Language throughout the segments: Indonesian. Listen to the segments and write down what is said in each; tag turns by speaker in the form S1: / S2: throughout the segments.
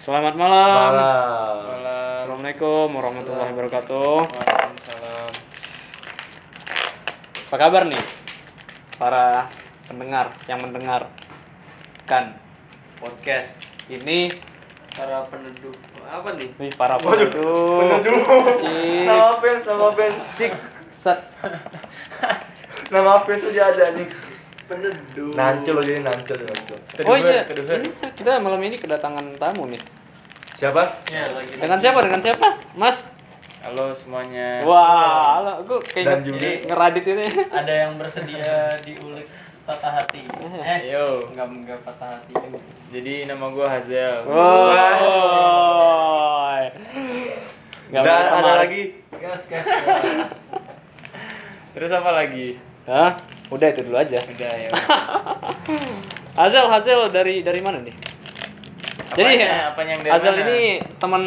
S1: Selamat malam.
S2: Malam.
S1: Assalamualaikum warahmatullahi wabarakatuh.
S3: Waalaikumsalam.
S1: Apa kabar nih para pendengar yang mendengar kan
S3: Podcast.
S1: ini
S3: Para penduduk apa nih?
S1: nih para penduduk Cik.
S2: Nama fans, nama fans.
S1: Cik, set
S2: Nama fans aja ada nih.
S3: Penduduk.
S2: Nancul jadi nancul nancul.
S1: Oh iya,
S4: Hmm?
S1: ini kita malam ini kedatangan tamu nih.
S2: Siapa?
S3: Ya,
S4: Iya,
S3: lagi.
S1: Dengan siapa? Dengan siapa? Mas?
S3: Halo semuanya.
S1: Wah, halo, gue kayak
S2: Dan juga
S3: Ini-
S1: ngeradit ini.
S4: ada yang bersedia diulik patah hati eh
S3: Yo.
S4: enggak enggak patah hati
S3: Jadi nama gua Hazel.
S1: Woi. Nggak
S2: Dan
S1: berasa,
S2: ada
S1: Mar.
S2: lagi.
S4: gas gas gas
S3: Terus apa lagi?
S1: Hah? Udah itu dulu aja.
S3: Udah ya.
S1: Hazel, Hazel dari dari mana nih? Jadi
S4: ya,
S3: Apanya? Apanya ya? yang dari
S1: Hazel
S3: mana?
S1: ini teman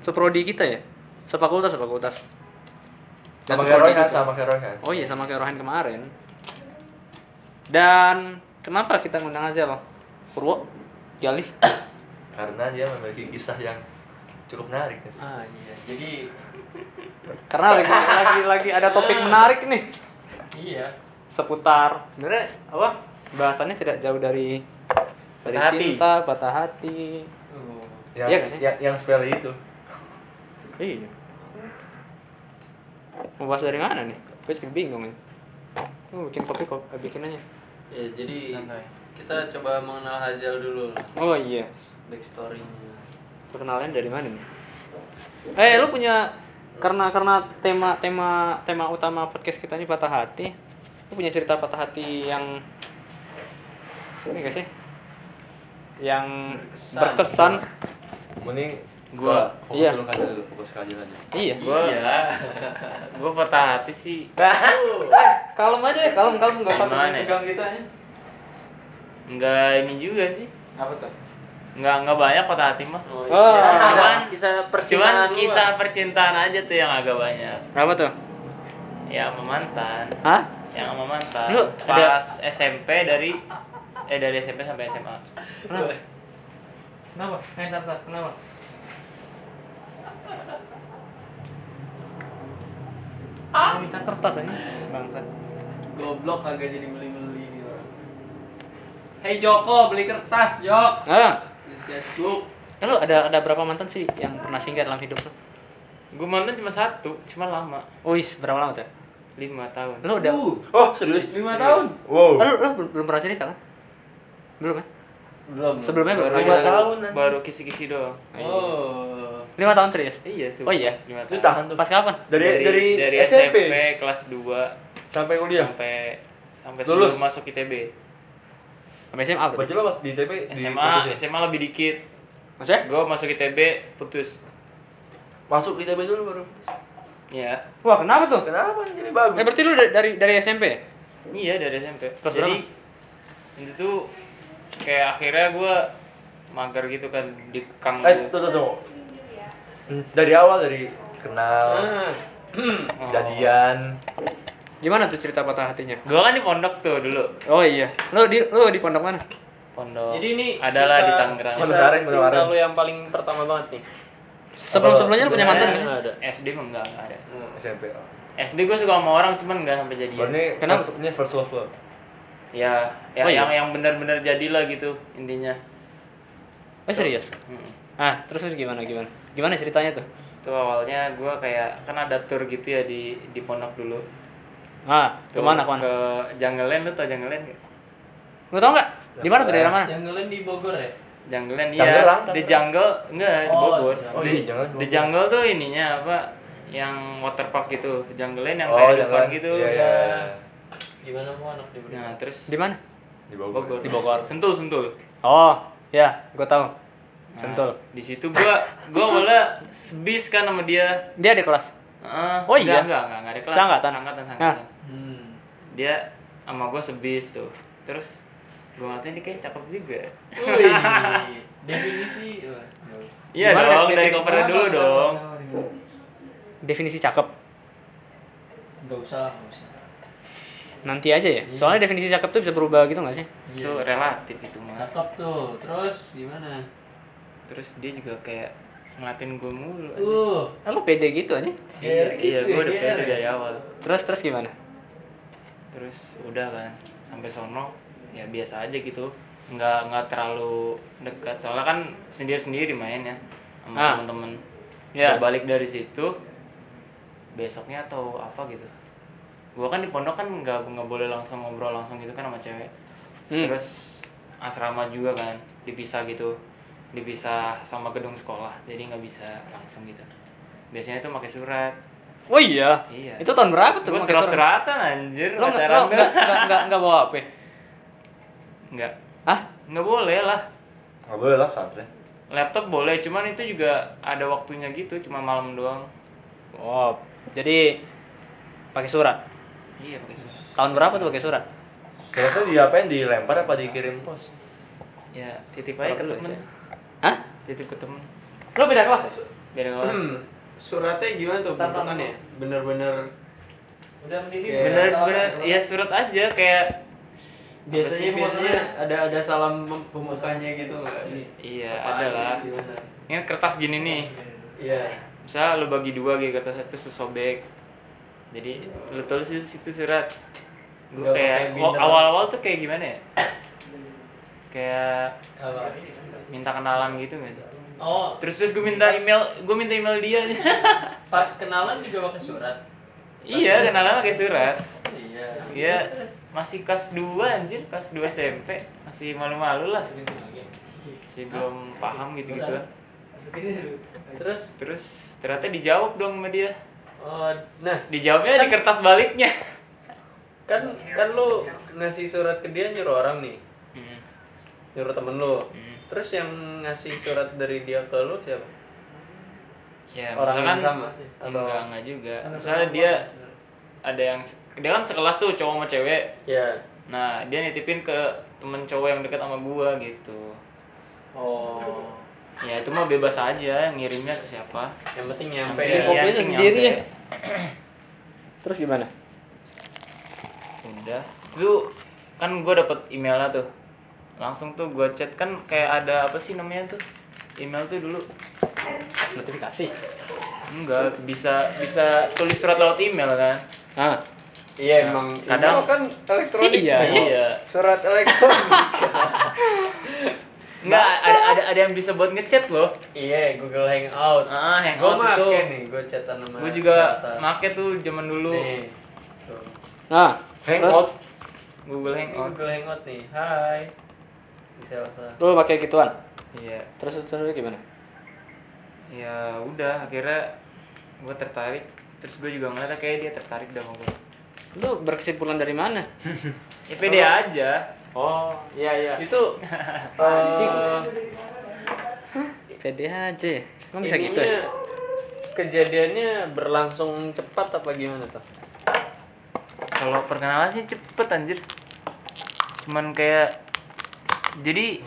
S1: seprodi kita ya? Sefakultas, sefakultas. Dan
S2: Sama
S1: seprodi
S2: Kerohan,
S1: kita.
S2: sama Kerohan.
S1: Oh iya, sama kayak Rohan kemarin. Dan kenapa kita ngundang Hazel? Purwo, Galih.
S2: Karena dia memiliki kisah yang cukup menarik. ya.
S4: ah iya jadi
S1: Karena lagi, lagi lagi ada topik menarik nih
S4: iya
S1: seputar sebenarnya apa? Bahasannya tidak jauh dari dari
S3: Patah hati.
S1: cinta, patah hati.
S4: oh.
S2: Yang,
S1: Iya kan, ya?
S2: yang, yang spell itu.
S1: Iya. Mau bahas dari mana nih? Gue jadi bingung nih. Mau bikin kopi kok, eh, bikin aja.
S4: ya jadi
S3: Santai.
S4: kita coba mengenal Hazel dulu lah
S1: Oh iya.
S4: backstorynya
S1: Perkenalan dari mana nih? Eh, lu punya karena karena tema tema tema utama podcast kita ini patah hati. Lu punya cerita patah hati yang ini gak sih? Yang
S4: Berkesan.
S1: berkesan.
S2: Mending
S3: Gua.
S2: fokus
S1: Iya.
S2: dulu kajian dulu, fokus kajian aja.
S1: Iya.
S3: Gua gua patah hati sih.
S1: Eh, kalem aja ya, kalem kalem enggak
S3: Gimana
S1: apa-apa
S3: ya?
S1: pegang kita ya.
S3: Enggak ini juga sih.
S1: Apa tuh?
S3: Enggak enggak banyak patah hati mah.
S4: oh,
S1: Oh.
S4: kisah, kisah percintaan
S3: Cuman
S4: lu
S3: kisah percintaan aja tuh yang agak banyak.
S1: Apa tuh?
S3: Ya sama mantan.
S1: Hah?
S3: Yang sama mantan.
S1: Lu ada-
S3: pas SMP dari eh dari SMP sampai SMA.
S1: Kenapa? Kenapa? Eh, bentar, bentar. Kenapa? Ah. Minta kertas aja. Bangsat.
S4: ah. goblok agak jadi beli beli nih orang Hei Joko, beli kertas, Jok.
S1: Ah.
S4: Lihat lu.
S1: Eh, lu ada ada berapa mantan sih yang pernah singgah dalam hidup lu?
S3: Gue mantan cuma satu, cuma lama.
S1: Wih, berapa lama tuh?
S3: lima tahun.
S1: Lu udah
S4: Uh,
S2: Oh, serius?
S4: 5 tahun.
S1: Eh,
S2: Wow.
S1: lu, lu bel- belum pernah cerita kan? Belum ya?
S4: Belum.
S1: Sebelumnya
S4: Kan
S1: baru
S2: Lima
S1: ada.
S2: tahun, anjing.
S3: Baru kisi-kisi doang.
S4: Oh.
S1: Lima tahun serius?
S3: Iya,
S1: Oh iya?
S3: Lima
S2: Itu
S3: tahun.
S2: tahan tuh.
S1: Pas kapan?
S2: Dari dari, SMP,
S3: kelas 2
S2: sampai kuliah.
S3: sampai sampai
S2: Iya. Lulus.
S3: sebelum masuk ITB.
S1: Sampai SMA
S2: Berarti
S1: berarti?
S2: lo pas di TP di ya?
S3: SMA,
S2: putusin.
S3: SMA lebih dikit.
S1: Maksudnya?
S3: Gue masuk ITB putus.
S2: masuk di TP dulu baru. putus.
S3: Iya.
S1: Wah, kenapa tuh?
S2: Kenapa jadi
S1: Eh,
S2: bagus?
S1: berarti lu dari dari, dari SMP ya?
S3: Iya dari SMP.
S1: Kelas
S3: Jadi itu tuh kayak akhirnya gue mager gitu kan di kekang
S2: Eh,
S3: gitu.
S2: tuh tuh tuh. Hmm, Dari awal dari kenal,
S4: Ah.
S3: Oh.
S2: jadian.
S1: Gimana tuh cerita patah hatinya?
S3: Gue kan di pondok tuh dulu.
S1: Oh iya. Lu di lu di pondok mana?
S3: Pondok.
S4: Jadi ini
S3: adalah
S4: kisah-
S3: di Tangerang.
S2: Pondok
S4: kisah
S2: Sareng, Pondok
S4: cinta
S2: Sareng.
S4: lu yang paling pertama banget nih.
S1: Sebelum-sebelumnya lu punya mantan
S4: sebenarnya-
S1: nggak?
S4: Nggak ada.
S3: SD Eh, mah enggak, enggak ada.
S2: SMP. Oh.
S3: SD gue suka sama orang cuman enggak sampai jadi.
S2: Berarti
S1: Kenapa?
S2: first- ini first love lo.
S3: Ya, ya
S1: Oh, iya?
S3: yang yang benar-benar jadilah gitu intinya.
S1: Oh serius?
S3: Mm.
S1: Ah, terus terus gimana gimana? Gimana ceritanya tuh?
S3: Itu awalnya gue kayak kan ada tour gitu ya di di pondok dulu.
S1: Ah,
S3: Tuh,
S1: kemana kemana?
S3: Ke Janggelan lu tau Janggelan enggak?
S1: Lu tau nggak? Di mana tuh
S3: Ah.
S1: daerah mana?
S4: Junglean di Bogor ya?
S3: Janggelan
S2: Tangerang,
S3: iya. Di
S2: Tangerang.
S3: jungle enggak di
S4: Oh,
S3: Bogor.
S2: Oh iya, jangan.
S3: Di jungle tuh ininya apa? Yang waterpark gitu, Janggelan yang
S2: Oh,
S3: kayak di
S2: jangan.
S3: depan gitu.
S2: Iya, iya, iya.
S4: Gimana mau anak di Bogor?
S3: Nah, terus
S1: Di mana?
S2: Di Bogor.
S3: Bogor.
S1: Di Bogor.
S3: Sentul, Sentul.
S1: Oh, ya, gua tahu.
S3: Nah,
S1: Sentul.
S3: Di situ gua gua awalnya sebis kan sama dia.
S1: Dia ada kelas.
S3: Heeh.
S1: Oh iya?
S3: Enggak, enggak, enggak, enggak ada kelas.
S1: Seangkatan?
S3: sangkatan,
S1: Nah.
S3: sangkatan.
S4: Hmm.
S3: Dia sama gua sebis tuh. Terus gua ngatain dia kayak cakep juga.
S4: Wih. Definisi. wah, jauh.
S3: Iya
S1: Gimana
S3: dong,
S1: dia-
S3: dari
S1: dia-
S3: kopernya dulu
S4: Kenapa,
S3: dong.
S4: kenapa, kenapa,
S1: Definisi cakep.
S4: kenapa? Nggak usah lah, nggak usah.
S1: Nanti aja ya. Soalnya definisi cakep tuh bisa berubah gitu nggak sih?
S4: Iya.
S3: Itu relatif itu mah.
S4: Cakep tuh. Terus gimana?
S3: terus dia juga kayak ngatin gue mulu anjing.
S4: Uh,
S1: Ah, lu pede gitu aja.
S4: GR
S3: iya
S4: gitu ya,
S3: gue udah
S4: GR
S3: pede
S4: ya?
S3: dari awal
S1: Terus terus gimana?
S3: terus udah kan sampai sono ya biasa aja gitu nggak nggak terlalu dekat soalnya kan sendiri sendiri mainnya sama
S1: Ah.
S3: temen-temen
S1: Ya.
S3: Gua balik dari situ besoknya atau apa gitu gua kan di pondok kan nggak nggak boleh langsung ngobrol langsung gitu kan sama cewek
S1: Hmm.
S3: terus asrama juga kan dipisah gitu dipisah sama gedung sekolah jadi nggak bisa langsung gitu biasanya tuh pakai surat
S1: Oh iya.
S3: Iya.
S1: Itu tahun berapa tuh?
S3: Gua
S1: lu pakai surat?
S3: surat-suratan anjir
S1: Lu nggak
S3: pacaran
S1: lu nggak- nggak nggak- nggak bawa HP?
S3: Nggak.
S1: Hah?
S3: Nggak boleh lah.
S2: nggak boleh lah pesantren
S3: Laptop boleh, cuman itu juga ada waktunya gitu, cuma malam doang.
S1: Oh, jadi pakai surat.
S3: Iya pakai sus.
S1: Tahun berapa tuh pakai surat?
S2: ternyata diapain dilempar apa dikirim pos
S3: Ya titip aja ke temen.
S1: Hah?
S3: Titip ke temen.
S1: Lu beda kelas? ya?
S3: Dari kelas.
S4: Hmm, suratnya gimana tuh
S1: Tar, tar,
S4: bentukannya? Bener-bener
S1: Udah
S3: Iya.
S1: mendidih.
S4: Ya,
S3: Bener
S4: tahu,
S3: bener.
S4: tahu.
S3: Ya surat aja kayak.
S4: biasanya
S3: Apa sih
S4: biasanya
S3: biasanya?
S4: ada ada salam mem- pembukanya gitu nggak?
S3: Iya
S4: Apaan
S3: ada lah.
S4: gitu, gimana?
S3: Ini kertas gini nih.
S4: Iya.
S3: Misal lu bagi dua gitu kertas satu sesobek. Jadi lu tulis di situ surat. Gue
S4: Nggak
S3: kayak
S4: pakai
S3: wa-
S4: binder.
S3: awal-awal tuh kayak gimana ya? kayak
S4: Apa?
S3: minta kenalan gitu nggak sih?
S4: Oh,
S3: Terus terus gue minta email, gue minta email dia.
S4: pas kenalan juga pakai surat.
S3: iya, kenalan pakai surat.
S4: Iya.
S3: Iya. Masih kelas 2 anjir, kelas 2 SMP. Masih malu-malu lah. Masih belum paham gitu-gitu.
S4: Terus
S3: Terus ternyata dijawab dong sama dia.
S4: oh, nah
S3: Dijawabnya di kertas baliknya.
S4: kan kan lu ngasih surat ke dia nyuruh orang nih,
S3: Hmm.
S4: nyuruh temen lu.
S3: Hmm.
S4: Terus yang ngasih surat dari dia ke lu siapa?
S3: Ya,
S4: Orang yang sama
S3: misalkan
S4: atau
S3: enggak enggak juga. Misalnya dia ada yang se- dia kan sekelas tuh cowok sama cewek.
S4: ya
S3: Nah, dia nitipin ke temen cowok yang deket sama gua gitu.
S4: oh
S3: Ya, itu mah bebas aja ngirimnya ke siapa.
S4: yang penting nyampe
S1: Jadi
S4: ya.
S3: Iya, Nyampe.
S1: kopinya
S3: iya,
S1: sendiri ya.
S3: nyampe.
S1: Terus gimana?
S3: udah itu kan gue dapet emailnya tuh langsung tuh gue chat kan kayak ada apa sih namanya tuh email tuh dulu
S1: Notifikasi.
S3: enggak bisa bisa tulis surat lewat email kan
S1: Ah.
S3: Nah,
S4: Iya emang
S3: kadang-
S4: email kan elektronik
S1: Iya,
S4: Bang.
S3: iya.
S4: surat elektronik
S3: enggak ada ada ada yang bisa buat ngechat loh
S4: iya Google Hangout
S3: ah
S4: gue
S3: hangout
S4: make
S3: tuh
S4: nih gue chatan sama
S3: gue juga
S4: Sasa.
S3: make tuh zaman dulu
S4: nih tuh.
S1: Nah.
S2: hangout
S3: Google
S4: Ini
S3: Hangout
S4: Google Hangout nih hai di Selsa
S1: Terus lu pakai gituan.
S3: iya
S1: Terus terus gimana?
S3: ya udah akhirnya gue tertarik terus gue juga ngeliatnya kayak dia tertarik dah sama gue
S1: Lu berkesimpulan dari mana?
S3: ya pede aja
S1: Oh, iya iya.
S4: itu eh,
S1: Pede aja. Emang bisa
S4: ininya
S1: gitu ya?
S4: kejadiannya berlangsung cepat apa gimana tuh
S3: Kalau perkenalan sih cepet anjir. Cuman kayak jadi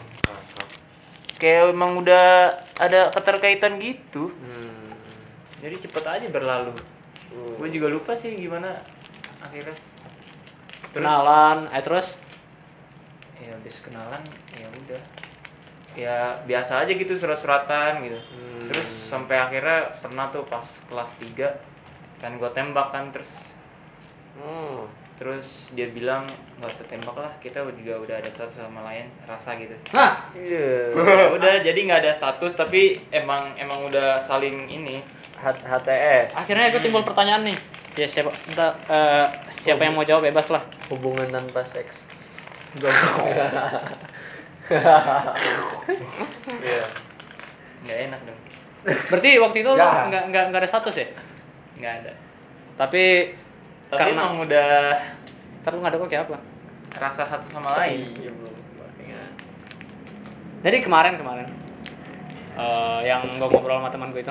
S3: kayak emang udah ada keterkaitan gitu.
S4: hmm.
S3: Jadi cepet aja berlalu.
S4: Uh.
S3: Gue juga lupa sih gimana akhirnya.
S1: Kenalan, eh terus
S3: Ya habis kenalan ya udah. Ya biasa aja gitu surat-suratan gitu.
S4: Hmm.
S3: Terus sampai akhirnya pernah tuh pas kelas 3 kan gue tembak kan terus
S4: hmm.
S3: terus dia bilang nggak usah tembak lah kita juga udah ada satu sama lain rasa gitu
S1: Nah,
S4: Iya.
S3: Ya udah jadi nggak ada status tapi emang emang udah saling ini
S4: H- HTS
S1: akhirnya aku timbul pertanyaan nih. Ya siapa entah, eh, siapa yang mau jawab bebas lah.
S4: hubungan tanpa seks
S2: Iya.
S3: nggak enak dong
S1: Berarti waktu itu lu
S2: Ya.
S1: nggak nggak nggak ada status ya?
S3: nggak ada
S1: Tapi
S3: tapi
S1: Karena-
S3: emang udah
S1: ntar lu ngadepnya kayak apa?
S3: rasa satu sama lain
S4: iya belum Ingat.
S1: Jadi kemarin kemarin eh, yang gue ngobrol sama teman gue itu,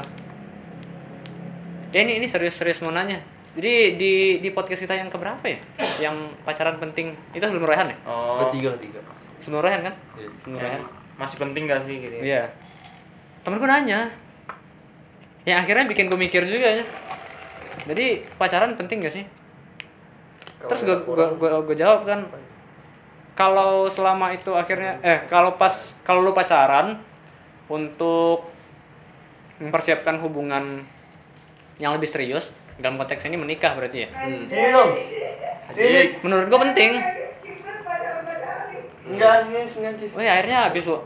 S1: ya ini ini serius-serius mau nanya. Jadi di di podcast kita yang keberapa ya? Yang pacaran penting itu sebelum Rehan ya?
S3: oh
S2: ketiga ketiga
S1: Sebelum Rehan kan?
S2: Iya.
S1: Sebelum
S3: ya,
S1: Rehan.
S3: masih penting gak sih gitu ya?
S1: Iya. Temen gue nanya, yang akhirnya bikin gue mikir juga ya. Jadi pacaran penting gak sih? Terus gue gue gue jawab kan kalau selama itu akhirnya eh kalau pas kalau lu pacaran untuk mempersiapkan hubungan yang lebih serius dalam konteks ini menikah berarti ya
S2: Sini dong. Sini.
S1: menurut gue penting
S2: Enggak, sini, sini aja.
S1: Wih Oh iya, akhirnya habis Wo.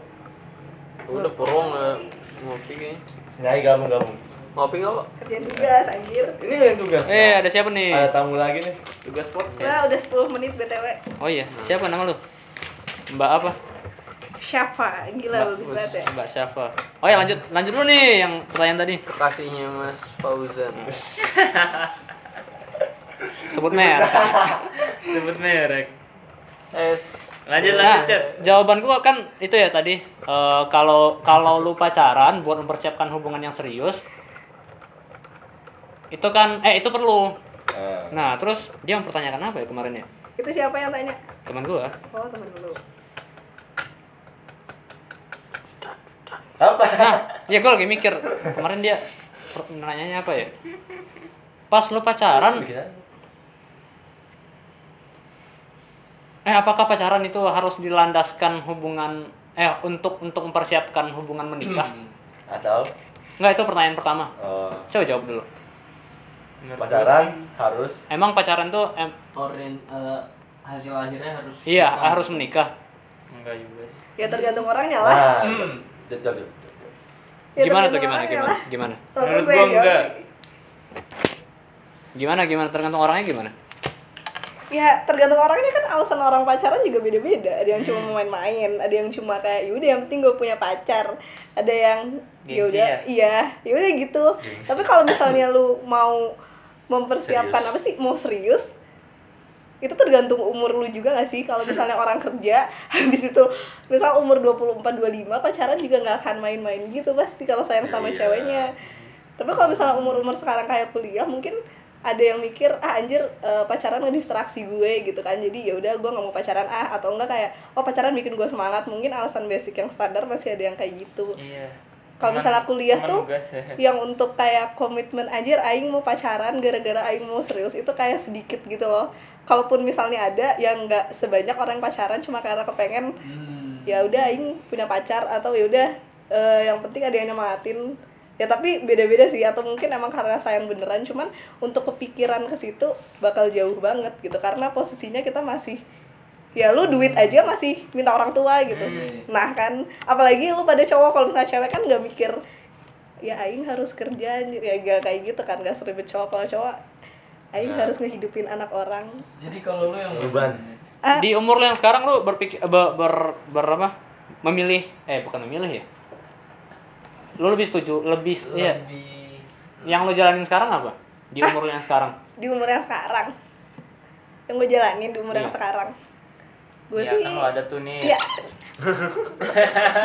S4: Udah porong nggak ngopi kayaknya.
S2: Sini aja gabung-gabung.
S4: Ngopi nggak pak?
S5: Kerjaan tugas anjir.
S2: Ini yang tugas.
S1: eh ada siapa nih
S2: Ada tamu lagi nih.
S4: Tugas podcast.
S5: Wah, udah 10 menit BTW.
S1: oh iya siapa nama lu mbak apa
S5: Syafa, gila bagus banget ya.
S1: mbak siapa oh ya lanjut lanjut dulu nih yang pertanyaan tadi
S4: Kasihnya Mas Fauzan.
S1: sebut merek
S3: Sebut merek.
S4: Es.
S3: Lanjut
S1: Nah,
S3: lanjut chat.
S1: jawaban gua kan itu ya tadi. Eh, kalau kalau lu pacaran buat mempersiapkan hubungan yang serius itu kan eh itu perlu.
S2: Eh,
S1: Nah, terus dia mempertanyakan apa ya kemarin ya?
S5: Itu siapa yang tanya?
S1: Teman gua.
S5: Oh, temen lu.
S2: Apa?
S1: Nah, ya gua lagi mikir kemarin dia per- nanyanya apa ya? Pas lu pacaran,
S2: Bikin aja.
S1: eh apakah pacaran itu harus dilandaskan hubungan eh untuk untuk mempersiapkan hubungan menikah?
S3: Hmm.
S2: Atau
S1: Enggak, itu pertanyaan pertama.
S2: eh,
S1: Coba jawab dulu.
S3: Menurut gua sih,
S2: pacaran harus
S1: Emang pacaran tuh em,
S4: Orient eh, hasil akhirnya harus.
S1: iya
S4: kita-
S1: harus menikah.
S3: Enggak juga sih.
S5: Ya tergantung orangnya lah.
S2: nah
S4: Hmm.
S2: jod- jod- jod.
S5: Ya,
S1: Gimana tuh gimana
S5: tergantung orangnya
S1: gimana?
S5: lah.
S1: Gimana?
S5: Kalau
S3: Menurut
S5: gue yang
S3: gua
S5: jawab
S3: enggak.
S5: sih.
S1: Gimana gimana tergantung orangnya gimana?
S5: Ya tergantung orangnya kan alasan orang pacaran juga beda-beda. Ada yang
S2: Hmm.
S5: cuma mau main-main, ada yang cuma kayak yaudah yang penting gue punya pacar. Ada yang
S3: Gengsi
S5: yaudah
S3: ya?
S5: iya yaudah gitu.
S2: Gengsi.
S5: Tapi kalau misalnya lu mau mempersiapkan
S2: Serius.
S5: apa sih mau serius itu tergantung umur lu juga gak sih kalau misalnya orang kerja habis itu misal umur 24 25 pacaran juga nggak akan main-main gitu pasti kalau sayang sama
S2: Iya.
S5: ceweknya tapi kalau misalnya umur-umur sekarang kayak kuliah mungkin ada yang mikir ah anjir eh, pacaran ngedistraksi gue gitu kan jadi ya udah gue nggak mau pacaran ah atau enggak kayak oh pacaran bikin gue semangat mungkin alasan basic yang standar masih ada yang kayak gitu
S3: Iya.
S5: Kalau
S3: Cuman-
S5: misalnya kuliah
S3: cuman
S5: tuh,
S3: nugas ya.
S5: yang untuk kayak komitmen anjir aing mau pacaran gara-gara aing mau serius itu kayak sedikit gitu loh kalaupun misalnya ada yang nggak sebanyak orang pacaran cuma karena kepengen
S4: Hmm.
S5: ya udah aing punya pacar atau ya udah eh, yang penting ada yang nyemangatin ya tapi beda-beda sih atau mungkin emang karena sayang beneran cuman untuk kepikiran ke situ bakal jauh banget gitu karena posisinya kita masih ya lu duit aja masih minta orang tua gitu
S4: Hmm.
S5: nah kan apalagi lu pada cowok kalau misalnya cewek kan nggak mikir ya aing harus kerja anjir." ya gak kayak gitu kan gak seribet cowok kalau cowok aing
S2: Nah.
S5: harus ngehidupin anak orang
S4: Jadi kalau lu yang
S2: Urban.
S5: Ah.
S1: Di umur lo yang sekarang lo berpikir ber, ber, ber- apa? Memilih eh bukan memilih ya. Lo lebih setuju lebih iya.
S4: lebih
S1: Yang lo jalanin sekarang apa? Di umur lo yang sekarang.
S5: di umur yang sekarang yang gue jalanin di umur yang
S1: Iya.
S5: sekarang gue
S3: Iya
S5: sih
S3: kan lo ada tuh nih.
S5: ya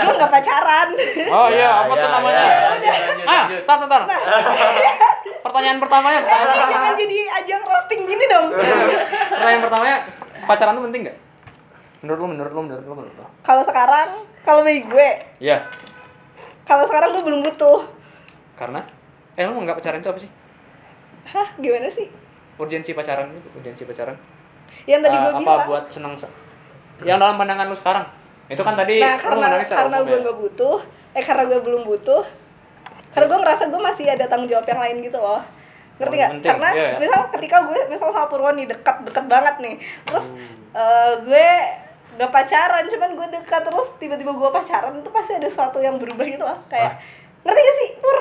S5: gue nggak pacaran
S1: Oh iya,
S2: Ya,
S1: apa tuh
S2: ya,
S1: namanya?
S2: ya.
S3: Lanjut, lanjut,
S1: Ah,
S3: lanjut.
S1: tar, tar, tar.
S5: Nah.
S1: Pertanyaan pertamanya, pertanyaan,
S5: Ini Eh, jangan jadi ajang roasting gini dong
S1: pertanyaan pertamanya pacaran tuh penting gak? Menurut lo, menurut lo, menurut lo, menurut lo.
S5: kalau sekarang kalau bagi gue
S1: Iya.
S5: kalau sekarang gue belum butuh
S1: Karena eh lo nggak pacaran itu apa sih?
S5: hah gimana sih
S1: Urgensi pacaran itu, urgensi pacaran.
S5: yang tadi
S1: Eh,
S5: gue
S1: apa
S5: bilang
S1: buat senang se- yang dalam pandangan lu sekarang itu kan tadi lu
S5: nah karena
S1: ngomongin secara
S5: karena
S1: umum
S5: gue
S1: ya.
S5: nggak butuh eh karena gue belum butuh karena gue ngerasa gue masih ada tanggung jawab yang lain gitu loh ngerti
S1: Oh,
S5: nggak
S1: penting,
S5: karena
S1: iya ya.
S5: misal ketika gue misal sama Purwon nih dekat dekat banget nih terus
S1: Hmm.
S5: eh, gue nggak pacaran cuman gue dekat terus tiba-tiba gue pacaran itu pasti ada sesuatu yang berubah gitu loh kayak ngerti gak sih Pur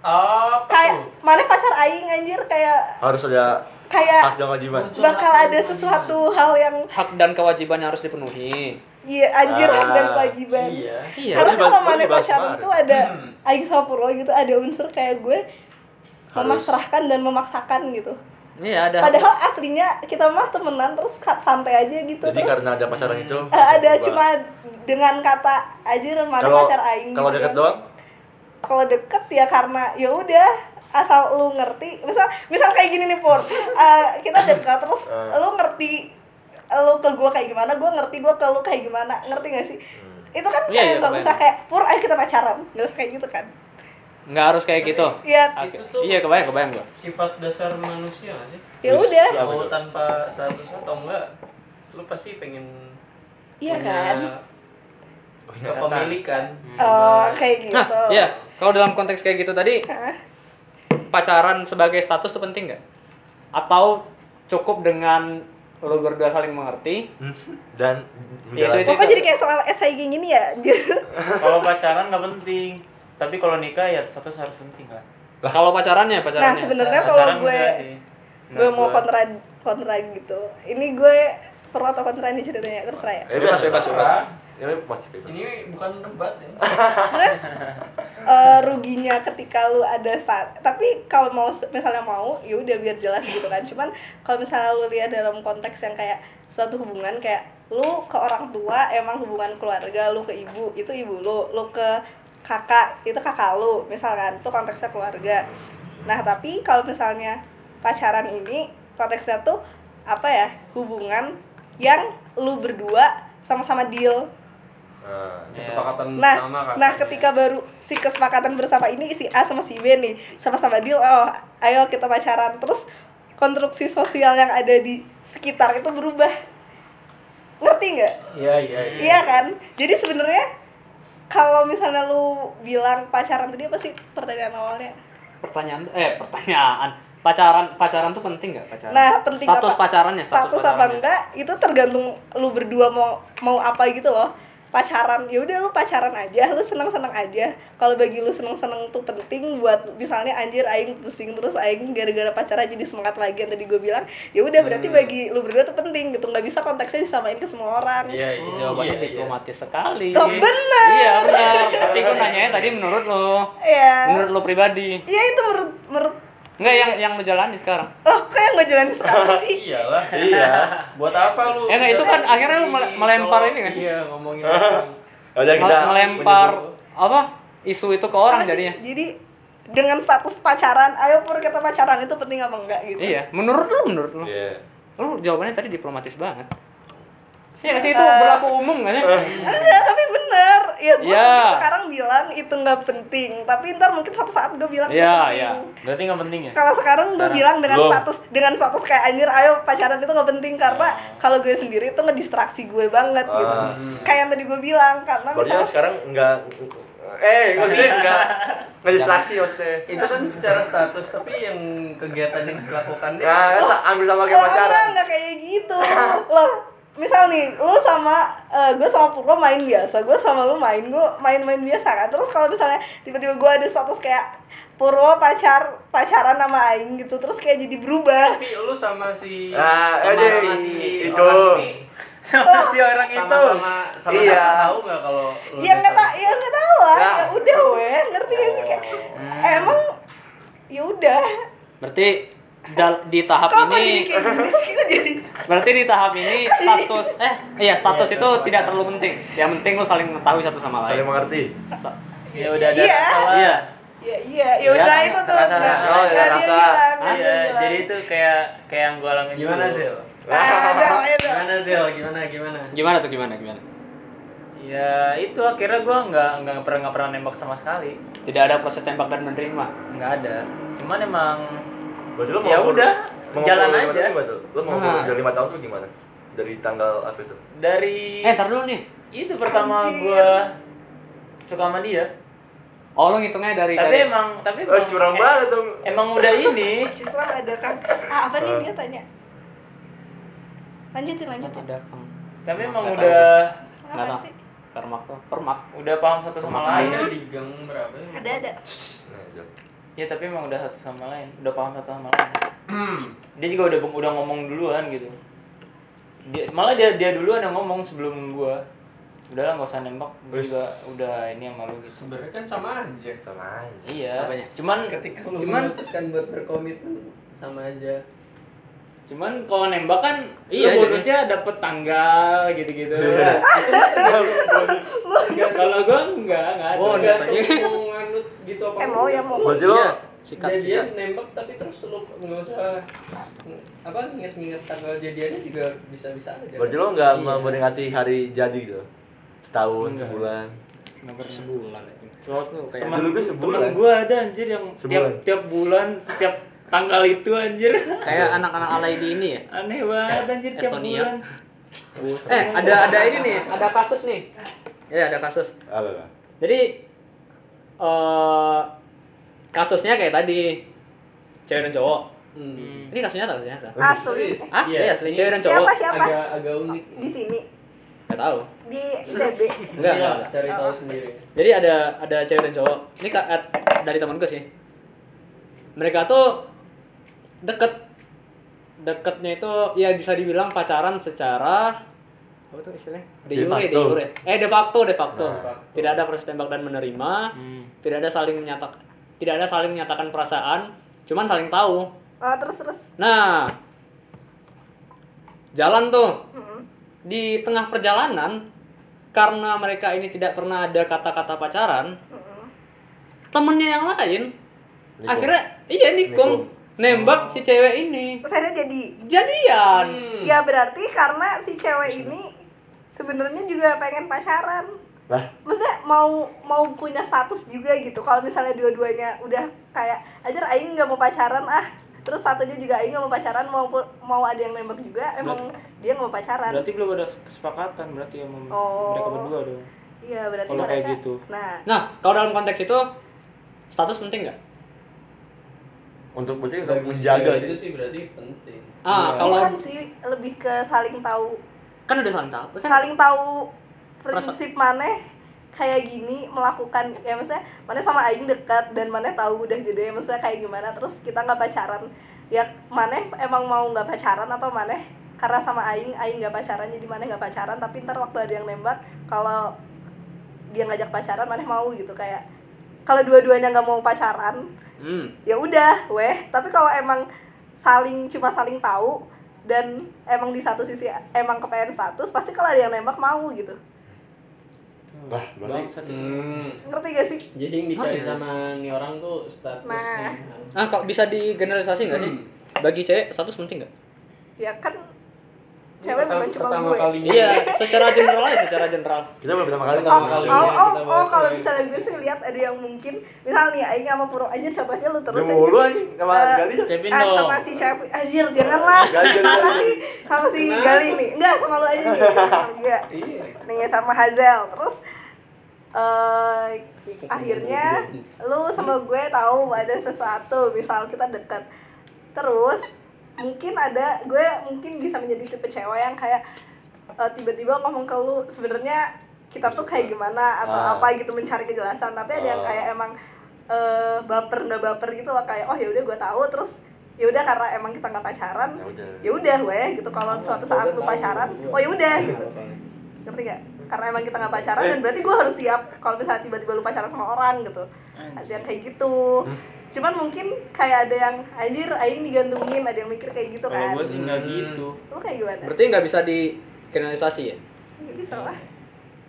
S4: apa
S5: kayak
S4: tuh?
S5: mana pacar aing anjir kayak
S2: Harus ada hak
S5: kayak
S2: dan kewajiban.
S5: bakal ada sesuatu hal yang
S1: hak dan kewajiban yang harus dipenuhi
S5: iya anjir
S2: Ah,
S5: dan kewajiban
S4: iya
S1: iya
S5: Karena
S2: Tapi
S5: kalau
S2: balik-
S5: mana
S2: tapi bahas
S5: pacaran
S2: kemarin.
S5: itu ada
S4: Hmm.
S5: Aing sama Purwo gitu ada unsur kayak gue
S2: Harus.
S5: memasrahkan dan memaksakan gitu.
S1: iya ada
S5: Padahal aslinya kita mah temenan terus ka- santai aja gitu
S2: Jadi
S5: terus
S2: karena ada pacaran itu.
S5: eh, ada
S2: berubah.
S5: cuma dengan kata aja mana
S2: kalau
S5: pacar Aing
S2: kalau
S5: gitu
S2: deket
S5: kan.
S2: doang
S5: Kalau deket ya karena ya udah asal lu ngerti misal misal kayak gini nih Pur Eh, kita deket terus
S2: Eh.
S5: lu ngerti lu ke gue kayak gimana gue ngerti gue ke lu kayak gimana ngerti gak sih itu kan
S1: Iya, iya,
S5: kayak nggak
S1: kebayang.
S5: usah kayak pur ayo kita pacaran nggak usah kayak gitu kan
S1: nggak harus kayak gitu
S5: Iya,
S1: Oke.
S4: Itu tuh-
S1: iya kebayang kebayang gua
S4: sifat dasar manusia nggak sih
S5: ya
S2: Terus
S5: udah
S2: Apa
S4: mau
S2: tuh?
S4: tanpa status atau enggak lu pasti pengen
S5: iya
S4: punya
S5: kan
S4: kepemilikan
S5: Oh, kayak gitu.
S1: Nah, iya. Kalau dalam konteks kayak gitu tadi, pacaran sebagai status tuh penting nggak? Atau cukup dengan lo berdua saling mengerti?
S2: dan
S1: Iya,
S2: menjalani
S1: itu-
S5: Kok kok jadi kayak soal essay kayak gini ya?
S3: kalau pacaran nggak penting tapi kalau nikah ya status harus penting lah
S1: Kalau pacarannya,
S5: nah,
S1: pacarannya.
S5: sebenarnya kalau
S3: pacaran
S5: gue
S3: enggak sih.
S5: gue
S3: Menurut
S5: mau
S3: gua.
S5: kontra kontra gitu. Ini gue pro atau kontra nih ceritanya terserah ya.
S2: Eh, bebas, bebas,
S1: bebas.
S2: bebas. Ya, bebas, bebas.
S4: ini bukan debat ya
S5: Eh, ruginya ketika lu ada sta- tapi kalau mau misalnya mau ya udah biar jelas gitu kan cuman kalau misalnya lu lihat dalam konteks yang kayak suatu hubungan kayak lu ke orang tua emang hubungan keluarga lu ke ibu itu ibu lu lu ke kakak itu kakak lu misalkan itu konteksnya keluarga nah tapi kalau misalnya pacaran ini konteksnya tuh apa ya hubungan yang lu berdua sama-sama deal
S2: Nah,
S4: kesepakatan
S5: nah,
S4: bersama kan
S5: nah ketika baru si kesepakatan bersama ini si A sama si B nih sama-sama deal oh ayo kita pacaran terus konstruksi sosial yang ada di sekitar itu berubah ngerti nggak
S4: iya iya iya
S5: iya kan jadi sebenarnya kalau misalnya lu bilang pacaran tadi apa sih pertanyaan awalnya
S1: Pertanyaan, eh pertanyaan. Pacaran, pacaran tuh penting nggak pacaran?
S5: nah penting
S1: status
S5: apa
S1: pacarannya, status,
S5: status apa
S1: pacarannya.
S5: enggak itu tergantung lu berdua mau mau apa gitu loh pacaran ya udah lu pacaran aja lu seneng seneng aja kalau bagi lu seneng seneng tuh penting buat misalnya anjir aing pusing terus aing gara-gara pacaran jadi semangat lagi yang tadi gue bilang ya udah berarti
S1: Hmm.
S5: bagi lu berdua tuh penting gitu nggak bisa konteksnya disamain ke semua orang
S4: iya iya
S1: Jawabannya
S4: iya, iya.
S1: diplomatis sekali.
S5: Loh, Oh, bener.
S1: Iya benar. Tapi gue nanyanya tadi menurut lo,
S5: ya
S1: menurut lo pribadi.
S5: ya itu menurut menurut
S1: Enggak yang yang lo jalani sekarang.
S5: loh kok yang gue jalanin sekarang sih
S4: iyalah
S2: Iya.
S4: buat apa lu
S1: Eh, nah, itu kan akhirnya lu mele- melempar
S4: Kalau-
S1: ini kan?
S4: iya ngomongin orang.
S2: Udah Ya, kita
S1: Mel- melempar apa isu itu ke orang
S5: Apa sih?
S1: jadinya.
S5: jadi dengan status pacaran ayo pur kita pacaran itu penting apa enggak gitu
S1: Iya, menurut lu menurut lu.
S2: Iya.
S1: Lu jawabannya tadi diplomatis banget. Iya, nggak sih
S5: Eh,
S1: itu berlaku umum kan ya?
S5: Enggak, tapi bener ya gue
S1: Iya.
S5: mungkin sekarang bilang itu nggak penting tapi ntar mungkin suatu saat gue bilang itu
S1: Iya,
S5: penting
S1: iya.
S3: berarti nggak penting ya
S5: kalau sekarang gue bilang dengan
S2: Belum.
S5: status dengan status kayak anjir ayo pacaran itu nggak penting karena
S1: Ah.
S5: kalau gue sendiri itu ngedistraksi gue banget gitu
S2: Ah.
S5: kayak yang tadi gue bilang karena
S2: Berarti kan
S5: misalnya
S2: sekarang enggak eh maksudnya enggak enggak distraksi maksudnya.
S4: itu kan secara status tapi yang kegiatan yang dilakukannya
S2: Nah, kan sa- ambil sama kayak
S5: Oh, enggak,
S2: pacaran.
S5: enggak kayak gitu loh misal nih lu sama eh, gue sama Purwo main biasa gue sama lu main gue main-main biasa kan terus kalau misalnya tiba-tiba gue ada status kayak Purwo pacar pacaran sama Aing gitu terus kayak jadi berubah
S4: tapi lu sama si
S2: Nah,
S4: sama,
S2: ini,
S4: sama si
S2: itu.
S4: orang ini
S3: sama si orang itu
S4: sama-sama sama
S2: Iya.
S4: tahu nggak kalau lu
S5: ya
S4: udah
S5: nggak tak
S4: sama-
S5: ya nggak tahu lah
S2: Nah.
S5: ya udah weh ngerti gak sih kayak emang ya udah
S1: Berarti dal- di tahap
S5: kok kok jadi
S1: ini
S5: kayak gini sih kok jadi ya,
S1: berarti di tahap ini status eh iya status itu tidak terlalu penting. Yang penting lu saling mengetahui satu sama
S2: Saling
S1: lain.
S2: mengerti.
S1: Sa-
S3: ya udah ada
S5: Iya.
S3: masalah.
S1: Iya.
S5: ya iya ya udah
S3: kan,
S5: itu tuh
S3: rasa-
S5: nah,
S2: oh, ya,
S5: nah, dia
S2: rasa.
S5: bilang, nah, dia
S3: Iya,
S5: bilang.
S3: jadi itu kayak kayak yang gue alamin
S4: gimana
S3: dulu.
S4: Zel
S5: Nah, jangan, jangan.
S4: gimana Zel gimana gimana
S1: Gimana tuh gimana gimana?
S3: ya itu akhirnya gue nggak nggak pernah nggak pernah nembak sama sekali
S1: Tidak ada proses tembak dan menerima.
S3: nggak ada cuman emang
S2: Berarti lu mau
S3: Ya
S2: ngukur-
S3: udah,
S2: mau
S3: jalan
S2: ngukur lima
S3: aja.
S2: tahun gimana tuh? Lu mau ngukur
S1: Ah.
S2: dari 5 tahun tuh gimana? Dari tanggal apa itu?
S3: dari
S1: Eh, ntar dulu nih.
S3: itu pertama
S5: Anjir.
S3: gue suka sama dia
S1: Oh, lo ngitungnya dari
S3: tapi
S1: dari
S3: emang tapi
S2: Eh,
S3: emang,
S2: curang
S3: em-
S2: banget dong.
S3: emang udah ini
S5: Cisra ada kan ah, apa nih dia tanya lanjutin lanjutin
S1: ada
S3: tapi emang
S1: Nggak
S3: udah
S1: Nggak
S5: apa
S1: tahu.
S5: sih
S1: permak tuh permak
S3: udah paham satu sama lain
S4: Ada di gang berapa ya?
S5: ada ada
S2: Nah, jam.
S3: ya tapi emang udah satu sama lain udah paham satu sama lain dia juga udah udah ngomong duluan gitu dia, malah dia dia duluan yang ngomong sebelum gua udahlah nggak usah nembak gua
S2: Wis.
S3: juga udah ini sama lu gitu
S4: sebenarnya kan sama aja
S2: Sama aja.
S3: iya
S1: Apanya?
S3: cuman
S4: ketika lu
S3: cuman
S4: memutuskan buat berkomitmen sama aja
S3: cuman kalau nembak kan
S1: Iya, jadi-
S3: iya
S1: Iya.
S3: bonusnya dapet tanggal gitu gitu kalau gua enggak enggak ada
S1: Oh,
S4: Nggak
S1: biasanya.
S4: tuh mau nganut gitu apa
S5: eh mau ya mau
S2: Berarti lu
S1: Iya, sikat sikat.
S4: jadian nembak tapi terus lu nggak usah ng- apa nginget-nginget tanggal jadiannya juga bisa-bisa aja
S2: berarti lu enggak
S4: Iya.
S2: memperingati hari jadi gitu. Setahun,
S3: Enggak.
S2: sebulan.
S3: Nomor
S1: sebulan ya. kayak
S3: teman
S2: Dulu gua sebulan.
S3: teman gua ada anjir yang
S2: Sebulan.
S3: tiap tiap bulan setiap tanggal itu anjir
S1: kayak anak-anak alay di ini ya.
S3: aneh banget anjir tiap
S1: Estonia.
S3: bulan
S1: Eh, ada ada ini nih, ada kasus nih. ya ada kasus
S2: Ah,
S6: Apa, Bang?
S1: jadi eh kasusnya kayak tadi cewek dan cowok
S4: Hmm.
S1: ini kasusnya nyata kasus nyata
S5: Asli.
S1: asli
S4: Iya.
S1: asli Ah, cewek dan cowok
S5: Siapa siapa?
S4: Agak agak unik.
S5: Di sini
S1: nggak tahu
S5: di ITB.
S1: enggak
S4: Iya,
S1: enggak enggak.
S4: cari
S5: Oh.
S4: tahu sendiri.
S1: jadi ada ada cewek dan cowok ini ka- at- dari teman gue sih mereka tuh deket deketnya itu ya bisa dibilang pacaran secara apa tuh istilahnya de
S6: De
S1: jure de
S6: facto.
S1: jure eh de facto de facto
S6: Nah.
S1: tidak ada proses tembak dan menerima
S3: Hmm.
S1: tidak ada saling menyatak tidak ada saling menyatakan perasaan cuman saling tahu
S5: Oh, terus terus.
S1: nah jalan tuh
S5: Mm-mm.
S1: di tengah perjalanan karena mereka ini tidak pernah ada kata-kata pacaran
S5: Mm-mm.
S1: temennya yang lain
S6: Nikung.
S1: akhirnya iya nikung nembak si cewek ini
S5: Terus akhirnya jadi.
S1: jadian
S3: Hmm.
S5: Ya berarti karena si cewek ini sebenarnya juga pengen pacaran.
S6: Lah,
S5: Maksudnya mau mau punya status juga gitu. Kalau misalnya dua-duanya udah kayak ajar aing nggak mau pacaran ah. Terus satunya juga aing nggak mau pacaran mau mau ada yang nembak juga emang dia nggak mau pacaran.
S3: Berarti belum ada kesepakatan berarti ya mem-
S5: Oh.
S3: mereka berdua dong.
S5: Iya berarti
S3: Kalau
S5: mereka.
S3: kayak gitu.
S5: Nah,
S1: nah kalau dalam konteks itu status penting nggak
S6: untuk berarti untuk
S4: Bagi si
S6: menjaga
S4: cewek itu
S6: sih.
S4: sih berarti penting.
S1: ah kalau
S5: bukan sih lebih ke saling tahu
S1: kan udah saling tahu kan
S5: saling tahu prinsip mana kayak gini melakukan ya maksudnya mana sama aing dekat dan mana tahu udah gede maksudnya kayak gimana terus kita nggak pacaran ya mana emang mau nggak pacaran atau mana karena sama aing aing nggak pacaran jadi mana nggak pacaran tapi ntar waktu ada yang nembak kalau dia ngajak pacaran mana mau gitu kayak kalau dua-duanya nggak mau pacaran
S1: hmm.
S5: ya udah weh tapi kalau emang saling cuma saling tahu dan emang di satu sisi emang kepengen status pasti kalau ada yang nembak mau gitu
S6: Lah, berarti
S3: Bangsat itu.
S4: Hmm.
S5: ngerti gak sih
S4: Jadi yang dicari sama nih orang tuh statusnya.
S5: Nah.
S1: ah kalau bisa digeneralisasi nggak sih
S4: Hmm.
S1: bagi cewek status penting nggak
S5: ya kan cewek bukan cuma
S4: pertama
S5: gue
S4: kali
S1: iya secara general aja secara general
S6: kita baru pertama kali
S5: Oh,
S4: Pertama
S6: ngomong
S5: oh,
S6: gitu.
S4: kali. ya,
S5: oh,
S4: kita
S5: oh,
S4: bahas
S5: kalau
S4: cewek.
S5: misalnya gue sih lihat ada yang mungkin misal nih Aing sama Puro aja contohnya lu terus
S6: Udah
S5: aja.
S6: mulu anjing sama
S5: Eh,
S6: Gali.
S1: Cepin
S5: Ah,
S1: dong
S5: sama si Chef Anjir, janganlah
S6: Gali, Gali, Gali.
S5: Nanti sama si Gali nih Enggak, sama lu aja nih Sama dia.
S4: Iya.
S5: Nih sama Hazel Terus eh akhirnya lu sama gue tahu ada sesuatu misal kita dekat terus mungkin ada gue mungkin bisa menjadi tipe cewek yang kayak eh, tiba-tiba ngomong ke lu sebenarnya kita tuh kayak gimana atau
S6: Ah.
S5: apa gitu mencari kejelasan tapi ada yang
S6: Ah.
S5: kayak emang eh, baper nggak baper gitu loh kayak oh ya udah gue tahu terus ya udah karena emang kita nggak pacaran
S6: Ya udah.
S5: ya udah weh gitu kalau suatu saat lu pacaran oh ya udah gitu ngerti gak? karena emang kita nggak pacaran
S3: Eh.
S5: dan berarti gue harus siap kalau misalnya tiba-tiba lu pacaran sama orang gitu ada yang kayak gitu
S3: Hmm.
S5: cuman mungkin kayak ada yang anjir aing digantungin ada yang mikir kayak gitu
S3: Kalau
S5: kan
S3: gue sih nggak
S1: Hmm.
S3: gitu.
S5: lu kayak gimana
S1: berarti nggak bisa digeneralisasi ya
S5: nggak bisa lah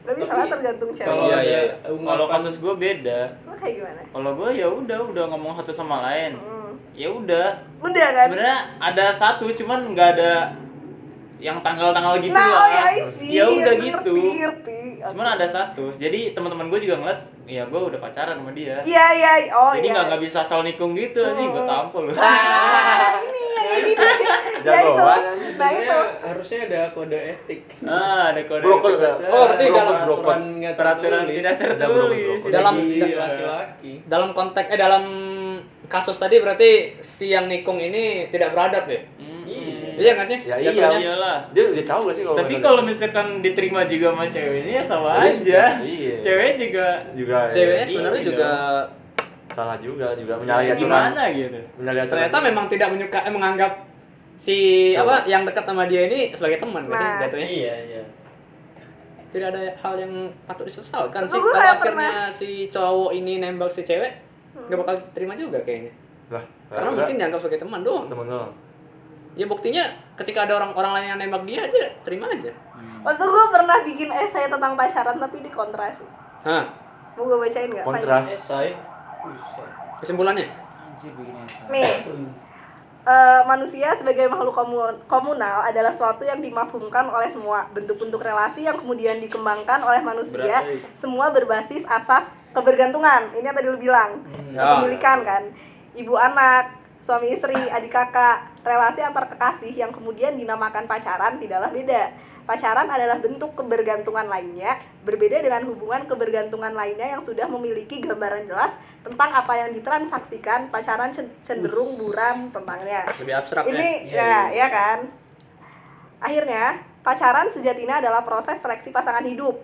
S5: nggak bisa lah tergantung
S4: Kalau
S5: cewek
S1: Iya,
S4: ada
S1: iya.
S3: Kalau
S4: ungkapan-
S3: kasus gue beda.
S5: lu kayak gimana
S3: Kalau gue ya udah udah ngomong satu sama lain.
S5: Hmm.
S3: Ya udah.
S5: udah kan
S3: Sebenarnya ada satu cuman nggak ada yang tanggal-tanggal gitu
S5: nah oh
S3: lah.
S5: ya I see.
S3: Ya udah
S5: Ngerti,
S3: gitu.
S5: ngerti Oke.
S3: Cuman ada status. Jadi teman-teman gue juga ngeliat, ya gue udah pacaran sama dia.
S5: iya iya oh
S3: Jadi
S5: iya Hmm.
S3: nggak nggak bisa asal nikung gitu, nih gue tampol.
S5: Ah, ini yang kayak gini ya itu
S6: Jagoan.
S5: nah itu
S4: Sebenarnya Iya,
S3: Iya.
S4: harusnya ada kode etik.
S3: ah, ada kode.
S6: Brokot,
S3: etik aja.
S1: Oh, berarti
S6: Brokot,
S1: dalam
S6: brokot.
S4: Peraturan nggak
S3: peraturan
S4: tertulis.
S3: tidak tertulis. Iya.
S6: brokot.
S1: Dalam-
S4: Bagi
S1: da-
S4: laki-laki.
S1: dalam konteks eh dalam kasus tadi berarti si yang nikung ini tidak beradab ya
S4: Iya.
S1: iya nggak sih
S6: Ya iya.
S1: Jatuhnya?
S3: Iyalah.
S6: Dia dia tahu gak sih
S2: Oh,
S6: kalau
S3: Tapi
S6: mereka-
S3: kalau misalkan diterima juga sama cewek ini ya sama
S6: Iya,
S3: aja.
S6: iya.
S3: Cewek juga
S6: juga eh,
S1: ceweknya sebenarnya
S3: Iya.
S1: juga
S6: salah juga juga menyalahi aturan.
S3: gimana gitu.
S6: Menyalahi aturan.
S1: ternyata memang tidak menyuka eh, menganggap si
S6: Cowok.
S1: apa yang dekat sama dia ini sebagai teman nggak sih
S5: Nah.
S1: jatuhnya
S4: Iya, iya.
S1: tidak ada hal yang patut disesalkan sih
S5: Betul, gue
S1: kalau
S5: kayak
S1: akhirnya si cowok ini nembak si cewek nggak bakal terima juga kayaknya
S6: lah,
S1: karena
S6: lah,
S1: mungkin dianggap sebagai teman doang
S6: temen lo.
S1: ya buktinya ketika ada orang orang lain yang nembak dia dia terima aja
S5: waktu gue pernah bikin esai tentang pacaran tapi di kontras
S1: Hah,
S5: mau gue bacain nggak
S6: Kontras.
S4: Esai.
S1: kesimpulannya
S5: Nih, eh, manusia sebagai makhluk komu- komunal adalah suatu yang dimafhumkan oleh semua bentuk-bentuk relasi yang kemudian dikembangkan oleh manusia. Semua berbasis asas kebergantungan. Ini yang tadi lu bilang,
S1: Ya.
S5: kepemilikan kan, ibu anak, suami istri, adik kakak, relasi antar kekasih yang kemudian dinamakan pacaran tidaklah beda. Pacaran adalah bentuk kebergantungan lainnya, berbeda dengan hubungan kebergantungan lainnya yang sudah memiliki gambaran jelas tentang apa yang ditransaksikan. Pacaran cen- cenderung buram tentangnya.
S1: lebih abstrak
S5: Ini
S3: Iya,
S1: ya.
S5: ya, ya kan. Akhirnya, pacaran sejatinya adalah proses seleksi pasangan hidup.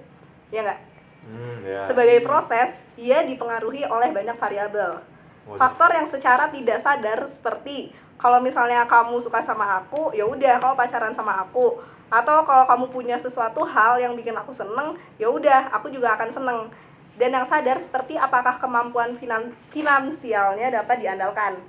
S5: Ya enggak?
S6: Hmm, ya.
S5: Sebagai proses, ia dipengaruhi oleh banyak variabel.
S6: Waduh.
S5: Faktor yang secara tidak sadar seperti kalau misalnya kamu suka sama aku, ya udah kamu pacaran sama aku. Atau kalau kamu punya sesuatu hal yang bikin aku seneng, ya udah aku juga akan seneng. Dan yang sadar seperti apakah kemampuan finan- finansialnya dapat diandalkan.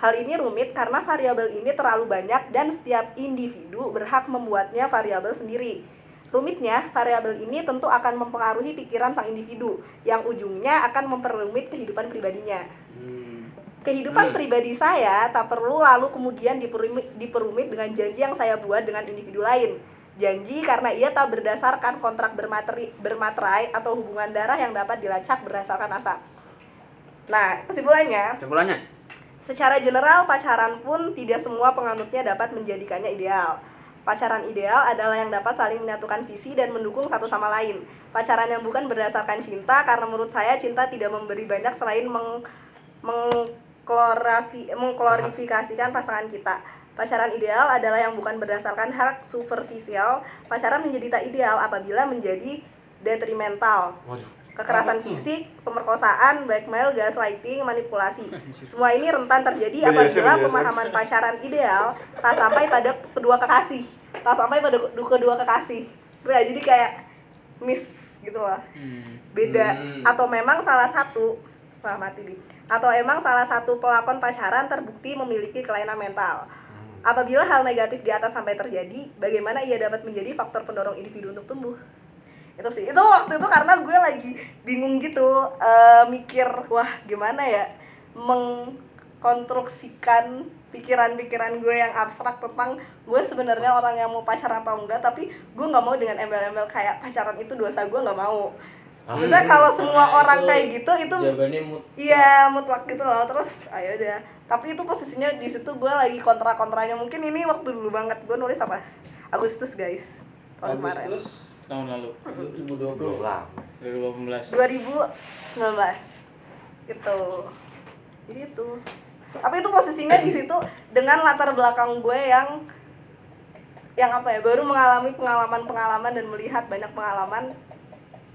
S5: Hal ini rumit karena variabel ini terlalu banyak dan setiap individu berhak membuatnya variabel sendiri. Rumitnya, variabel ini tentu akan mempengaruhi pikiran sang individu, yang ujungnya akan memperumit kehidupan pribadinya. Kehidupan pribadi saya tak perlu lalu kemudian diperumit, diperumit dengan janji yang saya buat dengan individu lain. Janji karena ia tak berdasarkan kontrak bermateri, bermaterai atau hubungan darah yang dapat dilacak berdasarkan asap. Nah, kesimpulannya,
S1: Kesimpulannya,
S5: Secara general, pacaran pun tidak semua penganutnya dapat menjadikannya ideal. Pacaran ideal adalah yang dapat saling menyatukan visi dan mendukung satu sama lain. Pacaran yang bukan berdasarkan cinta, karena menurut saya cinta tidak memberi banyak selain meng mengklorafi- mengklorifikasikan pasangan kita. Pacaran ideal adalah yang bukan berdasarkan hal superficial. Pacaran menjadi tak ideal apabila menjadi detrimental
S6: Waduh.
S5: kekerasan fisik, pemerkosaan, blackmail, gaslighting, manipulasi. Semua ini rentan terjadi apabila
S6: biasa.
S5: pemahaman pacaran ideal tak sampai pada kedua kekasih, tak sampai pada kedua kedua kekasih. Nah, jadi kayak miss gitu loh.
S3: Hmm.
S5: Beda atau memang salah satu wah mati di. Atau emang salah satu pelakon pacaran terbukti memiliki kelainan mental. Apabila hal negatif di atas sampai terjadi, bagaimana ia dapat menjadi faktor pendorong individu untuk tumbuh? itu sih itu waktu itu karena gue lagi bingung gitu eh, mikir wah gimana ya mengkonstruksikan pikiran-pikiran gue yang abstrak tentang gue sebenarnya orang yang mau pacaran atau enggak tapi gue nggak mau dengan embel-embel kayak pacaran itu dosa gue nggak mau misalnya kalau semua
S4: Nah,
S5: orang
S4: itu
S5: kayak gitu itu
S3: Jawabannya mut.
S5: Iya mutlak gitu loh terus ayo deh tapi itu posisinya di situ gue lagi kontra kontranya mungkin ini waktu dulu banget gue nulis apa Agustus guys tahun oh, kemarin Hmm.
S4: Agustus
S3: tahun lalu
S6: Belum
S3: 2020
S6: lah.
S3: 2018
S5: 2019 itu Gitu. jadi itu tapi itu posisinya di situ dengan latar belakang gue yang yang apa ya baru mengalami pengalaman pengalaman dan melihat banyak pengalaman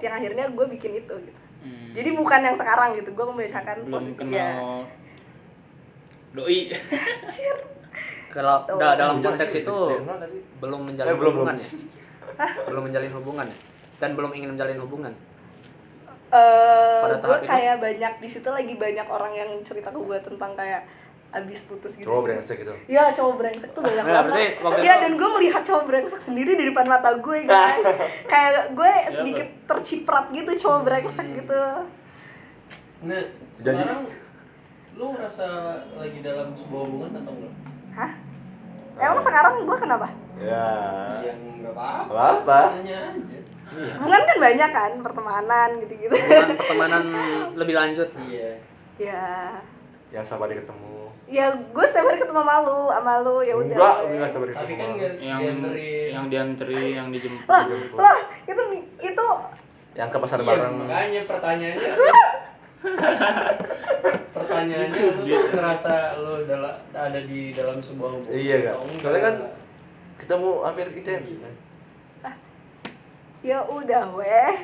S5: yang akhirnya gue bikin itu gitu
S3: Hmm.
S5: jadi bukan yang sekarang gitu gue membedakan
S3: belum
S5: posisi ya.
S6: iya.
S3: kenal doi
S1: kalau
S5: Tuh.
S1: da- dalam
S6: Udah
S1: konteks
S6: sih,
S1: itu
S6: udah kenal nggak sih?
S1: belum menjalin
S6: Eh, belum,
S1: hubungan
S6: belum.
S1: ya. belum menjalin hubungan ya. Dan belum ingin menjalin hubungan.
S5: eh
S1: Pada
S5: gue
S1: tahap itu?
S5: kayak banyak di situ lagi banyak orang yang cerita ke gue tentang kayak abis putus gitu
S6: Cowok
S5: sih.
S6: brengsek gitu.
S5: Ya cowok brengsek tuh banyak
S1: Nah, berarti
S5: banget.
S1: waktu
S5: Iya
S1: itu-
S5: dan gue melihat cowok brengsek sendiri di depan mata gue guys. Kayak gue sedikit terciprat gitu cowok brengsek gitu.
S4: Nah,
S6: Jadi-
S4: sekarang lu ngerasa lagi dalam sebuah hubungan atau enggak?
S5: Hah? Emang sekarang gue kenapa?
S6: Ya.
S4: Yang enggak apa-apa.
S6: Apa apa?
S4: Tanya aja.
S5: Hubungan kan banyak kan pertemanan gitu-gitu.
S1: Hubungan pertemanan lebih lanjut.
S4: Iya.
S5: ya.
S6: Yang sabar ketemu.
S5: Ya gue setiap hari ketemu sama lu, sama lu ya udah.
S6: Enggak, gue nggak sabar
S4: Tapi
S6: ketemu.
S4: kan enggak
S3: yang
S4: dianterin.
S3: yang dianteri yang dijemput
S5: Lah, lah itu itu
S6: Yang ke pasar
S4: Iya,
S6: bareng.
S4: makanya pertanyaannya pertanyaannya lu tuh ngerasa lu dala- ada di dalam sebuah hubungan
S6: Iya kan.
S4: atau enggak?
S6: Soalnya kan ketemu hampir intens.
S5: ya udah weh.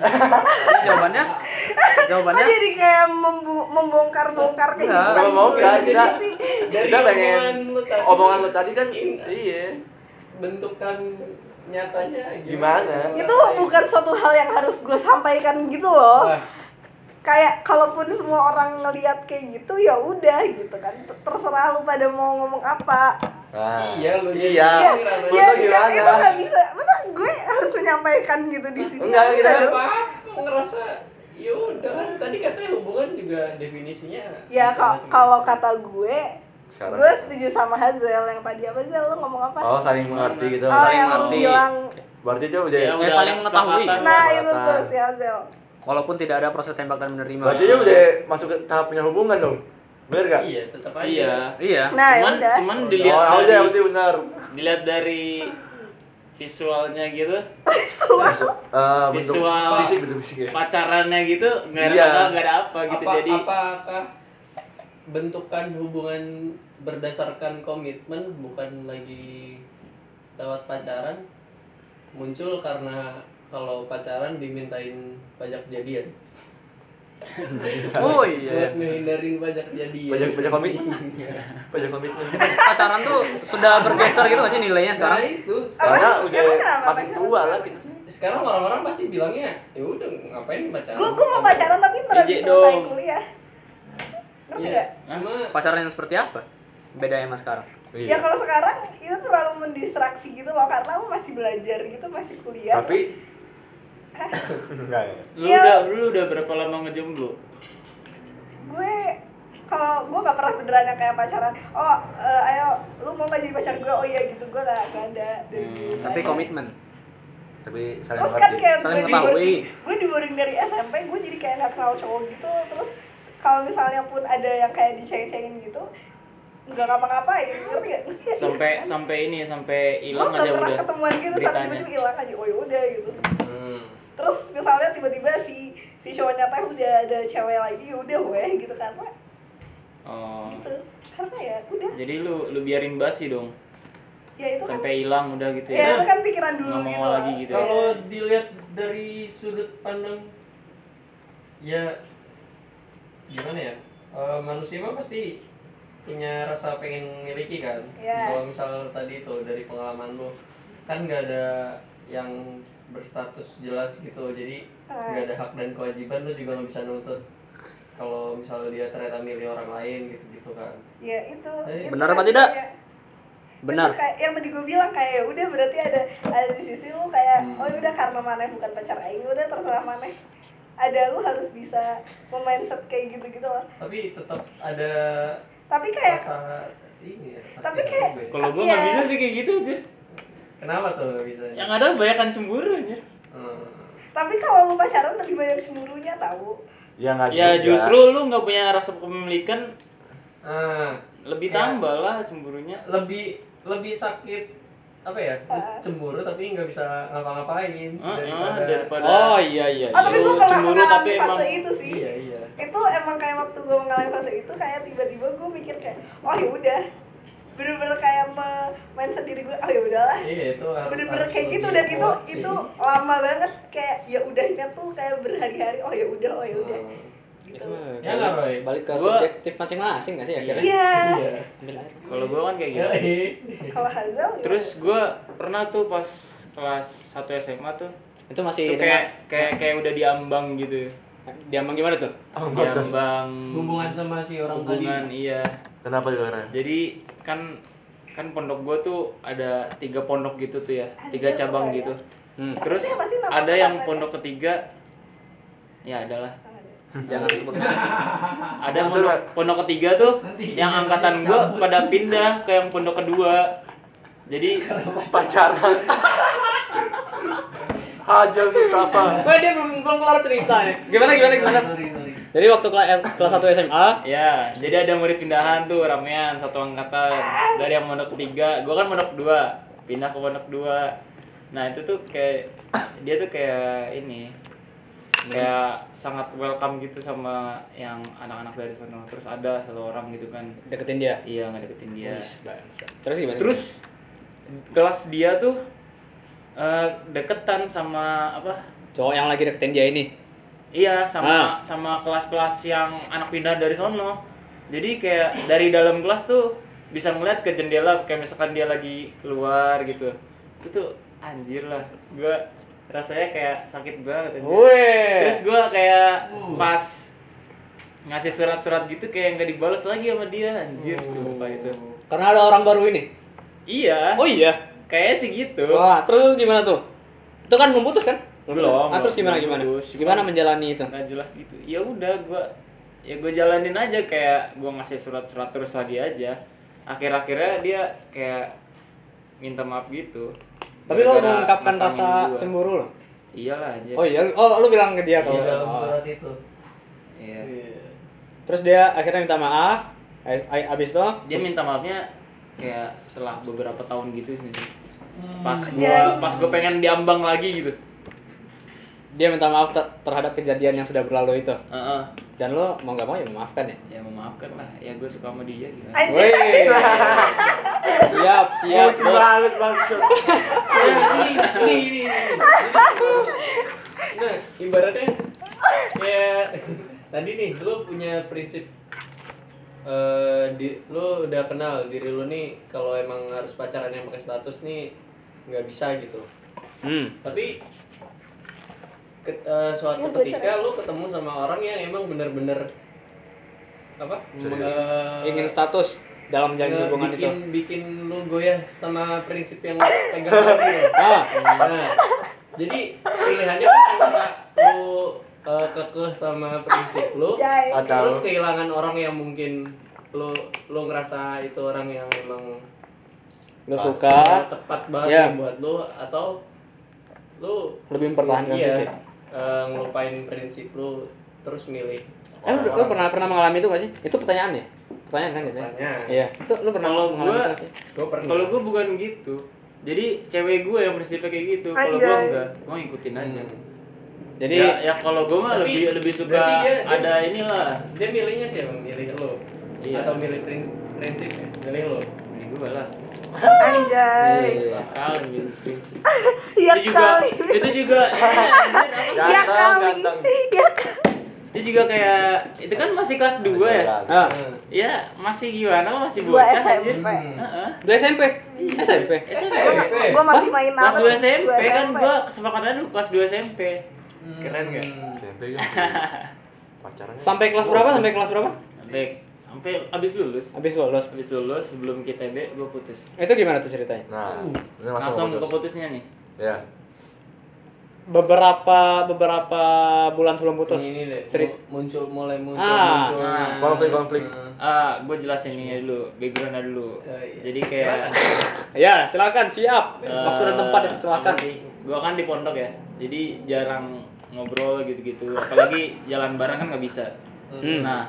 S1: Jadi jawabannya
S5: Kok
S1: jawabannya
S5: jadi kayak membu- membongkar-bongkar
S1: Ah.
S5: kehidupan
S6: Kalau mau
S5: gue?
S6: kan kita
S5: Jadi sih,
S4: Dari
S6: kita
S4: omongan
S6: pengen
S4: lu tadi.
S6: omongan lu tadi kan
S4: Iya.
S6: iya.
S4: bentukan nyatanya
S6: Gimana?
S5: itu bukan suatu hal yang harus gue sampaikan gitu loh.
S4: Wah,
S5: kayak kalaupun semua orang ngelihat kayak gitu ya udah gitu kan terserah lu pada mau ngomong apa
S6: Nah,
S4: Iya, lu
S6: iya.
S4: jadi-
S6: Menurut
S5: ya
S6: lu gimana?
S5: kan itu nggak bisa masa gue harus menyampaikan gitu di sini
S6: Enggak,
S5: Nggak
S6: kita
S5: bisa
S6: kan-
S5: dong.
S4: apa aku ngerasa ya udah kan tadi katanya hubungan juga definisinya
S5: ya
S4: bisa
S5: ka-
S4: macam-macam.
S5: kalau kata gue
S6: Sekarang.
S5: gue setuju sama Hazel yang tadi apa Hazel lu ngomong apa
S6: Oh, saling mengerti gitu.
S5: Oh,
S1: saling
S5: yang lu
S1: mengerti.
S5: bilang
S6: Berarti itu udah
S3: Ya,
S1: ya
S3: udah
S1: saling
S3: ada
S1: mengetahui.
S3: kesepakatan.
S5: nah
S6: kesempatan.
S5: itu tuh si Hazel
S1: Walaupun tidak ada proses tembak dan menerima.
S6: Berarti dia udah masuk ke tahap punya hubungan dong. Bener gak?
S4: Iya, tetap aja.
S3: Iya.
S1: Iya.
S5: Nah,
S3: cuman
S5: ya udah.
S3: cuman
S6: Oh,
S3: dilihat
S6: aku
S3: dari
S6: aja berarti benar.
S3: dilihat dari visualnya gitu,
S6: Eh, bentuk
S3: Visual.
S6: fisik bentuk fisik ya.
S3: pacarannya gitu nggak ada
S6: Iya.
S3: nggak nggak ada apa gitu
S4: apa,
S3: jadi
S4: apa apa bentukan hubungan berdasarkan komitmen bukan lagi lewat pacaran muncul karena kalau pacaran dimintain pajak jadian
S1: Oh iya.
S4: buat ngehindarin pajak jadian
S6: Pajak pajak komitmen. Pajak komitmen.
S1: Pacaran tuh sudah bergeser gitu nggak sih nilainya
S4: nah
S1: sekarang?
S4: itu sekarang,
S6: Karena udah
S5: Emang kenapa
S6: makin
S5: pacaran?
S6: tua lah kita.
S4: sekarang orang-orang pasti bilangnya ya udah ngapain pacaran
S5: Gue gue mau pacaran tapi ntar
S3: Iya,
S5: habis
S3: dong.
S5: selesai kuliah. Ngerti
S4: Iya.
S5: nggak?
S4: cuma
S1: Pacaran yang seperti apa? Beda sama sekarang.
S2: Iya.
S6: Iya.
S5: Ya kalau sekarang itu terlalu mendistraksi gitu loh karena lu masih belajar gitu masih kuliah.
S6: Tapi
S5: Eh.
S6: enggak ya.
S3: lu
S5: Iya.
S3: udah lu udah berapa lama ngejomblo?
S5: Terus gue kalau gue gak pernah beneran yang kayak pacaran. Oh eh, ayo lu mau gak jadi pacar gue? Oh iya gitu gue gak, gak ada. dari dulu.
S1: Tapi komitmen.
S6: Tapi saling
S5: Terus kan
S6: mengerti.
S5: kayak
S1: Saling
S5: gue di boarding,
S1: mengetahui.
S5: gue di boarding dari SMP gue jadi kayak gak kenal cowok gitu. Terus kalau misalnya pun ada yang kayak diceng-cengin gitu nggak ngapa-ngapain ngerti nggak? Ngerti nggak?
S3: Sampai sampai ini sampai hilang
S5: lo gak
S3: aja
S5: Iya. pernah
S3: udah
S5: ketemuan gitu saat
S3: beritanya.
S5: tiba-tiba hilang aja oh yaudah gitu terus misalnya tiba-tiba si si cowoknya teh udah ada cewek lagi udah weh gitu karena
S3: Oh.
S5: gitu karena ya udah
S3: Jadi lu lu biarin basi dong
S5: ya itu kan
S3: sampai hilang udah gitu
S5: ya itu
S3: ya.
S5: kan pikiran dulu
S3: Nggak
S5: gitu
S3: mau lagi gitu ya.
S4: kalau dilihat dari sudut pandang ya gimana ya Eh, manusia mah pasti punya rasa pengen memiliki kan
S5: Iya.
S4: kalau misal tadi itu dari pengalaman lu kan nggak ada yang berstatus jelas gitu jadi
S5: Iya.
S4: nggak ada hak dan kewajiban lu juga nggak bisa nuntut kalau misal dia ternyata milih orang lain gitu gitu kan
S5: ya itu
S4: Eh,
S5: Itu
S1: benar
S5: kan
S1: apa tidak?
S5: sebenarnya-
S1: Benar.
S5: itu kayak yang tadi gue bilang kayak ya udah berarti ada ada di sisi lu kayak
S3: Hmm.
S5: oh ya udah karena mana bukan pacar aing ya udah terserah mana ada lu harus bisa mindset kayak gitu gitu loh
S4: tapi tetap ada
S5: tapi kayak
S4: rasa ini ya sakit
S5: Tapi kayak-
S4: juga ya.
S3: Kalau gua nggak
S5: Iya.
S3: bisa sih kayak gitu aja.
S4: kenapa tuh nggak bisa
S1: Ya,
S3: Yang ada banyakan cemburu aja.
S4: Hmm.
S5: tapi kalau lu pacaran lebih banyak cemburunya tahu
S6: Ya enggak
S3: Ya
S1: Iya.
S6: juga.
S3: justru lu nggak punya rasa kepemilikan
S4: Ah,
S3: lebih
S4: Iya.
S3: tambah lah cemburunya.
S4: lebih lebih sakit apa ya?
S5: Ah.
S4: Cemburu tapi nggak bisa ngapa-ngapain
S3: Ah, ah,
S4: daripada
S3: daripada
S1: Iya, Oh iya iya.
S5: oh tapi gue
S3: Lu
S5: pernah
S3: cemburu
S5: mengalami
S3: tapi
S5: fase
S3: emang-
S5: itu Oh, sih
S4: Iya, iya.
S5: itu emang kayak waktu gue mengalami fase itu kayak tiba-tiba gue mikir kayak oh ya udah bener-bener kayak me- mindset diri gue oh ya udahlah
S4: Iya, itu harus
S5: bener-bener
S4: harus
S5: kayak gitu
S4: lebih
S5: dan itu
S4: kuat sih.
S5: itu lama banget kayak ya udahnya tuh kayak berhari-hari oh ya udah oh ya udah
S4: Ah,
S5: gitu
S4: Ya nggak, Roy?
S1: Balik ke
S3: Gua-
S1: subjektif masing-masing nggak sih akhirnya?
S5: iya
S4: Iya.
S1: Ambil air.
S3: Kalau gua kan kayak
S4: Iya.
S3: gitu.
S5: kalau Hazel ya.
S3: Terus gua pernah tuh pas kelas 1 SMA tuh
S1: Itu masih
S5: Iya,
S3: itu
S1: dengan-
S3: kayak kayak kayak udah diambang gitu.
S1: diambang gimana tuh?
S6: Oh,
S3: Ya,
S6: enggak, terus.
S3: Diambang
S4: Hubungan sama si orang
S3: hubungan iya.
S6: Kenapa juga
S3: Jadi kan kan pondok gua tuh ada tiga pondok gitu tuh ya, tiga
S5: Anjir,
S3: cabang
S5: kebayang.
S3: gitu.
S1: Hmm.
S3: Terus
S5: Apa sih nama
S3: ada yang
S5: pesantrennya?
S3: pondok ketiga, ya adalah.
S1: Jangan sebut nama.
S3: Ada pondok, pondok ketiga tuh
S4: Nanti
S3: yang
S4: biasanya
S3: angkatan gua pada pindah ke yang pondok kedua. Jadi
S6: pacaran. Hajar Mustafa.
S1: Gue dia belum belum kelar cerita
S3: ya.
S1: nih. Gimana gimana gimana?
S4: Sorry, sorry.
S1: Jadi waktu kelas kelas 1 SMA,
S3: Ya, jadi ada murid pindahan tuh ramean satu angkatan dari yang pondok ketiga, gua kan pondok dua, pindah ke pondok dua. Nah itu tuh kayak dia tuh kayak ini, kayak sangat welcome gitu sama yang anak-anak dari sana. Terus ada satu orang gitu kan,
S1: deketin dia.
S3: iya ngedeketin dia.
S1: Terus gimana?
S3: Terus kelas dia tuh eh, deketan sama apa?
S1: cowok yang lagi deketin dia ini.
S3: Iya, sama
S1: Ah.
S3: sama kelas-kelas yang anak pindah dari sono. Jadi kayak dari dalam kelas tuh bisa ngeliat ke jendela kayak misalkan dia lagi keluar gitu. Itu tuh anjir lah. Gua rasanya kayak sakit banget anjir. Terus
S1: Weh.
S3: gua kayak pas ngasih surat-surat gitu kayak nggak dibales lagi sama dia anjir
S1: Oh.
S3: sumpah itu.
S1: Karena ada orang baru ini.
S3: Iya,
S1: Oh iya.
S3: kayaknya sih gitu.
S1: Wah, terus gimana tuh? Itu kan belum putus kan?
S3: Belum,
S1: Ah, terus
S3: belum
S1: gimana gimana?
S3: putus.
S1: Gimana
S3: Cuman-
S1: menjalani itu?
S3: nggak jelas gitu ya udah gua ya gue jalanin aja kayak gua ngasih surat-surat terus lagi aja akhir-akhirnya dia kayak minta maaf gitu
S1: Tapi lo
S3: Gara-gara
S1: mengungkapkan
S3: ngacangin
S1: rasa
S3: gua.
S1: cemburu lo.
S3: iyalah aja
S1: Oh iya, oh lu
S4: Iya,
S1: bilang ke dia Oh.
S4: Di
S1: kalau.
S4: dalam
S1: Oh.
S4: surat itu.
S3: Oh. iya
S1: Terus dia akhirnya minta maaf. Ay- ay- abis itu
S3: dia minta maafnya kayak setelah beberapa tahun gitu sih
S4: Hmm,
S3: pas gua pas gua pengen diambang lagi gitu
S1: dia minta maaf ter- terhadap kejadian yang sudah berlalu itu
S3: Heeh.
S1: dan lo mau nggak mau ya memaafkan ya
S3: ya memaafkan lah ya gue suka sama dia gimana
S1: Woi, siap siap
S2: Lucu
S1: bos.
S2: banget maksud.
S4: ini ini nah ibaratnya kayak tadi nih lu punya prinsip eh di, lu udah kenal diri lu nih kalau emang harus pacaran yang pakai status nih nggak bisa gitu
S1: Hmm.
S4: tapi ke- eh, suatu ketika lu ketemu sama orang yang emang bener-bener apa eh,
S1: ingin status dalam menjalin
S4: nge-
S1: hubungan itu
S4: bikin bikin lu goyah sama prinsip yang lu pegang tadi ya.
S1: ah
S4: Nah, jadi pilihannya kan antara lu eh, kekeh sama prinsip lu terus
S6: Atau
S4: kehilangan orang yang mungkin lu lu ngerasa itu orang yang emang
S1: lo
S4: pas,
S1: suka
S4: eh, tepat banget
S1: Iya.
S4: nih buat lu atau lu
S1: lebih mempertahankan
S4: iya,
S1: prinsip.
S4: eh, ngelupain prinsip lu terus milih
S1: Eh, lu, lu pernah pernah mengalami itu gak sih? Itu pertanyaan ya? Pertanyaan kan gitu ya?
S4: Pertanyaan.
S1: Iya. Itu lu pernah
S3: Kalau
S1: mengalami
S3: gua-
S1: itu gak sih?
S4: gue pernah
S3: kalau gue bukan gitu jadi cewek gue yang prinsipnya kayak gitu kalau gue
S5: Anjay.
S3: enggak gue ngikutin aja
S1: Jadi
S3: ya, ya kalau gue mah
S4: Tapi-
S3: lebih lebih suka
S4: berarti dia- dia-
S3: ada inilah
S4: dia milihnya sih emang milih lu
S3: Iya.
S4: atau milih prinsip prinsip ya? milih lu
S3: ini gue lah
S5: Anjay.
S1: Iya.
S3: bakal gitu prinsip
S5: Iya
S3: itu juga
S5: kali.
S3: itu juga iya,
S5: Iya kali.
S6: ganteng
S5: Iya kali.
S3: itu juga kayak itu kan masih kelas 2 ya
S6: ganteng.
S1: Ah,
S3: ya masih gimana masih
S5: Gua
S3: bocah aja
S5: SMP.
S3: Heeh.
S1: dua SMP. SMP.
S3: SMP
S5: Gua masih main
S3: kelas
S5: apa?
S3: 2 SMP kan
S5: SMP.
S3: gua kesepakatan dulu kelas 2 SMP
S4: Hmm.
S3: keren gak?
S6: SMP kan pacarannya
S1: Sampai kelas berapa? Sampai kelas berapa?
S3: sampai sampai abis lulus
S1: Habis lolos.
S3: abis lulus sebelum kita ITB gua putus
S1: Itu gimana tuh ceritanya?
S6: nah ini langsung
S3: langsung ke
S6: putus
S3: putusnya nih
S6: ya
S1: Beberapa beberapa bulan sebelum putus.
S4: ini deh
S1: Cerit-
S4: mu- muncul mulai muncul Hmm.
S1: Ah,
S4: muncul
S3: ah.
S6: Konflik-konflik.
S3: ah gua jelasin ini dulu backgroundnya dulu
S4: Oh, iya.
S3: jadi kayak
S1: Ya, silakan siap.
S3: Eh,
S1: Waktu dan tempat ya, silakan.
S3: gue kan di pondok ya jadi jarang ngobrol gitu-gitu apalagi jalan bareng kan nggak bisa
S1: Hmm.
S3: nah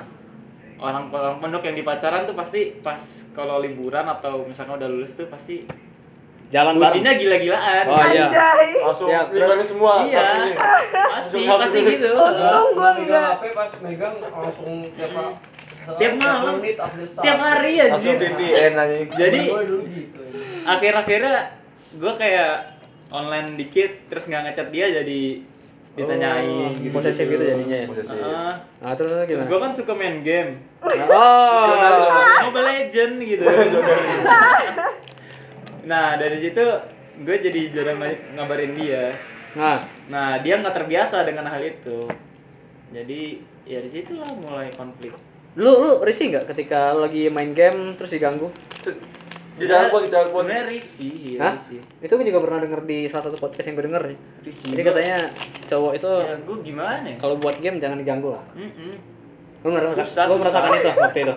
S3: orang orang pondok yang di pacaran tuh pasti pas kalau liburan atau misalkan udah lulus tuh pasti
S1: Jalan bareng.
S3: bucinnya gila-gilaan
S1: Oh iya.
S5: Anjay.
S6: langsung
S1: Ya, terus-
S6: libanin semua
S3: iya
S6: langsung ini.
S3: pasti pasti gitu
S1: Oh,
S5: Untung
S4: Gua
S5: gua
S4: megang
S5: enggak.
S4: HP pas megang langsung tiap
S3: Tiap malam.
S4: menit update status.
S3: tiap hari ya
S6: langsung VPN anjing
S3: jadi
S4: Gua dulu gitu ya.
S3: akhir-akhirnya gue kayak online dikit terus nggak ngechat dia jadi ditanyain gitu
S1: Posesif gitu jadinya ya.
S6: posesif
S3: Heeh.
S1: Nah, terus terus
S3: terus
S1: gimana?
S3: gue kan suka main game
S1: Oh.
S3: Mobile Legend gitu. nah dari situ gue jadi jarang ng- ngabarin dia.
S1: Nah,
S3: Nah dia nggak terbiasa dengan hal itu. Jadi ya dari situlah mulai konflik.
S1: lu lu risih nggak ketika lu lagi main game terus diganggu?
S6: dijangkau dijangkau
S3: Sebenarnya risih, ya,
S1: Hah?
S3: risih.
S1: Itu gue juga pernah denger di salah satu podcast yang gue denger sih.
S3: Risih.
S1: Jadi katanya cowok itu
S3: ya, gue gimana? ya?
S1: kalau buat game jangan diganggu lah.
S3: Mm-mm.
S1: Lu ngerasakan,
S3: Susah,
S1: lu
S3: susah.
S1: merasakan itu waktu itu.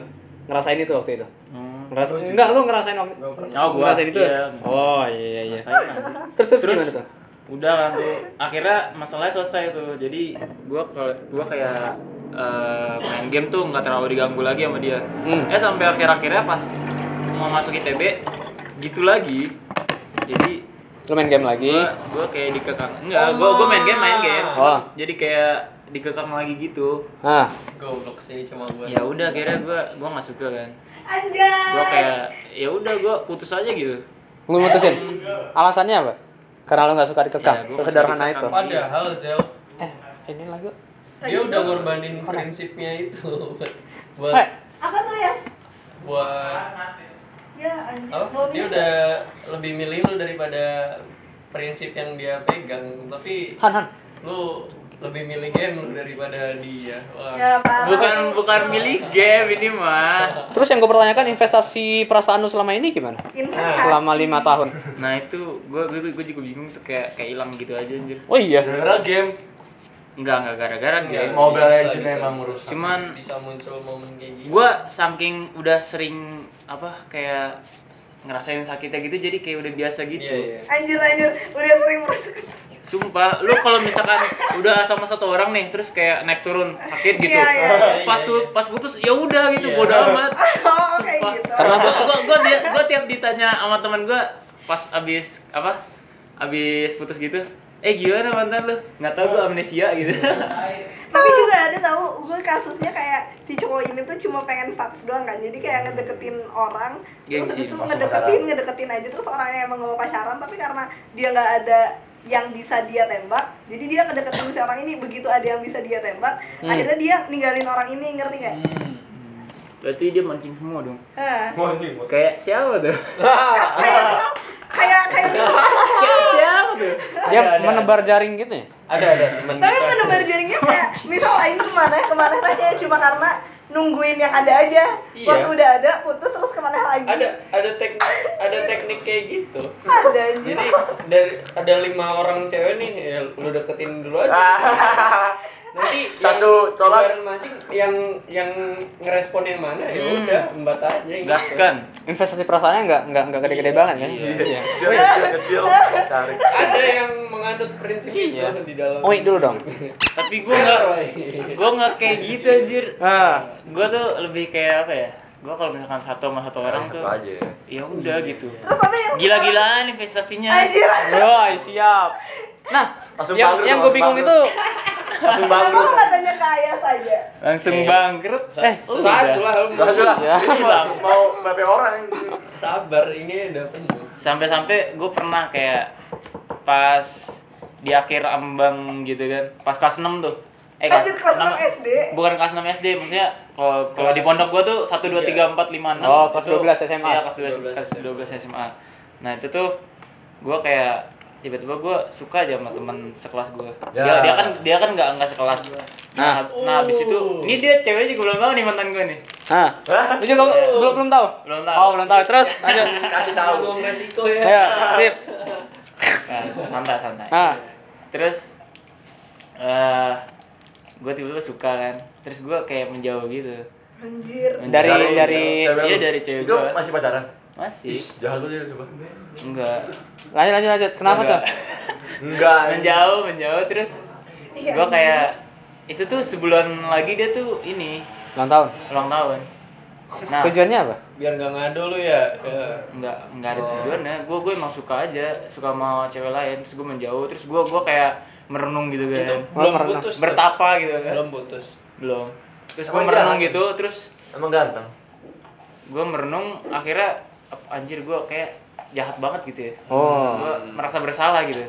S1: Ngerasain itu waktu itu.
S3: Hmm.
S1: Ngerasa, enggak, lu ngerasain waktu
S4: Gua pernah.
S3: Oh, gua
S1: ngerasain itu.
S3: iya.
S1: Oh, iya iya.
S3: Saya kan.
S1: Terus, terus
S3: Terus?
S1: gimana tuh?
S3: udah kan tuh akhirnya masalahnya selesai tuh jadi gua kalau gua kayak eh, main game tuh nggak terlalu diganggu lagi sama dia
S1: Hmm.
S3: ya sampai akhir akhirnya pas mau masuk ITB gitu lagi jadi
S1: Lu main game lagi.
S3: gua gua kayak dikekang enggak gua gua main game main game
S1: Oh.
S3: jadi kayak dikekang lagi gitu
S1: Ah,
S4: Goblok sih cuma gua.
S3: ya udah akhirnya gua gua nggak suka kan
S5: Anjay.
S3: gua kayak ya udah gua putus aja gitu
S1: lu mutusin. Alasannya apa? Karena lu nggak suka
S3: Iya,
S1: dikekang.
S3: gua nggak suka
S1: Sesederhana itu.
S3: dikekang.
S4: Padahal Zel
S1: Eh, ini lagu.
S4: dia udah ngorbanin prinsipnya itu buat buat
S1: Hei,
S5: Apa tuh, Yas?
S4: buat
S5: Ya, anjay.
S4: apa? Oh,
S5: Bom.
S4: Dia udah lebih milih lu daripada prinsip yang dia pegang tapi
S1: Han Han.
S4: lu lebih milih game lu daripada dia. Wah.
S5: Ya, parah.
S3: bukan bukan milih game ini mah
S1: Terus yang gue pertanyakan investasi perasaan lu selama ini gimana?
S5: Investasi.
S1: Ah, Selama lima tahun.
S3: nah itu gua gua gua juga bingung tuh kayak kayak hilang gitu aja anjir
S1: Oh iya.
S6: gara game
S3: Enggak, enggak gara-gara
S4: Iya.
S3: game.
S6: Mobile
S4: Bisa,
S6: Legends
S4: bisa,
S6: emang
S4: bisa.
S6: merusak
S3: Cuman
S4: Bisa muncul momen kayak gitu.
S3: gua saking udah sering apa kayak ngerasain sakitnya gitu jadi kayak udah biasa gitu.
S4: Iya, iya.
S5: anjir anjir udah sering merasakan
S3: Sumpah, lu kalau misalkan udah sama satu orang nih, terus kayak naik turun sakit gitu.
S5: Iya, iya,
S4: iya.
S3: Pas tuh pas putus ya udah gitu,
S4: Iya.
S3: bodo amat.
S5: oh kayak
S3: Sumpah.
S5: gitu
S3: Gua, gua, gua, dia- gua tiap ditanya sama teman gua pas abis apa? Abis putus gitu. Eh gimana mantan lu? Nggak tahu gua amnesia gitu.
S5: tapi juga ada tahu gue kasusnya kayak si cowok ini tuh cuma pengen status doang kan jadi kayak ngedeketin orang terus
S3: Gengsi,
S5: habis itu
S6: langsung
S5: ngedeketin
S6: pacaran.
S5: ngedeketin aja terus orangnya emang gak mau pacaran tapi karena dia nggak ada yang bisa dia tembak jadi dia ngedeketin si orang ini begitu ada yang bisa dia tembak akhirnya dia ninggalin orang ini ngerti nggak
S3: Berarti dia mancing semua dong.
S5: Hah.
S6: Anjing.
S3: Kayak siapa tuh?
S5: kayak kayak kayak
S3: Kayak
S5: Ah.
S3: siapa tuh?
S1: Dia menebar jaring gitu ya?
S4: Ada ada teman
S5: tapi
S4: kita.
S5: menebar jaringnya kayak misal lain kemana kemana aja cuma karena nungguin yang ada aja
S4: Iya.
S5: waktu udah ada putus terus kemana lagi
S4: Ada ada teknik ada teknik kayak gitu.
S5: ada anjir
S4: Jadi dari ada lima orang cewek nih, ya lu deketin dulu
S2: Ah,
S4: aja. Nanti yang
S6: Satu, tolak.
S4: ibarat mancing yang yang ngerespon yang mana ya
S1: Hmm.
S4: udah embat aja. gitu.
S3: Gaskan.
S1: Investasi perasaannya nggak nggak nggak gede-gede banget kan?
S6: Iya, kecil, kecil, kecil, tarik.
S4: Ada yang mengadut prinsip
S1: Iya.
S4: itu di dalam.
S1: Oh, wait dulu dong.
S3: Tapi gua nggak gue nggak kayak gitu anjir
S1: Ah.
S3: gue tuh lebih kayak apa ya gue kalau misalkan satu sama satu orang
S6: Satu
S3: tuh
S6: aja. ya.
S3: ya udah gitu
S5: terus apa yang
S3: gila-gilaan investasinya
S5: anjir
S1: Yoi, siap. Nah,
S6: Langsung
S1: yang
S6: bangkrut,
S1: yang gue
S6: langsung
S1: bingung itu
S6: bangkrut. Langsung
S5: kenapa
S6: bangkrut.
S5: lu nggak tanya ke ayah saja
S3: langsung
S4: Iya.
S3: bangkrut eh
S4: Saat
S3: udah.
S4: lah lu
S6: Udah lah.
S1: Ya.
S6: Ini mau mau berapa orang yang di sini?
S4: sabar ini udah penuh.
S3: sampai-sampai gue pernah kayak pas di akhir ambang gitu kan pas kelas 6 tuh eh
S5: Anjir, kelas
S3: enam-
S5: 6 SD.
S3: bukan kelas 6 SD maksudnya kalau kalau di
S4: Kelas
S3: pondok gua tuh 1 2
S4: tiga.
S3: 3 4 5 6
S1: Oh, kelas 12 SMA.
S3: iya kelas 12
S4: 12
S3: kelas 12 SMA nah itu tuh gua kayak tiba-tiba gua suka aja sama teman sekelas gua
S6: Ya.
S3: dia, dia kan dia kan nggak nggak sekelas nah nah habis itu
S1: Oh.
S3: ini dia ceweknya juga belum tahu nih mantan gua nih
S1: ah, lu juga belum belum tahu.
S3: Belum tahu.
S1: Oh, belum tahu. Terus lanjut.
S4: Kasih tahu. Tanggung resiko ya.
S1: Ayo, sip.
S3: nah, santai santai
S1: Ah,
S3: terus eh gue tiba-tiba suka kan terus gue kayak menjauh gitu
S5: anjir
S1: dari dari
S6: cewek
S3: iya
S6: lu.
S3: dari cewek
S6: Itu
S3: gua.
S6: masih pacaran.
S3: masih
S6: Ih, jahat lu dia coba.
S3: enggak
S1: lanjut lanjut lanjut. Kenapa tuh?
S3: Enggak.
S6: Enggak.
S3: menjauh menjauh terus
S5: Iya.
S3: gue kayak itu tuh sebulan lagi dia tuh ini
S1: Ulang tahun.
S3: ulang tahun nah
S1: Tujuannya apa?
S4: Biar nggak ngadu lu ya. Ya.
S3: nggak nggak ada tujuannya gue gue emang suka aja suka sama cewek lain terus gue menjauh terus gue gue kayak merenung gitu kan
S4: Itu
S1: Belum
S4: belum
S1: pernah.
S4: putus. tuh.
S3: bertapa gitu kan
S4: Belum putus.
S3: belum terus gue
S6: Emang
S3: merenung
S6: jalan?
S3: gitu terus
S6: Emang ganteng.
S3: gue merenung akhirnya ap- anjir gue kayak jahat banget gitu ya
S1: Oh.
S3: gue merasa bersalah gitu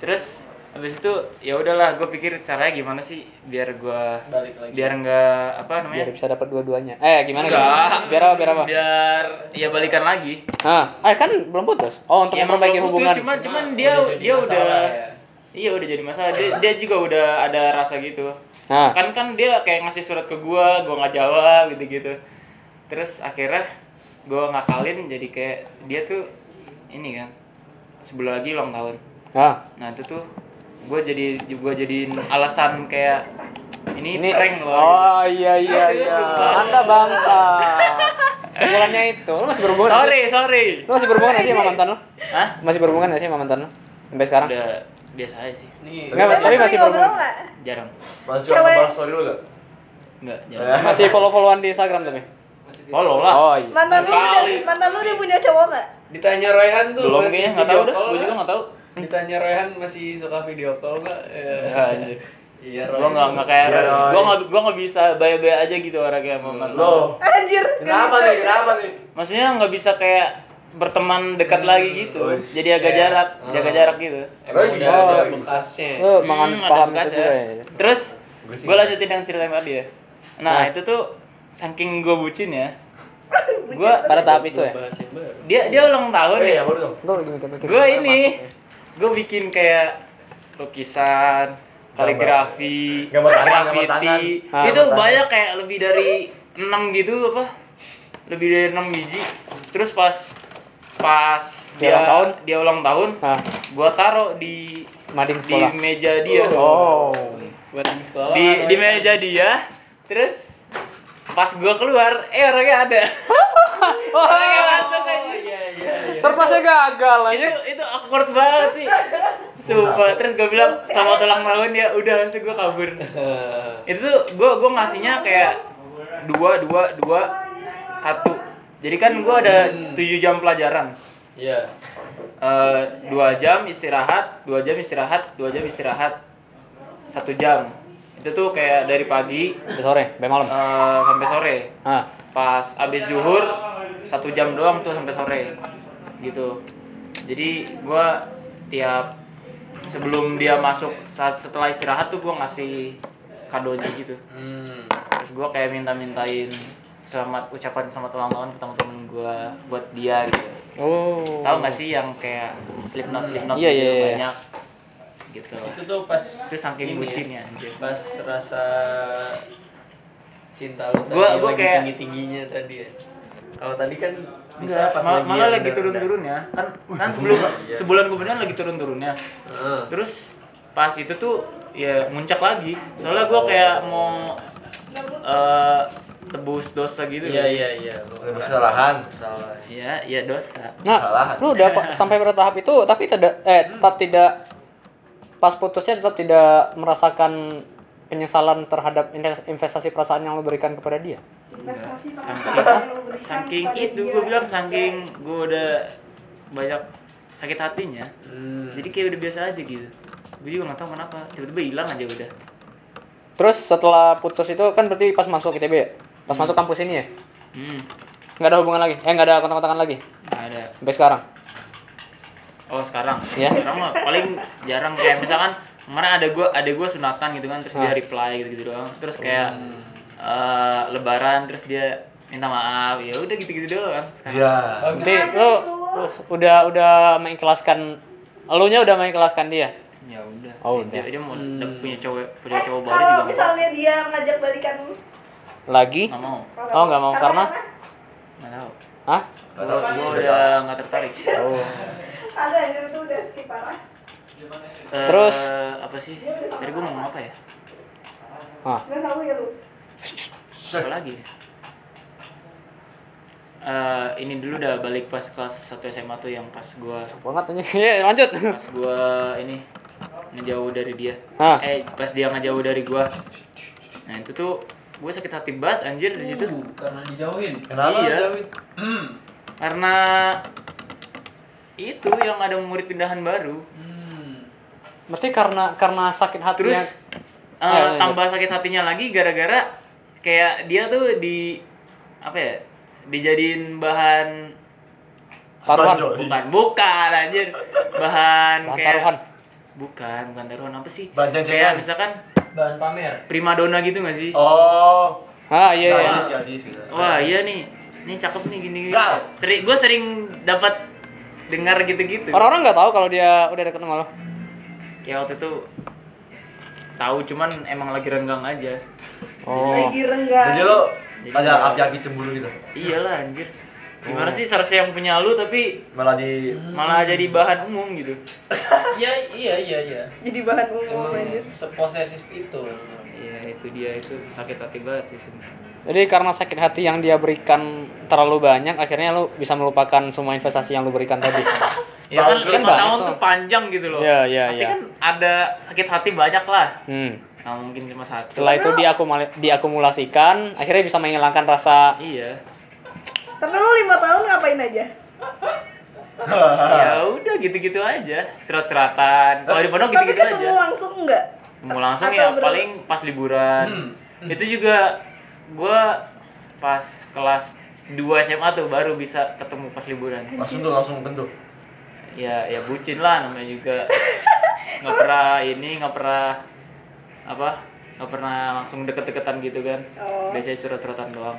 S3: terus habis itu ya udahlah gue pikir caranya gimana sih biar gue
S4: Balik lagi.
S3: biar nggak apa namanya
S1: Biar bisa dapat dua-duanya. Eh, gimana?
S3: Enggak.
S1: gimana? Biar apa? Biar apa?
S3: biar ya balikan lagi
S1: Ah, eh kan belum putus. Oh, untuk
S3: Ya, emang
S1: memperbaiki
S3: belum putus,
S1: hubungan.
S3: cuman cuman
S4: Cuma
S3: dia
S4: Nah, udah jadi
S3: dia
S4: masalah
S3: udah
S4: ya.
S3: iya udah jadi masalah dia, dia juga udah ada rasa gitu
S1: Ah.
S3: kan kan dia kayak ngasih surat ke gua gua nggak jawab gitu gitu terus akhirnya gua ngakalin jadi kayak dia tuh ini kan sebelah lagi ulang tahun
S1: Ah.
S3: nah itu tuh gua jadi gua jadiin alasan kayak ini,
S1: Ini
S3: prank loh gitu.
S1: Oh iya iya iya.
S3: Sumpah.
S1: Anda bangsa. Sebulannya itu, lu masih berhubungan? nggak sih?
S3: sorry sorry
S1: Lu masih berhubungan gak sih sama mantan lu?
S3: Hah?
S1: Masih berhubungan gak sih sama mantan lu? Sampai sekarang?
S3: udah biasa aja sih
S4: Nih.
S1: Enggak, mas, tapi masih
S5: sering ngobrol
S1: berhubungan.
S5: nggak
S3: jarang
S6: Masih
S5: Cewek.
S6: suka ngebahas story lu enggak?
S3: nggak jarang
S6: Eh,
S1: Masih follow-followan di Instagram tapi?
S3: follow lah
S1: Oh iya.
S5: mantan lu udah
S3: Sekali.
S5: mantan lu udah punya cowok nggak
S4: Ditanya Royhan tuh
S3: belum
S4: masih
S3: kayaknya nggak tahu
S4: video
S3: dah
S4: call
S3: gue juga
S4: nggak?
S3: nggak tahu
S4: Ditanya Royhan masih suka video call nggak? Ya.
S3: anjir.
S4: Iya,
S3: gue nggak nggak kayak
S6: Iya, Roy.
S3: gue nggak gue nggak bisa bye-bye aja gitu orangnya sama mantan.
S6: Loh,
S5: anjir
S6: kenapa nih? Kenapa nih?
S3: maksudnya nggak bisa kayak berteman dekat lagi gitu
S6: Uish.
S3: jadi agak jarak
S4: Hmm.
S3: jaga jarak gitu
S4: Emang
S6: Roy
S4: udah
S6: bisa,
S4: ada
S6: Roy bisa.
S4: bekasnya.
S1: Lu mangan
S3: Hmm, ada
S1: Eh, paham itu
S3: bekas
S1: juga
S3: ya.
S1: ya.
S3: terus
S6: Gua sih
S3: gue lanjutin yang cerita yang tadi ya nah
S1: Nah.
S3: itu tuh saking gue bucin ya gue
S1: Pada tahap itu ya.
S4: Bahas yang baru.
S3: dia dia ulang
S2: Oh,
S3: tahun
S6: Eh,
S3: ya
S6: ya baru dong.
S1: Gua lagi mikir-mikir.
S3: gue ini gue bikin kayak lukisan kaligrafi
S6: Gambar tangan, gambar tangan.
S3: graffiti
S1: Ah,
S3: itu
S6: tangan.
S3: banyak kayak lebih dari enam gitu apa lebih dari enam biji terus pas pas
S1: Dia
S3: dia,
S1: ulang tahun?
S3: dia ulang tahun
S1: Ah,
S3: gue taruh di
S1: mading
S3: di
S1: sekolah.
S3: meja dia
S1: Oh.
S4: Buat di sekolah.
S3: di di
S4: Royhan.
S3: meja dia terus pas gue keluar eh orangnya ada orangnya masuk aja
S4: Iya, iya.
S1: Surplusnya gagal aja.
S3: itu itu awkward banget sih sumpah terus gue bilang sama tulang tahun ya udah langsung gue kabur itu tuh gue gue ngasihnya kayak dua dua dua satu jadi kan gue ada tujuh jam pelajaran
S4: Iya.
S3: Eh, dua jam istirahat dua jam istirahat dua jam istirahat satu jam itu tuh kayak dari pagi
S1: Sampai sore, sampai malam.
S3: eh, sampai sore
S1: Ah.
S3: pas abis zuhur satu jam doang tuh sampai sore gitu jadi gua tiap sebelum dia masuk saat setelah istirahat tuh gua ngasih kadonya gitu
S4: Hmm.
S3: terus gua kayak minta-mintain selamat ucapan selamat ulang tahun ke teman-teman gua buat dia gitu
S1: Oh.
S3: tahu nggak sih yang kayak slip not slip not
S1: Iya,
S3: gitu
S1: iya, iya.
S3: banyak gitu
S4: Itu tuh pas
S3: itu saking
S4: ini ya,
S3: bucinnya anjir
S4: Pas rasa cinta lu tadi
S3: Gua-
S4: yang
S3: gua
S4: lagi
S3: kayak-
S4: tinggi-tingginya tadi ya. Kalau tadi kan bisa
S3: Enggak,
S4: pas
S3: mal-
S4: lagi yang iya.
S3: malah lagi
S4: rendah-rendah.
S3: turun-turunnya kan kan sebelum sebulan kemudian lagi ya. turun-turunnya
S4: Heeh.
S3: terus pas itu tuh ya muncak lagi soalnya gue kayak mau eh, tebus dosa gitu
S4: Iya iya iya.
S6: Udah kesalahan.
S4: Salah.
S3: iya iya dosa
S1: Nah,
S6: Kesalahan.
S1: lu udah pa- sampai pada tahap itu tapi tidak eh tetap tidak pas putusnya tetap tidak merasakan penyesalan terhadap inves- investasi perasaan yang lu berikan kepada dia.
S5: investasi
S3: saking saking itu gue bilang
S5: Eh,
S3: saking gue udah banyak sakit hatinya jadi kayak udah biasa aja gitu gue juga nggak tahu kenapa tiba-tiba hilang aja udah
S1: Terus setelah putus itu kan berarti pas masuk ITB ya? Pas masuk kampus ini ya?
S3: hmm
S1: Nggak ada hubungan lagi? Eh nggak ada kontak-kontakan lagi?
S3: nggak ada
S1: Sampai sekarang?
S3: Oh sekarang?
S1: Iya.
S3: Sekarang mah paling jarang kayak misalkan kemarin ada gua ada gua sunatan gitu kan terus dia
S1: Ah.
S3: reply gitu gitu doang terus kayak eh, lebaran terus dia minta maaf ya udah gitu gitu doang sekarang.
S6: Iya.
S1: Berarti lu, lu udah udah mengikhlaskan elunya udah mengikhlaskan dia?
S3: Ya udah.
S1: Oh,
S3: dia,
S1: udah.
S3: dia mau
S4: Hmm.
S3: punya cowok punya
S5: eh,
S3: cowok baru juga
S5: kalau
S3: nggak
S5: misalnya dia ngajak balikan
S3: mau.
S1: Lagi?
S3: Nggak mau.
S1: Oh, nggak mau, karena?
S3: Nggak tahu.
S1: Hah?
S3: Gua,
S2: Iya.
S3: gua udah nggak tertarik.
S1: Oh.
S5: ada anjir itu udah skip parah
S3: Eh,
S1: Terus?
S3: apa sih? Tadi gua mau ngomong apa ya?
S1: Ah.
S5: nggak tahu ya lu
S3: Apa lagi? Eh, ini dulu udah balik pas kelas 1 SMA tuh yang pas gua
S1: Banget aja. Ya, lanjut.
S3: pas gua ini ngejauh dari dia
S1: Hah?
S3: eh pas dia ngejauh dari gua nah itu tuh gue sakit hati banget anjir di situ
S4: Uh, karena dijauhin.
S6: Kenapa
S3: Iya.
S6: David?
S4: Hmm.
S3: karena itu yang ada murid pindahan baru
S4: Hmm.
S1: Mesti karena karena sakit hati
S3: terus eh,
S1: Ya, ya, ya.
S3: tambah sakit hatinya lagi gara-gara kayak dia tuh di apa ya dijadiin bahan
S1: taruhan.
S6: Tonjol.
S3: bukan bukan anjir bahan,
S1: Bahan
S3: kayak
S1: taruhan.
S3: bukan bukan taruhan apa sih
S6: Bahan
S3: kayak
S6: cencengan.
S3: misalkan
S4: Bahan pamer.
S3: primadona gitu gak
S2: iya.
S3: sih
S6: Oh.
S1: Ah, iya iya.
S6: Gadis gadis gitu.
S3: Wah iya nih, ini cakep nih gini. gini.
S6: Gal.
S3: Seri, gue sering dapat dengar gitu-gitu.
S1: Orang-orang nggak tahu kalau dia udah deket sama lo.
S3: Ya waktu itu tahu cuman emang lagi renggang aja.
S1: Oh.
S5: lagi renggang
S6: Jadi lo
S3: Jadi
S6: ada
S3: kayak-
S6: api-api cemburu gitu.
S3: Iyalah anjir. Gimana
S1: Oh.
S3: sih seharusnya yang punya lu tapi
S6: Malah di
S3: malah jadi bahan umum gitu.
S4: Iya iya iya iya.
S7: jadi bahan umum
S4: Emang
S7: anjir
S4: seposesif itu.
S3: Iya itu dia itu sakit hati banget sih sebenarnya.
S1: Jadi karena sakit hati yang dia berikan terlalu banyak, akhirnya lu bisa melupakan semua investasi yang lu berikan tadi.
S3: Ya kan
S1: Bagus
S3: lima
S1: banget
S3: tahun
S1: tuh.
S3: tuh panjang gitu loh.
S1: Iya, iya,
S3: Pasti
S1: iya.
S3: kan ada sakit hati banyak lah.
S1: Hmm.
S3: Nah mungkin cuma satu.
S1: Setelah itu diakumula- diakumulasikan, akhirnya bisa menghilangkan rasa
S3: Iya.
S5: tapi lu lima tahun ngapain aja
S1: Ah.
S3: Ya udah gitu-gitu aja. Serat-seratan. Kalau di pondok
S5: tapi
S1: kan
S3: gitu-gitu aja.
S5: ketemu langsung enggak
S3: mau langsung
S5: Atau
S3: ya
S5: ber-
S3: paling pas liburan itu juga gua pas kelas 2 SMA tuh baru bisa ketemu pas liburan
S6: langsung tuh langsung bentuk.
S3: ya ya bucin lah namanya juga nggak pernah ini nggak pernah apa nggak pernah langsung deket-deketan gitu kan
S5: Oh.
S3: biasanya curhat-curhatan doang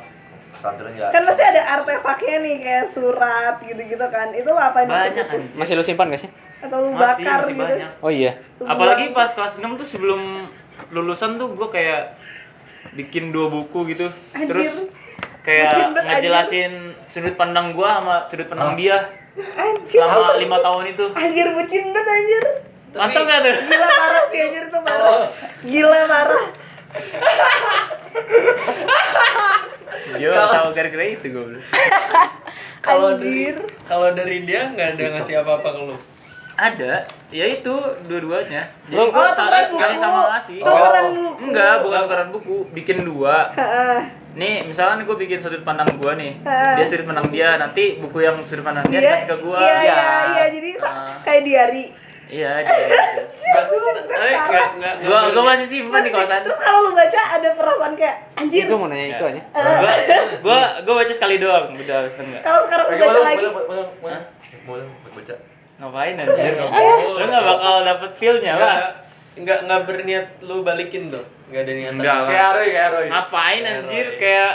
S6: Pesantren ya.
S5: kan pasti ada artefaknya nih kayak surat gitu-gitu kan itu lo apa
S3: banyak kan
S1: masih lu simpan gak sih?
S5: atau lu
S3: masih
S5: bakar
S3: masih
S5: gitu
S3: banyak
S1: Oh iya.
S3: apalagi pas kelas 6 tuh sebelum lulusan tuh gue kayak bikin dua buku gitu
S5: Anjir.
S3: terus
S5: Bikin
S3: kayak
S5: banget,
S3: ngejelasin sudut pandang gue sama sudut pandang dia
S5: anjir
S3: selama lima tahun itu
S5: anjir bucin banget anjir
S3: mantap gak tuh
S5: gila parah sih anjir
S3: Oh.
S5: tuh parah gila parah
S3: Yo, tahu gara-gara itu gue
S4: Kalau dari
S5: Anjir.
S4: kalau dari dia nggak ada ngasih apa-apa ke lu.
S3: Ada, ya itu dua-duanya. Jadi
S1: Lo-
S3: gua
S5: Oh, tukeran
S3: saran nggak
S5: buku.
S3: sama ngasih.
S5: Tukeran
S3: Oh,
S5: buku.
S3: Enggak, bukan tukeran buku, bikin dua.
S5: Heeh.
S3: Nih, misalnya gue bikin sudut pandang gua nih. Dia sudut pandang dia, nanti buku yang sudut pandang dia
S5: Iya,
S3: dikasih ke gua.
S5: Iya,
S3: Ya.
S5: iya, iya. Jadi sa-
S3: Ah.
S5: kayak diari.
S3: Iya, dia.
S4: Nggak- Eh, nggak nggak
S3: Gua gua masih sibuk nih kawasan.
S5: Terus kalau lu baca ada perasaan kayak anjir.
S1: Gue mau nanya itu aja.
S3: Gua gua gua baca sekali doang, udah pesen enggak.
S5: Kalau sekarang lu
S2: Eh,
S5: baca
S2: gimana?
S5: lagi.
S2: Boleh, boleh, boleh. Boleh, buat baca.
S3: Ngapain anjir?
S4: Ayo.
S3: Lu Eh? nggak bakal dapet feel-nya lah.
S4: nggak nggak nggak berniat lu balikin tuh. Nggak ada niatan.
S3: Nggak lah.
S2: Kayak Roy, kayak Roy.
S3: Ngapain anjir kayak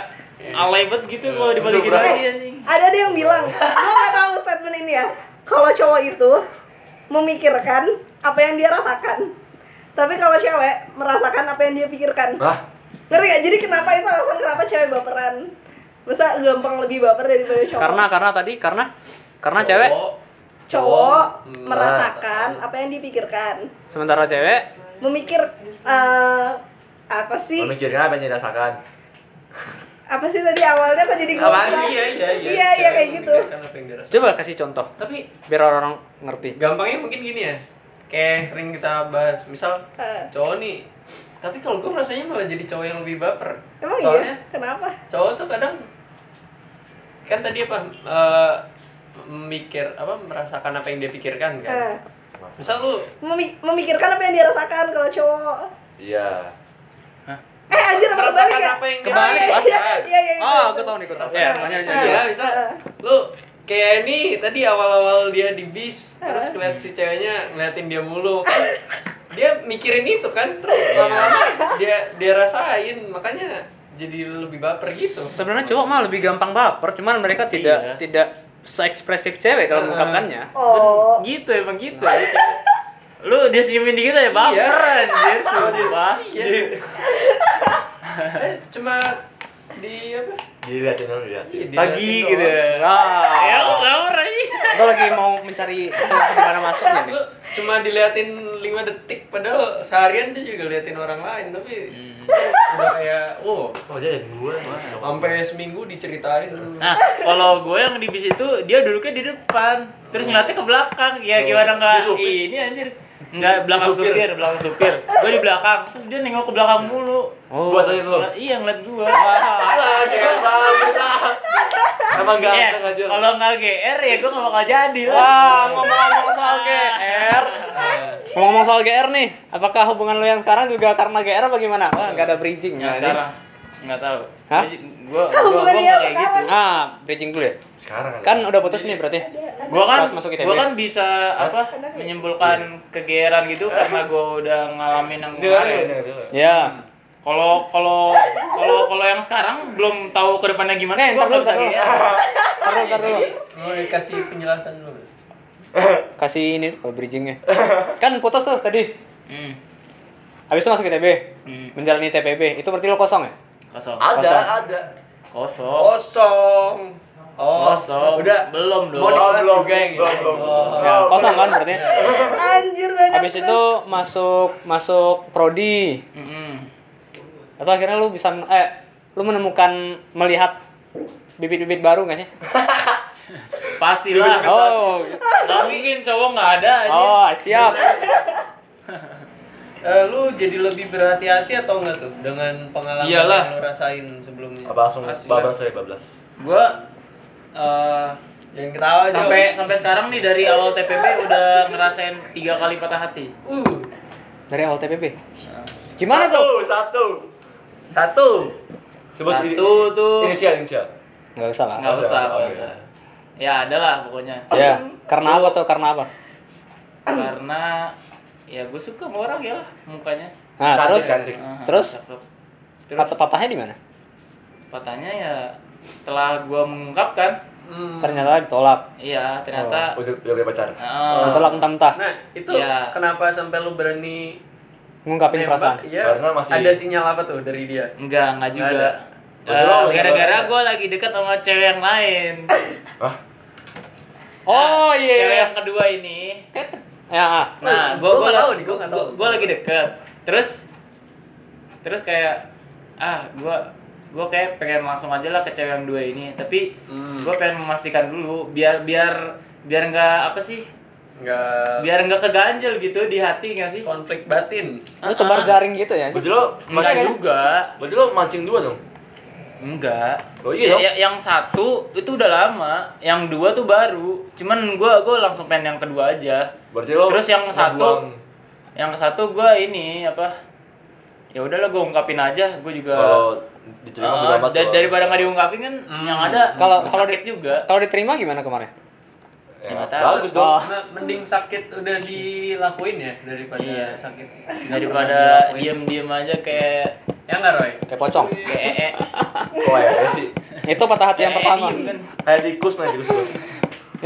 S3: alay banget gitu kalau
S2: Untuk
S3: dibalikin lagi anjing.
S5: Ada deh yang bilang, gua gak tahu statement ini ya. Kalau cowok itu memikirkan apa yang dia rasakan. Tapi kalau cewek merasakan apa yang dia pikirkan.
S2: Hah?
S5: Ngerti gak? Jadi kenapa itu alasan kenapa cewek baperan? Masa gampang lebih baper daripada cowok?
S1: Karena karena tadi karena karena cewek
S4: Cowok, Oh,
S5: cowok merasakan apa yang dipikirkan.
S1: sementara cewek
S5: Memikir eh, apa sih?
S2: Memikirkan apa yang dirasakan.
S5: Apa sih tadi awalnya kok jadi gua?
S2: Apaan?
S4: Iya,
S5: bilang?
S4: iya, iya.
S5: Iya, iya, kayak gitu.
S4: Memikirkan apa yang dirasakan.
S1: coba kasih contoh
S4: Tapi
S1: biar orang ngerti.
S4: gampangnya mungkin gini ya. Kayak yang sering kita bahas, misal
S5: Eh,
S4: cowok nih. Tapi kalau gue rasanya malah jadi cowok yang lebih baper.
S5: emang iya?
S4: Soalnya
S5: Kenapa?
S4: cowok tuh kadang kan tadi apa eh, mikir apa merasakan apa yang dia pikirkan
S5: Eh,
S4: kan misal lu
S5: memi- memikirkan apa yang dia rasakan kalau cowok.
S2: Iya.
S5: Eh anjir apa
S4: Merasakan
S5: kebalik ya?
S4: apa yang
S5: Oh, iya,
S4: kebalik,
S5: iya,
S4: kan?
S5: iya, iya, iya,
S1: Oh,
S5: betul.
S1: aku tahu nih, aku tahu.
S5: Iya.
S1: Ya, makanya
S5: Ah.
S1: jadi.
S4: ya misal lu kayak ini tadi awal-awal dia di bis
S5: Eh.
S4: terus ngeliat si ceweknya ngeliatin dia mulu kan? dia mikirin itu kan terus
S5: Iya.
S4: lama-lama dia dia rasain makanya jadi lebih baper gitu
S1: Sebenarnya cowok mah lebih gampang baper, cuman mereka tidak tidak seekspresif cewek dalam mengungkapkannya.
S5: Oh.
S3: gitu emang gitu lu dia senyumin dikit aja baper anjir sumpah
S4: iya Eh, cuma di apa
S2: Dilihatin dulu ya.
S4: Iya, dia
S3: pagi
S4: ngeliatin
S3: gitu
S4: doang.
S3: ya
S1: Nah,
S3: lu baper aja
S1: gue lagi mau mencari cowok gimana masuknya nih.
S4: Lu cuma diliatin 5 detik padahal seharian dia juga liatin orang lain tapi
S3: Hmm.
S4: udah kayak wow
S3: Iya.
S2: Oh, dia yang gue.
S4: sampai seminggu diceritain
S3: nah kalau gue yang di bis itu dia duduknya di depan terus ngeliatnya ke belakang ya gimana nggak ini anjir nggak belakang supir. belakang supir gue di belakang terus dia nengok ke belakang mulu
S1: Oh.
S2: Buat aja lu.
S3: Ngeliat- iya ngeliat gue
S2: Ah, kayak banget lah. Emang
S3: Ya,
S2: ganteng aja.
S3: kalau nggak GR ya gue nggak bakal jadi lah Nah.
S1: Wah, ngomong-ngomong soal GR. Ngomong-ngomong soal GR nih, apakah hubungan lo yang sekarang juga karena GR apa gimana? Wah, nggak ada bridging
S3: nggak
S1: ya ini.
S3: sekarang nggak tahu
S1: Hah?
S3: gue gue
S5: Hubungan dia
S3: kayak gitu
S5: apa?
S1: Ah, bridging dulu ya.
S2: Sekarang
S1: Kan udah putus nih berarti.
S3: gua kan
S1: Pas masuk ITB.
S3: gua kan bisa apa menyimpulkan kegeeran gitu karena gua udah ngalamin yang kemarin
S1: Ya.
S3: kalau kalau kalau kalau yang sekarang belum tahu ke depannya gimana
S1: Eh, ntar
S3: gua
S1: dulu,
S3: belum bisa
S1: ntar dulu.
S3: geer
S1: Ntar dulu, ntar dulu.
S4: mau dikasih penjelasan dulu
S1: Kasih ini oh, bridgingnya. Kan putus tuh tadi.
S3: hmm,
S1: Habis itu masuk ITB.
S3: hmm,
S1: Menjalani TPB. Itu berarti lo kosong ya?
S3: kosong
S2: Ada,
S1: Kosong.
S2: ada.
S3: kosong
S4: kosong oh
S3: kosong
S4: udah
S3: belum
S2: Oh,
S4: mau
S3: dong
S4: dikelas
S2: belum,
S4: juga yang ini
S2: belum, belum.
S4: Oh.
S3: Iya,
S1: Ya, kosong kan berarti.
S5: Anjir banyak.
S1: Habis itu masuk masuk prodi.
S3: Mm-mm.
S1: Atau akhirnya lu bisa eh lu menemukan melihat bibit-bibit baru gak sih?
S3: pastilah
S1: Oh,
S3: nggak mungkin cowok nggak ada aja
S1: oh siap.
S4: Eh, lu jadi lebih berhati-hati atau enggak tuh dengan pengalaman
S3: Iyalah.
S4: yang lu rasain sebelumnya
S2: Apa langsung
S3: Asli.
S2: bablas aja, bablas.
S3: gua eh,
S4: yang ketawa aja.
S3: sampai sampai sekarang nih dari awal TPP udah ngerasain tiga kali patah hati
S4: uh
S1: Dari awal TPB. Gimana tuh?
S2: Satu, satu.
S4: satu
S2: Sebut
S3: satu tuh
S2: inisial, inisial.
S1: Nggak usah lah.
S3: nggak
S2: Ada,
S3: usah nggak
S2: oke.
S3: usah ya ada lah pokoknya
S1: Ya, karena apa tuh? Karena apa?
S3: karena ya gue suka sama orang ya lah mukanya
S1: Nah,
S2: Cantik,
S1: terus
S2: cantik.
S3: Ah,
S1: Terus?
S3: cakep. terus
S1: pat- patahnya di mana?
S3: patahnya ya setelah gue mengungkapkan
S4: Hmm.
S1: Ternyata ditolak.
S3: iya ternyata
S2: Udah, udah punya pacar.
S3: Ah,
S1: Ditolak mentah-mentah.
S4: nah itu
S3: Iya.
S4: kenapa sampai lu berani
S1: Ngungkapin
S4: Nembak,
S1: perasaan.
S4: iya.
S2: Karena masih-
S4: ada sinyal apa tuh dari dia
S3: enggak
S4: Enggak
S3: enggak juga
S4: ada.
S3: Eh,
S2: Betul, betul.
S3: gara-gara gue lagi dekat sama cewek yang lain
S2: Hah?
S1: Oh
S3: Nah,
S1: iya.
S3: cewek
S1: iya.
S3: yang kedua ini
S1: Ya, ah.
S3: Nah,
S4: Gua
S3: gua gua
S4: nggak tahu
S3: la-
S4: nih, gua nggak tahu.
S3: gua- gua lagi deket. Terus terus kayak ah, gua gue kayak pengen langsung aja lah ke cewek yang dua ini tapi
S4: Hmm.
S3: gue pengen memastikan dulu biar biar biar nggak apa sih
S4: Nggak
S3: biar nggak keganjel gitu di hati nggak sih Iya
S4: konflik batin.
S1: Lu tebar jaring gitu ya?
S6: Berarti lo
S3: enggak juga
S6: berarti lo mancing dua dong.
S3: enggak
S6: Oh iya dong.
S3: Ya- ya- yang satu itu udah lama yang dua tuh baru cuman gue gue langsung pengen yang kedua aja
S6: Berarti lo
S3: Terus yang satu-
S6: ngebuang.
S3: yang ke satu gue ini apa ya udahlah gue ungkapin aja gue juga
S4: Oh,
S6: kalau diterima
S3: Ah,
S6: bodo amat
S3: da-
S6: lo.
S3: daripada nggak diungkapin kan yang ada
S1: Hmm. Kalau-
S3: sakit
S1: kalau di-
S3: juga
S1: Kalau diterima gimana kemarin?
S6: Ya,
S3: nggak tahu.
S6: bagus dong.
S1: Oh.
S4: Me- Mending sakit udah dilakuin ya daripada
S3: Iya.
S4: sakit.
S3: daripada iya.
S4: Dilakuin.
S3: diem-diem aja kayak
S4: Ya nggak Roy?
S1: Kayak pocong.
S3: kayak eh, eh.
S6: Kok ya sih.
S1: Itu patah hati yang
S3: Kayak
S1: pertama.
S3: diem kan.
S6: Kayak tikus main tikus gua.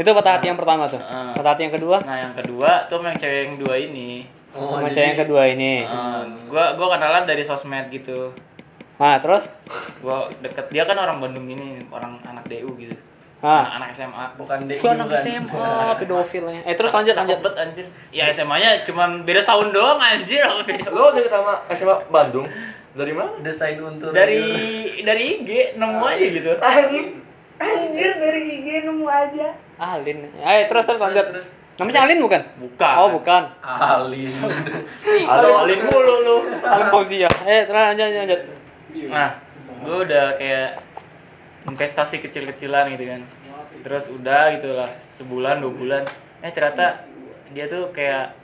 S1: Itu patah hati yang pertama tuh.
S3: Ah.
S1: Patah hati yang kedua
S3: nah yang kedua tuh sama yang cewek yang dua ini
S4: Oh,
S1: sama
S4: jadi-
S1: cewek yang kedua ini.
S3: Ah,
S1: Hmm.
S3: gua gua kenalan dari sosmed gitu
S1: Nah, terus?
S3: gua deket dia kan orang Bandung ini orang anak DU gitu
S1: Ah.
S3: anak, anak SMA
S4: bukan DI
S1: Gua anak
S4: bukan.
S1: SMA, pedofilnya. Eh, terus lanjut lanjut.
S3: Cakep banget anjir ya SMA nya cuman beda tahun doang anjir sama beda
S6: Lo deket sama SMA Bandung. Dari mana?
S4: Desain untuk
S3: dari dari IG nemu aja gitu
S1: Ah.
S5: Anjir dari IG nemu aja.
S1: Alin. Eh, terus terus lanjut.
S4: terus.
S1: Namanya Alin bukan?
S3: bukan
S1: Oh, bukan.
S4: Alin.
S6: Ada
S3: Alin mulu lu
S1: Alin Fauzia. Eh, terus lanjut lanjut.
S3: nah gue udah kayak investasi kecil-kecilan gitu kan terus udah gitulah sebulan dua bulan eh ternyata dia tuh kayak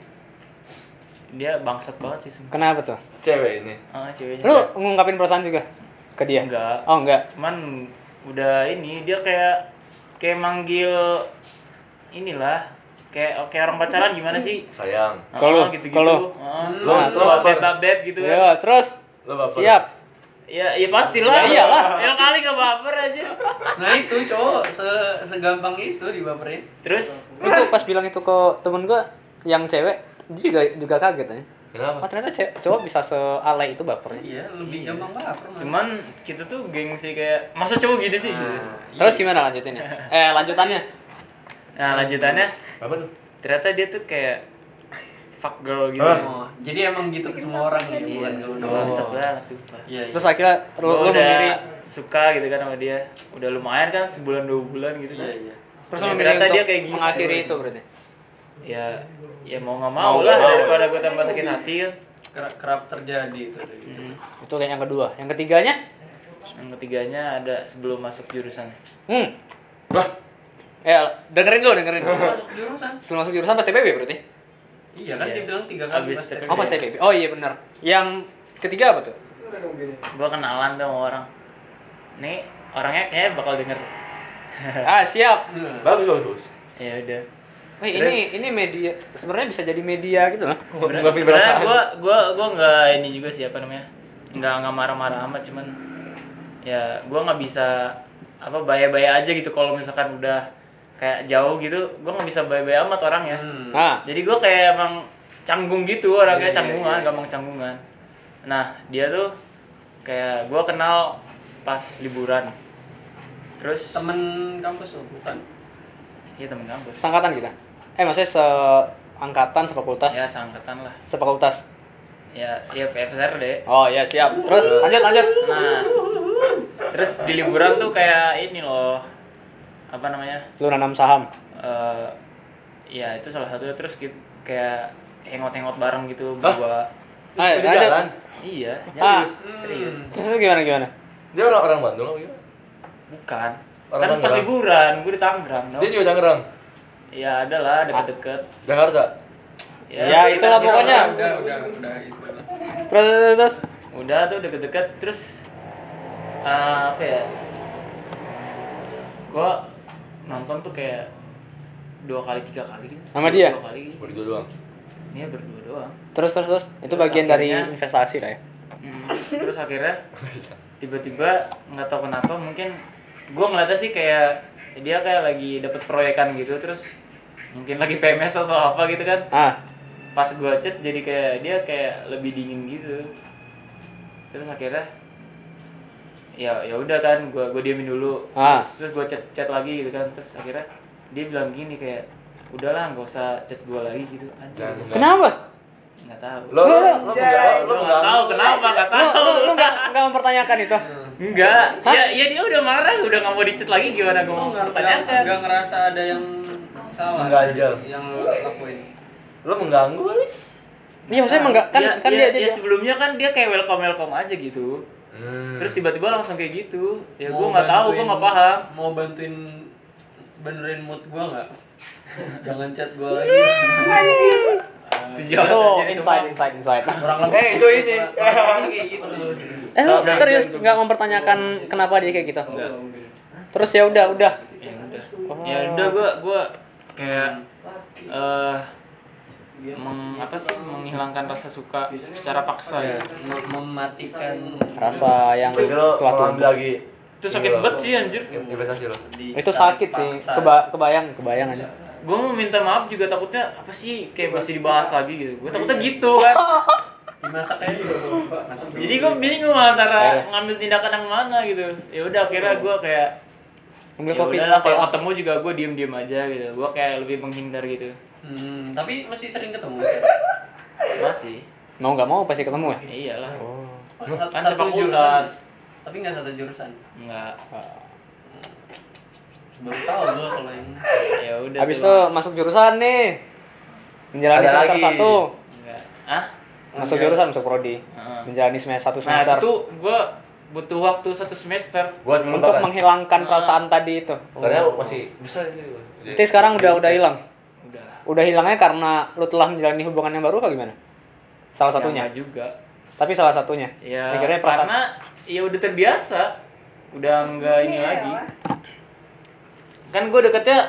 S3: dia bangsat banget sih sumpah
S1: Kenapa tuh?
S6: cewek ini.
S3: ah ceweknya
S1: Lu ngungkapin perasaan juga ke dia?
S3: Enggak.
S1: Oh, enggak.
S3: cuman udah ini dia kayak kayak manggil inilah kayak oke orang pacaran gimana sih
S6: Sayang.
S3: Ah,
S1: Kalau-
S3: gitu-gitu
S1: kalau-
S3: Ah,
S6: Lu-
S3: ah,
S6: lu
S3: terus
S6: baper.
S3: beb beb gitu kan
S1: Ya, terus
S6: Lo baper.
S1: siap.
S3: ya ya pastilah
S1: Ya iyalah.
S3: ya kali gak baper aja
S4: Nah itu cowok se segampang itu ya. dibaperin.
S3: terus
S1: itu pas bilang itu ke temen gue yang cewek dia juga juga kaget ya
S6: Kenapa?
S1: oh ternyata cewek, cowok bisa sealai itu bapernya
S4: Iya, lebih gampang baper. Mas.
S3: cuman kita tuh geng sih kayak masa cowok gini
S4: Ah.
S3: sih Gitu.
S4: Iya.
S1: terus gimana lanjutinnya eh lanjutannya
S3: nah lanjutannya
S6: Apa tuh?
S3: ternyata dia tuh kayak fuck girl gitu
S6: Hah?
S4: Oh, jadi emang gitu ke semua orang ya, bukan kalau
S3: Oh.
S4: doang.
S3: Bangsat banget sumpah
S4: Iya. iya.
S1: terus akhirnya lu,
S3: Gua
S1: lu
S3: udah
S1: memilih
S3: suka gitu kan sama dia udah lumayan kan sebulan dua bulan gitu kan
S4: Iya, iya.
S1: terus
S3: Ya,
S1: lu memilih
S3: ternyata
S1: untuk
S3: dia kayak gitu.
S1: mengakhiri itu berarti
S3: ya ya mau nggak mau, lah daripada gue tambah sakit hati kan.
S4: Kerap, kerap terjadi itu. gitu.
S3: Hmm.
S1: itu kayak yang kedua yang ketiganya
S3: yang ketiganya ada sebelum masuk jurusan
S1: hmm
S6: Bah.
S1: eh dengerin dulu dengerin
S4: Masuk jurusan.
S1: sebelum masuk jurusan pas TPB berarti
S4: Iya kan
S3: Iya.
S4: dia bilang tiga kali
S3: Abis
S4: mas
S3: ter-
S1: oh pas TPB oh iya benar yang ketiga apa tuh
S3: gue kenalan tuh sama orang nih orangnya kayaknya bakal denger
S1: ah siap
S4: Hmm.
S6: Bagus bagus.
S3: ya udah
S1: Wih, ini ini media sebenarnya bisa jadi media gitu loh
S3: Sebenernya-
S6: Ngungkapin
S3: sebenarnya
S6: perasaan.
S3: gue gue gue nggak ini juga sih apa namanya nggak nggak marah-marah amat cuman ya gue nggak bisa apa baya-baya aja gitu kalau misalkan udah kayak jauh gitu gue nggak bisa baya-baya amat orangnya
S4: Hmm.
S1: nah
S3: jadi gue kayak emang canggung gitu
S4: Iya,
S3: orangnya
S4: iya,
S3: canggungan
S4: iya.
S3: gampang canggungan nah dia tuh kayak gue kenal pas liburan terus
S4: Temen kampus tuh bukan.
S3: iya temen kampus
S1: sangkatan kita eh maksudnya seangkatan sefakultas
S3: ya seangkatan lah
S1: sefakultas
S3: ya ya PFSR deh
S1: Oh ya siap. Terus lanjut lanjut.
S3: Nah, terus di liburan tuh kayak ini loh, apa namanya?
S1: Lu nanam saham.
S3: eh ya itu salah satunya terus kita kayak hangout-hangout bareng gitu berdua.
S1: Ayo
S6: Di jalan.
S1: Eh, lanjut.
S3: Iya,
S1: Ah.
S3: serius, serius.
S1: Terus itu gimana gimana?
S6: Dia orang orang Bandung apa gimana?
S3: Bukan.
S6: Orang
S3: kan pas
S6: Tangerang.
S3: liburan, gue di Tangerang dong.
S6: Dia juga Tangerang.
S3: Ya adalah deket-deket.
S6: Jakarta.
S1: Ah. Ya, itulah pokoknya.
S4: Udah udah udah gitu.
S1: Terus terus, terus.
S3: Udah tuh deket-deket terus eh, apa ya? Gua nonton tuh kayak dua kali tiga kali gitu.
S1: Sama dia?
S3: Dua kali.
S6: Berdua doang.
S3: Ini Iya, berdua doang.
S1: terus terus terus. Itu
S3: Terus
S1: bagian dari
S3: akhirnya-
S1: investasi lah ya.
S3: Hmm, terus akhirnya tiba-tiba nggak tahu kenapa mungkin gue ngeliatnya sih kayak dia kayak lagi dapet proyekan gitu terus mungkin lagi PMS atau apa gitu kan
S1: Ah
S3: pas gue chat jadi kayak dia kayak lebih dingin gitu terus akhirnya ya ya udah kan gue gue diamin dulu
S1: Ah.
S3: terus, terus gue chat chat lagi gitu kan terus akhirnya dia bilang gini kayak udahlah nggak usah chat gue lagi gitu anjir
S6: Jangan.
S1: kenapa?
S3: nggak tahu
S2: Lo lo lo
S7: Anjay.
S2: enggak lo
S3: Gua nggak
S2: enggak.
S3: tahu kenapa kan? nggak
S1: Lu,
S3: tahu
S1: lu, lu nggak nggak mempertanyakan itu?
S3: enggak ya ya dia udah marah udah nggak mau dicet lagi gimana gue mau pertanyakan
S4: Oh, Enggak ngerasa ada yang salah. gitu,
S2: Mengganjal.
S4: Yang lo lakuin.
S2: Lo mengganggu kali.
S1: Iya maksudnya emang nggak kan
S3: Ya,
S1: kan
S3: ya,
S1: dia
S3: ya
S1: dia. dia-
S3: sebelumnya kan dia kayak welcome welcome aja gitu
S2: Hmm.
S3: terus tiba-tiba langsung kayak gitu ya gue
S4: Mau
S3: nggak tahu gue
S4: Oh, bantuin-
S3: nggak paham
S4: Mau bantuin benerin mood gue nggak? Jangan chat gue lagi. Oh,
S1: Itu
S3: tujuan jadi
S1: Oh, inside
S3: teman.
S1: inside inside.
S4: Kurang lebih.
S2: Eh, itu ini.
S4: kurang lebih kayak gitu.
S1: Eh lu
S3: Sabar,
S1: serius
S3: jangan
S1: nggak mempertanyakan kenapa dia kayak gitu?
S3: Nggak.
S1: Terus ya udah udah.
S3: ya udah
S1: Oh.
S3: ya udah gue gue kayak eh meng, apa sih menghilangkan rasa suka secara paksa ya
S4: Mem- mematikan
S1: Rasa yang
S2: Jadi lo
S1: telah
S2: mau ambil
S1: tumbuh.
S2: lagi.
S3: itu sakit banget sih anjir
S2: Investasi lo.
S4: di-
S1: Itu sakit sih.
S4: paksa.
S1: Keba kebayang kebayang aja.
S3: gue mau minta maaf juga takutnya apa sih kayak masih dibahas lagi gitu gue takutnya gitu kan
S4: Dimasak aja dulu. Masak dulu.
S3: jadi gue bingung
S1: Eh.
S3: antara ngambil tindakan yang mana gitu ya udah akhirnya
S1: Hmm.
S3: gue kayak
S1: Ambil
S3: ya
S1: kopi.
S3: udahlah kalau ketemu juga gue diem diem aja gitu gue kayak lebih menghindar gitu
S4: Hmm, tapi masih sering ketemu. sekarang?
S3: masih
S1: Mau nggak mau pasti ketemu ya.
S3: ya iyalah
S4: Satu-
S3: kan
S4: satu jurusan.
S3: sefakultas
S4: Tapi nggak satu jurusan.
S3: enggak
S4: Baru tahu gue kalau yang
S3: ya udah
S1: Habis itu
S3: tuh.
S1: masuk jurusan nih. Menjalani
S2: Ada
S1: semester
S2: lagi.
S1: satu.
S3: enggak ah
S1: Masuk jurusan masuk prodi.
S3: Heeh.
S1: Menjalani semester satu
S3: nah
S1: semester.
S3: itu gue butuh waktu satu semester
S1: Untuk
S2: Buat
S3: kan.
S2: melupakan.
S1: menghilangkan perasaan tadi itu.
S2: Karena masih bisa gitu.
S1: Tapi sekarang udah udah hilang.
S3: udah
S1: Udah hilangnya karena lu telah menjalani hubungan yang baru apa gimana? Salah satunya.
S3: Sama juga
S1: Tapi salah satunya.
S3: ya
S1: Akhirnya perasaan
S3: karena ya udah terbiasa
S4: Eh,
S3: udah enggak
S5: Iya.
S3: ini lagi kan gue deketnya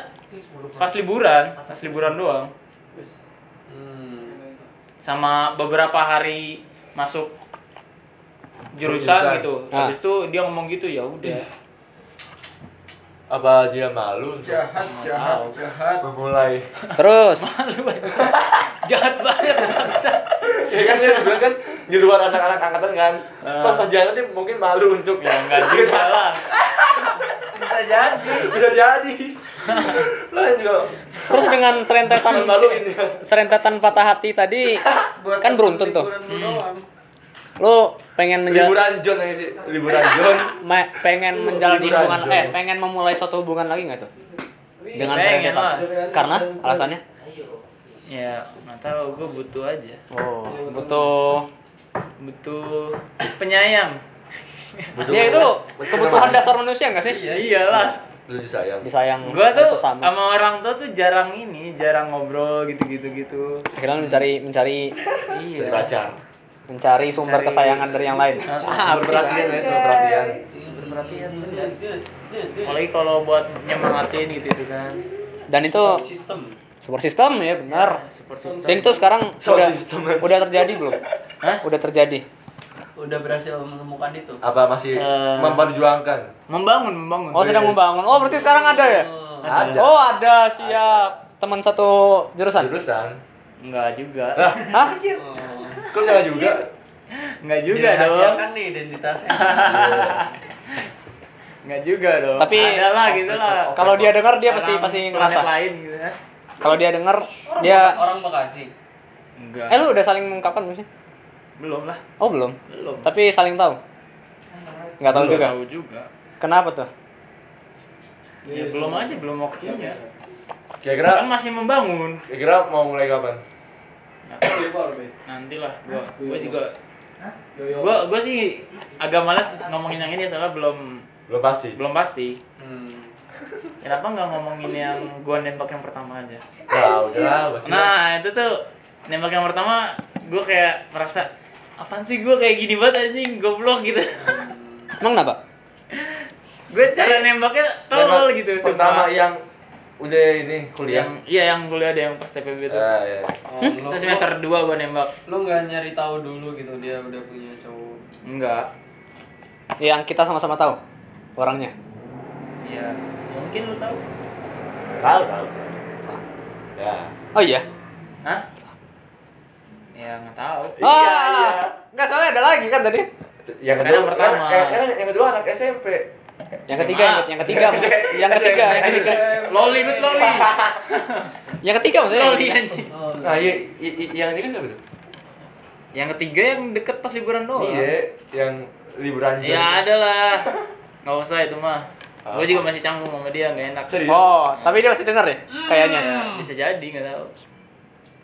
S3: pas liburan pas liburan doang sama beberapa hari masuk
S2: Jurusan.
S3: jurusan, gitu
S1: Ah.
S3: habis itu dia ngomong gitu ya udah
S2: Apa dia malu untuk
S4: jahat, jahat, jahat.
S2: memulai?
S1: terus
S3: malu aja. jahat banget bangsa
S2: ya kan dia bilang kan di luar anak-anak angkatan kan. Pas pas jalan dia mungkin malu untuk ya
S3: nggak juga lah
S4: Bisa jadi.
S2: bisa jadi. Lo juga
S1: terus dengan serentetan
S2: malu ini.
S1: serentetan patah hati tadi
S4: Buat
S1: kan beruntun tuh.
S4: liburan lu doang.
S1: Lu pengen menjalani
S2: Liburan John aja sih. Liburan John.
S1: pengen menjalani
S2: liburan,
S1: hubungan
S2: Jo.
S1: eh pengen memulai suatu hubungan lagi nggak tuh? Dengan
S3: Pengen
S1: serentetan.
S3: lah.
S1: Karena alasannya
S3: ya nggak tahu gue butuh aja
S1: oh, butuh
S3: butuh penyayang
S1: Ya itu kebutuhan dasar manusia nggak sih?
S3: ya iyalah
S2: Lu disayang.
S1: Disayang
S3: gue tuh
S1: sesama.
S3: sama orang tua tuh jarang ini jarang ngobrol gitu gitu gitu
S1: Akhirnya lu mencari mencari
S2: Jadi
S3: iya
S2: pacar.
S1: mencari sumber
S3: Mencari-
S1: kesayangan dari yang lain.
S3: Ah, apa sih?
S2: Perhatian ya, sama perhatian.
S4: Iya.
S3: apalagi kalau buat nyemangatin gitu itu kan
S1: Dan itu
S4: Sistem.
S1: support system ya benar.
S3: support system
S1: Dan itu sekarang
S2: Sound
S1: udah
S2: system.
S1: udah terjadi belum?
S3: Hah?
S1: Udah terjadi.
S4: Udah berhasil menemukan itu.
S2: Apa masih
S3: Eh.
S2: memperjuangkan?
S3: membangun membangun
S1: Oh sedang membangun. Oh berarti sekarang ada ya?
S2: Ada.
S1: Oh ada siap. Teman satu jurusan.
S2: Jurusan.
S3: Enggak juga.
S1: Hah?
S2: Kok bisa juga?
S3: Enggak juga dong.
S4: Dirahasiakan nih identitasnya.
S2: Iya.
S3: Enggak juga dong.
S1: Tapi-
S3: ada lah gitu lah.
S1: Kalau dia dengar dia pasti
S3: Orang
S1: pasti
S3: planet
S1: ngerasa.
S3: lain gitu ya.
S1: Kalau dia dengar dia
S4: Orang Bekasi.
S3: Enggak.
S1: eh lu udah saling mengungkapkan belum sih?
S3: belum lah.
S1: Oh belum.
S3: Belum.
S1: Tapi saling tahu. Nggak tahu
S3: Belum
S1: juga.
S3: Tahu juga.
S1: Kenapa tuh?
S3: Ya belum aja belum waktunya.
S2: Kira-kira
S3: Kan masih membangun.
S2: kira-kira mau mulai kapan?
S3: Nantilah gua gua juga gua gua sih agak malas ngomongin yang ini soalnya belum
S2: Belum pasti.
S3: belum pasti.
S4: Hmm.
S3: Kenapa nggak ngomongin yang gua nembak yang pertama aja?
S2: Nah, udah lah, pasti.
S3: Nah itu tuh nembak yang pertama gue kayak merasa apaan sih gue kayak gini banget anjing goblok gitu
S1: Emang kenapa?
S3: gue cara nembaknya tolol gitu
S2: Pertama
S3: sumpah.
S2: yang udah ini kuliah.
S3: yang iya gitu. yang kuliah ada yang pas TPB itu
S2: Ah, iya.
S4: Oh,
S1: Hmm?
S4: lu,
S3: itu semester 2 gue nembak
S4: lu nggak nyari tahu dulu gitu dia udah punya cowok.
S3: enggak
S1: Yang kita sama-sama tahu orangnya.
S3: ya mungkin lu tahu
S2: Tahu tahu. Ya.
S1: Oh iya.
S3: Hah? ya nggak tahu Iya,
S1: Oh,
S3: Ah!
S1: Nggak soalnya ada lagi kan tadi.
S2: Yang
S3: Karena
S2: kedua
S3: yang pertama.
S2: Yang, yang- yang kedua anak SMP.
S1: Yang ketiga, yang, yang ketiga, yang ketiga, yang ketiga,
S3: Eh, loli lu loli
S1: yang ketiga maksudnya. iya,
S3: loli anjing
S4: Oh,
S2: Nah, iya, i- i- yang ini kan siapa tuh?
S3: Yang ketiga yang deket pas liburan doang.
S2: Iya, yang liburan
S3: Ya Oh, ada lah. Gak usah itu mah. Gue juga masih canggung sama dia, gak enak.
S2: Serius?
S1: Oh, tapi dia masih denger deh, kayaknya.
S3: Ya, bisa jadi, gak tahu.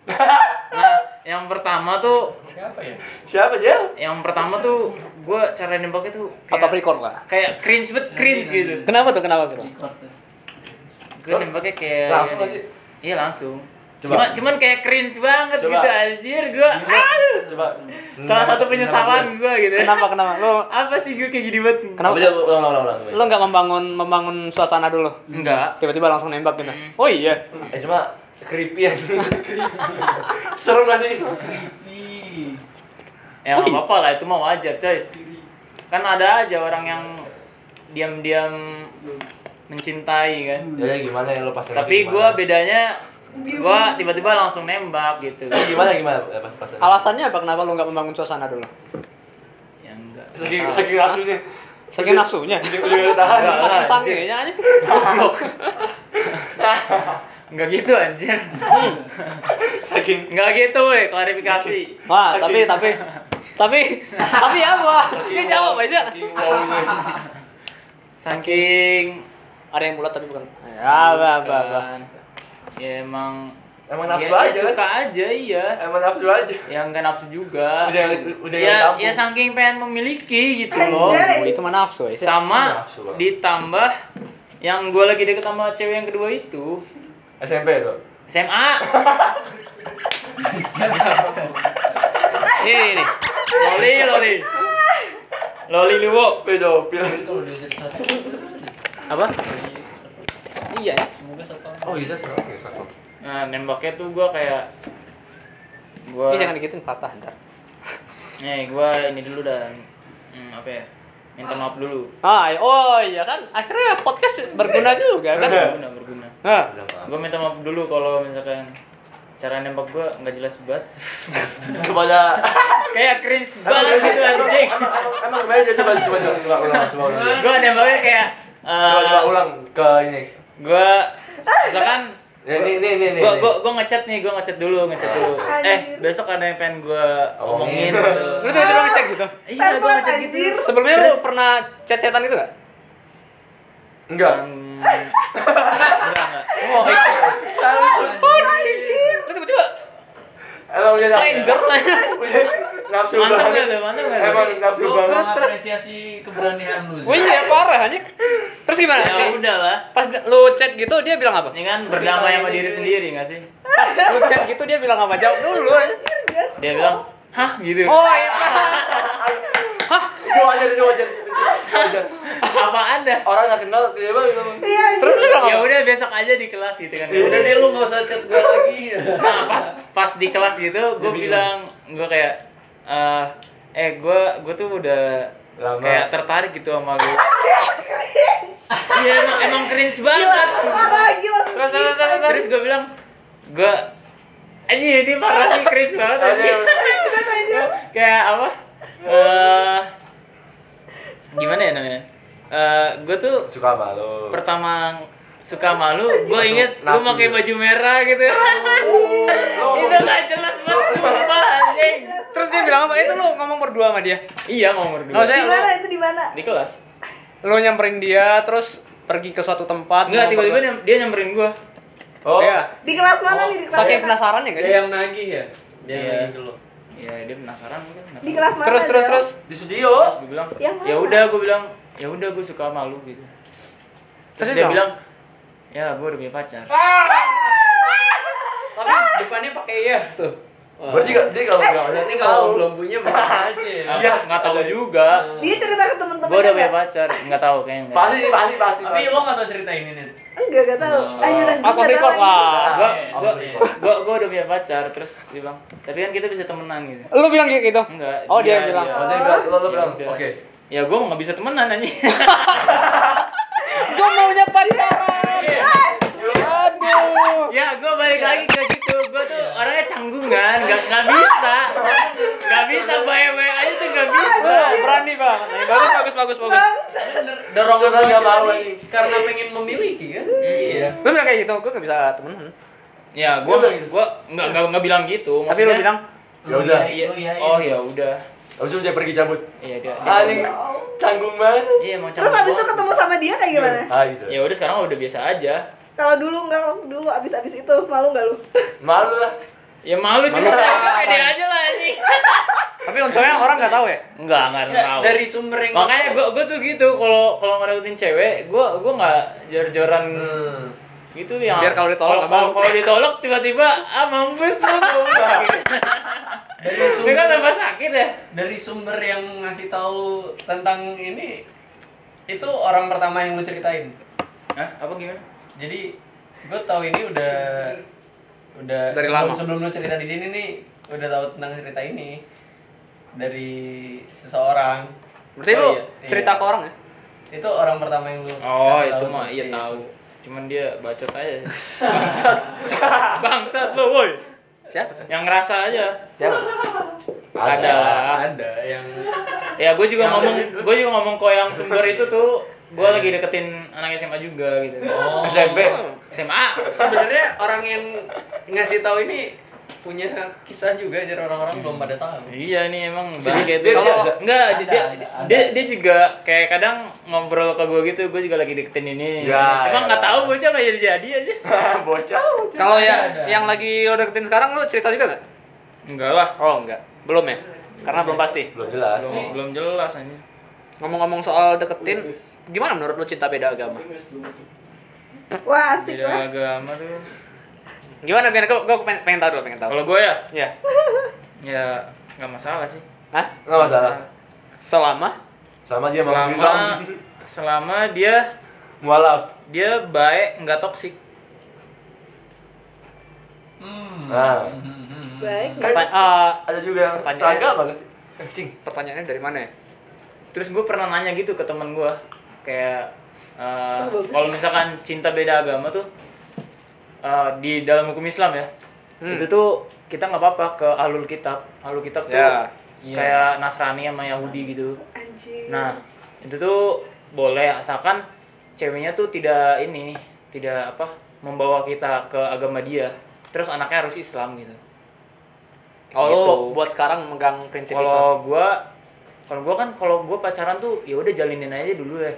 S3: Nah, yang pertama tuh,
S4: Siapa ya?
S2: Siapa Jel?
S3: yang pertama tuh gue cara nembaknya tuh
S1: Out of record lah.
S3: kayak cringe banget cringe gitu.
S1: Kenapa tuh? Kenapa tuh?
S3: Gue nembaknya kayak
S2: Langsung gak sih?
S3: Iya langsung.
S2: Coba.
S3: Cuma, cuman kayak cringe banget
S2: Coba. Hmm.
S3: gitu anjir gue. Aduh.
S2: Coba.
S3: Salah satu penyesalan gue gitu.
S1: Kenapa? Kenapa? Lo
S3: Apa sih gue kayak gini banget?
S1: kenapa?
S2: Jel? Ulang, ulang, ulang.
S1: Lo nggak membangun membangun suasana dulu?
S3: Enggak.
S1: Tiba-tiba langsung nembak gitu. Oh iya.
S2: Eh cuma creepy aja. Serem gak sih?
S3: Ya nggak apa-apa lah, itu mah wajar coy Kan ada aja orang yang diam-diam mencintai kan
S2: Ya gimana ya lo pas
S3: Tapi gue bedanya gue tiba-tiba langsung nembak gitu
S2: gimana gimana eh, pas pas
S1: Alasannya apa? Kenapa lo nggak membangun suasana dulu?
S3: Ya enggak
S2: saking saking langsungnya
S1: Saking nafsunya.
S2: Dia juga nggak tahan
S3: Enggak lah, anjir.
S1: Saking aja.
S3: Enggak gitu anjir
S2: saking
S3: Enggak gitu weh, klarifikasi
S1: Wah, tapi tapi tapi tapi apa? Dia jawab
S3: Iya.
S1: aja.
S2: saking wownya.
S3: Saking
S1: Ada yang bulat tapi bukan. Ya, apa apa. apa.
S3: Bukan. Kan. Ya emang
S2: Emang
S3: ya-
S2: nafsu
S3: ya
S2: aja. kan?
S3: suka aja iya
S2: Emang nafsu aja.
S3: Ya enggak nafsu juga
S2: Udah udah
S3: ya,
S2: yang
S3: ya saking pengen memiliki gitu loh
S1: Oh, itu mana nafsu, guys.
S3: sama
S2: Nafsu banget.
S3: ditambah yang gue lagi deket sama cewek yang kedua itu
S2: SMP lo.
S3: SMA nih nih nih loli loli loli luwo
S2: Pedofil.
S3: apa iya ya.
S2: Oh iya serem ya serem.
S3: nah nembaknya tuh gue kayak gue
S1: Ini jangan dikitin patah ntar.
S3: nih gue ini dulu dan hmm, apa ya minta maaf dulu
S1: Ah, oh iya kan akhirnya podcast berguna juga kan.
S3: berguna berguna
S1: Nah,
S3: gue minta maaf dulu kalau misalkan cara nembak gue nggak jelas banget
S2: Kepada
S3: kayak cringe banget gitu anjing
S2: Emang emang- emang gimana Jel? coba coba coba coba ulang coba ulang. Jel.
S3: gue nembaknya kayak
S2: Coba coba
S3: eh
S2: ulang ke ini.
S3: gue misalkan
S2: Ya, ini ini ini ini.
S3: gue gue gue ngechat nih gue ngechat dulu ngechat dulu eh besok ada yang pengen gue
S2: Omongin.
S3: omongin gitu.
S1: lu tuh coba ngecek gitu.
S3: iya gue ngechat gitu
S1: Sebelumnya lu pernah chat-chatan gitu gak?
S2: Enggak.
S3: Hmm, enggak enggak
S1: Oh, anjir. Lu tiba-tiba
S2: Emang udah nafsu.
S1: stranger
S2: Udah Nafsu
S3: mantap
S2: banget.
S3: gak tuh mantap gak tuh?
S2: Emang nafsu
S4: Gue
S2: banget.
S4: mengapresiasi keberanian lu. Zul.
S1: Wih, ya parah anjir. Terus gimana?
S3: ya
S1: Kayak
S3: udah lah
S1: Pas lu chat gitu dia bilang apa?
S3: ini kan berdamai sama diri sendiri gak sih
S1: Pas lu chat gitu dia bilang apa? Jawab dulu. anjir.
S3: dia bilang hah gitu
S1: Oh, iya. parah.
S2: Gua aja gua aja. Gua aja.
S3: apa anda
S2: Orang nggak kenal dia bang ngomong.
S5: Iya,
S1: Terus lu bilang
S3: ya
S1: apa?
S3: udah besok aja di kelas gitu kan
S4: Udah deh lu nggak usah chat gue lagi.
S3: nah pas pas di kelas gitu
S2: Dia
S3: gue bilang gue kayak eh eh gue gue tuh udah
S2: Lama.
S3: kayak tertarik gitu sama lu iya emang emang cringe banget
S5: parah gila
S3: terus terus terus terus gue bilang gue aja ini parah sih cringe banget anjing." Gua kayak apa Eh gimana ya namanya Eh gue tuh
S2: Suka malu.
S3: pertama suka malu gue
S2: Langsung-
S3: inget lu
S2: langsung
S3: pakai
S2: gitu.
S3: baju merah gitu itu nggak jelas banget sumpah anjing
S1: Terus dia bilang apa? Itu lu ngomong berdua sama dia.
S3: iya mau
S1: Oh,
S3: berdua
S1: saya
S5: di mana itu di mana
S3: di kelas
S1: lu nyamperin dia terus pergi ke suatu tempat ngomong
S3: enggak tiba-tiba
S1: berdua.
S3: nyam- dia nyamperin gue
S2: Oh.
S1: Iya.
S5: di kelas mana nih di kelas ya?
S1: saking
S5: mana?
S1: penasarannya guys
S4: Dia yang nagih ya? Dia
S3: Iya.
S4: yang nagih dulu.
S3: ya dia penasaran mungkin
S5: di kelas mana
S1: terus terus
S5: Del?
S1: terus
S2: Di studio.
S3: gue bilang
S5: Yang
S3: ya
S5: mana?
S3: udah gue bilang ya udah gue suka malu gitu
S1: Terus
S3: terus
S1: dia
S3: dia bilang ya gue udah punya pacar
S5: Ah!
S4: Tapi depannya pakai iya tuh. Wah.
S2: Berarti nggak dia kalau nggak ada
S4: Berarti
S2: dia
S4: kalau
S2: belum.
S4: belum punya mana aja ya.
S3: Apa, nggak tahu juga
S5: dia cerita ke temen-temen
S3: gue udah
S5: enggak?
S3: punya pacar nggak tahu kayaknya nggak.
S2: Pasti sih pasti pasti.
S4: Tapi
S2: pasti.
S4: lo nggak tau cerita ini nih.
S5: enggak enggak tahu
S4: Oh.
S5: anjir anjir,
S1: aku
S5: enggak tahu,
S1: record
S5: anjir.
S1: lah
S3: gua
S4: Iya,
S3: gua
S4: iya.
S3: gua gua udah punya pacar terus dia bilang tapi kan kita bisa temenan gitu
S1: lu bilang kayak gitu
S3: enggak
S1: oh dia, yang bilang
S3: dia.
S2: Oh, dia bilang lo lo
S3: Ya
S2: bilang.
S3: udah.
S2: Oke.
S3: ya gua mau nggak bisa temenan aja
S1: gue maunya pacaran aduh
S3: ya gua balik lagi ke gitu gua tuh orangnya canggungan nggak nggak bisa nggak bisa bae bae aja tuh nggak bisa
S1: Wah, berani banget nih. bagus bagus bagus Iya. bagus
S4: Dorongan
S2: Dorongan nggak
S4: pacaran
S2: mau
S4: nih karena pengen memiliki kan?
S2: Iya.
S1: lu bilang kayak gitu gue gak bisa temenan
S3: ya gua
S2: Dia bilang gitu.
S3: gua nggak nggak nggak bilang gitu
S1: tapi lu
S3: Maksudnya,
S1: bilang
S2: Ya udah.
S4: Iya, lu iyain.
S3: oh ya udah
S2: Habis itu dia pergi cabut.
S3: iya dia, dia
S2: Anjing canggung banget.
S3: iya emang
S5: Terus
S3: cabut
S5: abis itu
S3: doang.
S5: ketemu sama dia kayak gimana?
S2: Ah gitu.
S3: ya udah sekarang udah biasa aja
S5: Kalau dulu enggak, kalau dulu abis-abis itu malu nggak lu?
S2: Malu lah.
S3: ya malu cuma pede aja lah anjing
S1: Tapi untungnya orang nggak tahu ya.
S3: enggak enggak tahu
S4: dari sumber yang
S3: makanya gue gue tuh gitu kalau kalau ngerebutin cewek gue gue nggak jor-joran
S4: Hmm.
S3: gitu yang
S1: Biar kalau ditolak
S3: kalau-
S1: nggak mau.
S3: kalau kalau ditolak tiba-tiba ah mampus lu
S4: dari
S3: Ini kan
S4: sumber
S3: tambah sakit ya
S4: dari sumber yang ngasih tahu tentang ini itu orang pertama yang lu ceritain
S3: Hah? apa gimana
S4: jadi gue tahu ini udah udah
S1: Dari
S4: sebelum,
S1: lama.
S4: sebelum lu cerita di sini nih udah tahu tentang cerita ini dari seseorang
S1: Berarti
S3: Oh,
S1: lu
S3: iya.
S1: cerita
S4: Iya.
S1: ke orang ya?
S4: itu orang pertama yang lu
S3: Oh
S4: kasih
S3: itu
S4: tahu
S3: mah
S4: tuh,
S3: iya
S4: si-
S3: tahu. Cuman dia bacot aja. Bangsat. Bangsat lo woi.
S1: Siapa tuh?
S3: Yang ngerasa aja.
S1: Siapa?
S3: Ada lah.
S4: ada yang
S3: Ya gue juga ngomong gue juga ngomong kok yang sumber itu tuh gue lagi deketin anak SMA juga gitu.
S4: Oh.
S3: SMP. SMA.
S4: sebenarnya orang yang ngasih tahu ini punya kisah juga jadi orang-orang belum pada tahu
S3: Iya nih emang
S2: Serius,
S3: banget
S2: dia-
S3: itu.
S2: dia
S3: Kalau
S2: ada?
S3: enggak dia,
S4: Ada,
S3: dia,
S4: ada, ada.
S3: dia dia juga kayak kadang ngobrol ke gue gitu, gue juga lagi deketin ini.
S2: Ya, ya.
S3: Cuma nggak tahu bocah apa jadi jadi aja.
S2: Bocah.
S1: Kalau
S4: ada.
S1: ya yang lagi lo deketin sekarang lu cerita juga nggak?
S3: Enggak lah.
S1: Oh enggak, belum ya? Karena belum pasti.
S2: Belum jelas.
S3: Belum, belum jelas anjing.
S1: Ngomong-ngomong soal deketin, gimana menurut lu cinta beda agama?
S5: Wah asik
S3: Beda
S5: lah.
S3: agama tuh.
S1: Gimana Bian? Gue pengen, pengen tahu dulu, pengen tahu.
S3: Kalau gue ya,
S1: Ya.
S3: ya nggak masalah sih.
S1: Hah?
S2: Enggak masalah.
S1: Selama?
S2: Selama
S1: Iya,
S2: dia mau
S3: selama selama dia
S2: mualaf.
S3: dia baik nggak toksik
S2: Nah,
S5: Baik.
S1: Perta- eh,
S2: ada juga yang
S1: Pertanyaan.
S2: seragam banget sih. Eh, Cing.
S1: pertanyaannya dari mana ya?
S3: terus gue pernah nanya gitu ke temen gue kayak eh,
S5: Oh, bagus.
S3: kalau misalkan cinta beda agama tuh eh, di dalam hukum Islam ya
S1: Hmm.
S3: itu tuh kita nggak apa-apa ke alul kitab alul kitab tuh
S1: Ya.
S3: kayak Nasrani sama Yahudi gitu
S5: Anjir.
S3: Nah, itu tuh boleh asalkan ceweknya tuh tidak ini, tidak apa membawa kita ke agama dia. Terus anaknya harus Islam gitu.
S1: Oh, lu
S3: Gitu.
S1: buat sekarang megang prinsip itu.
S4: Gitu.
S3: Kalau gua kalau gua kan kalau gua pacaran tuh ya udah jalinin aja dulu ya.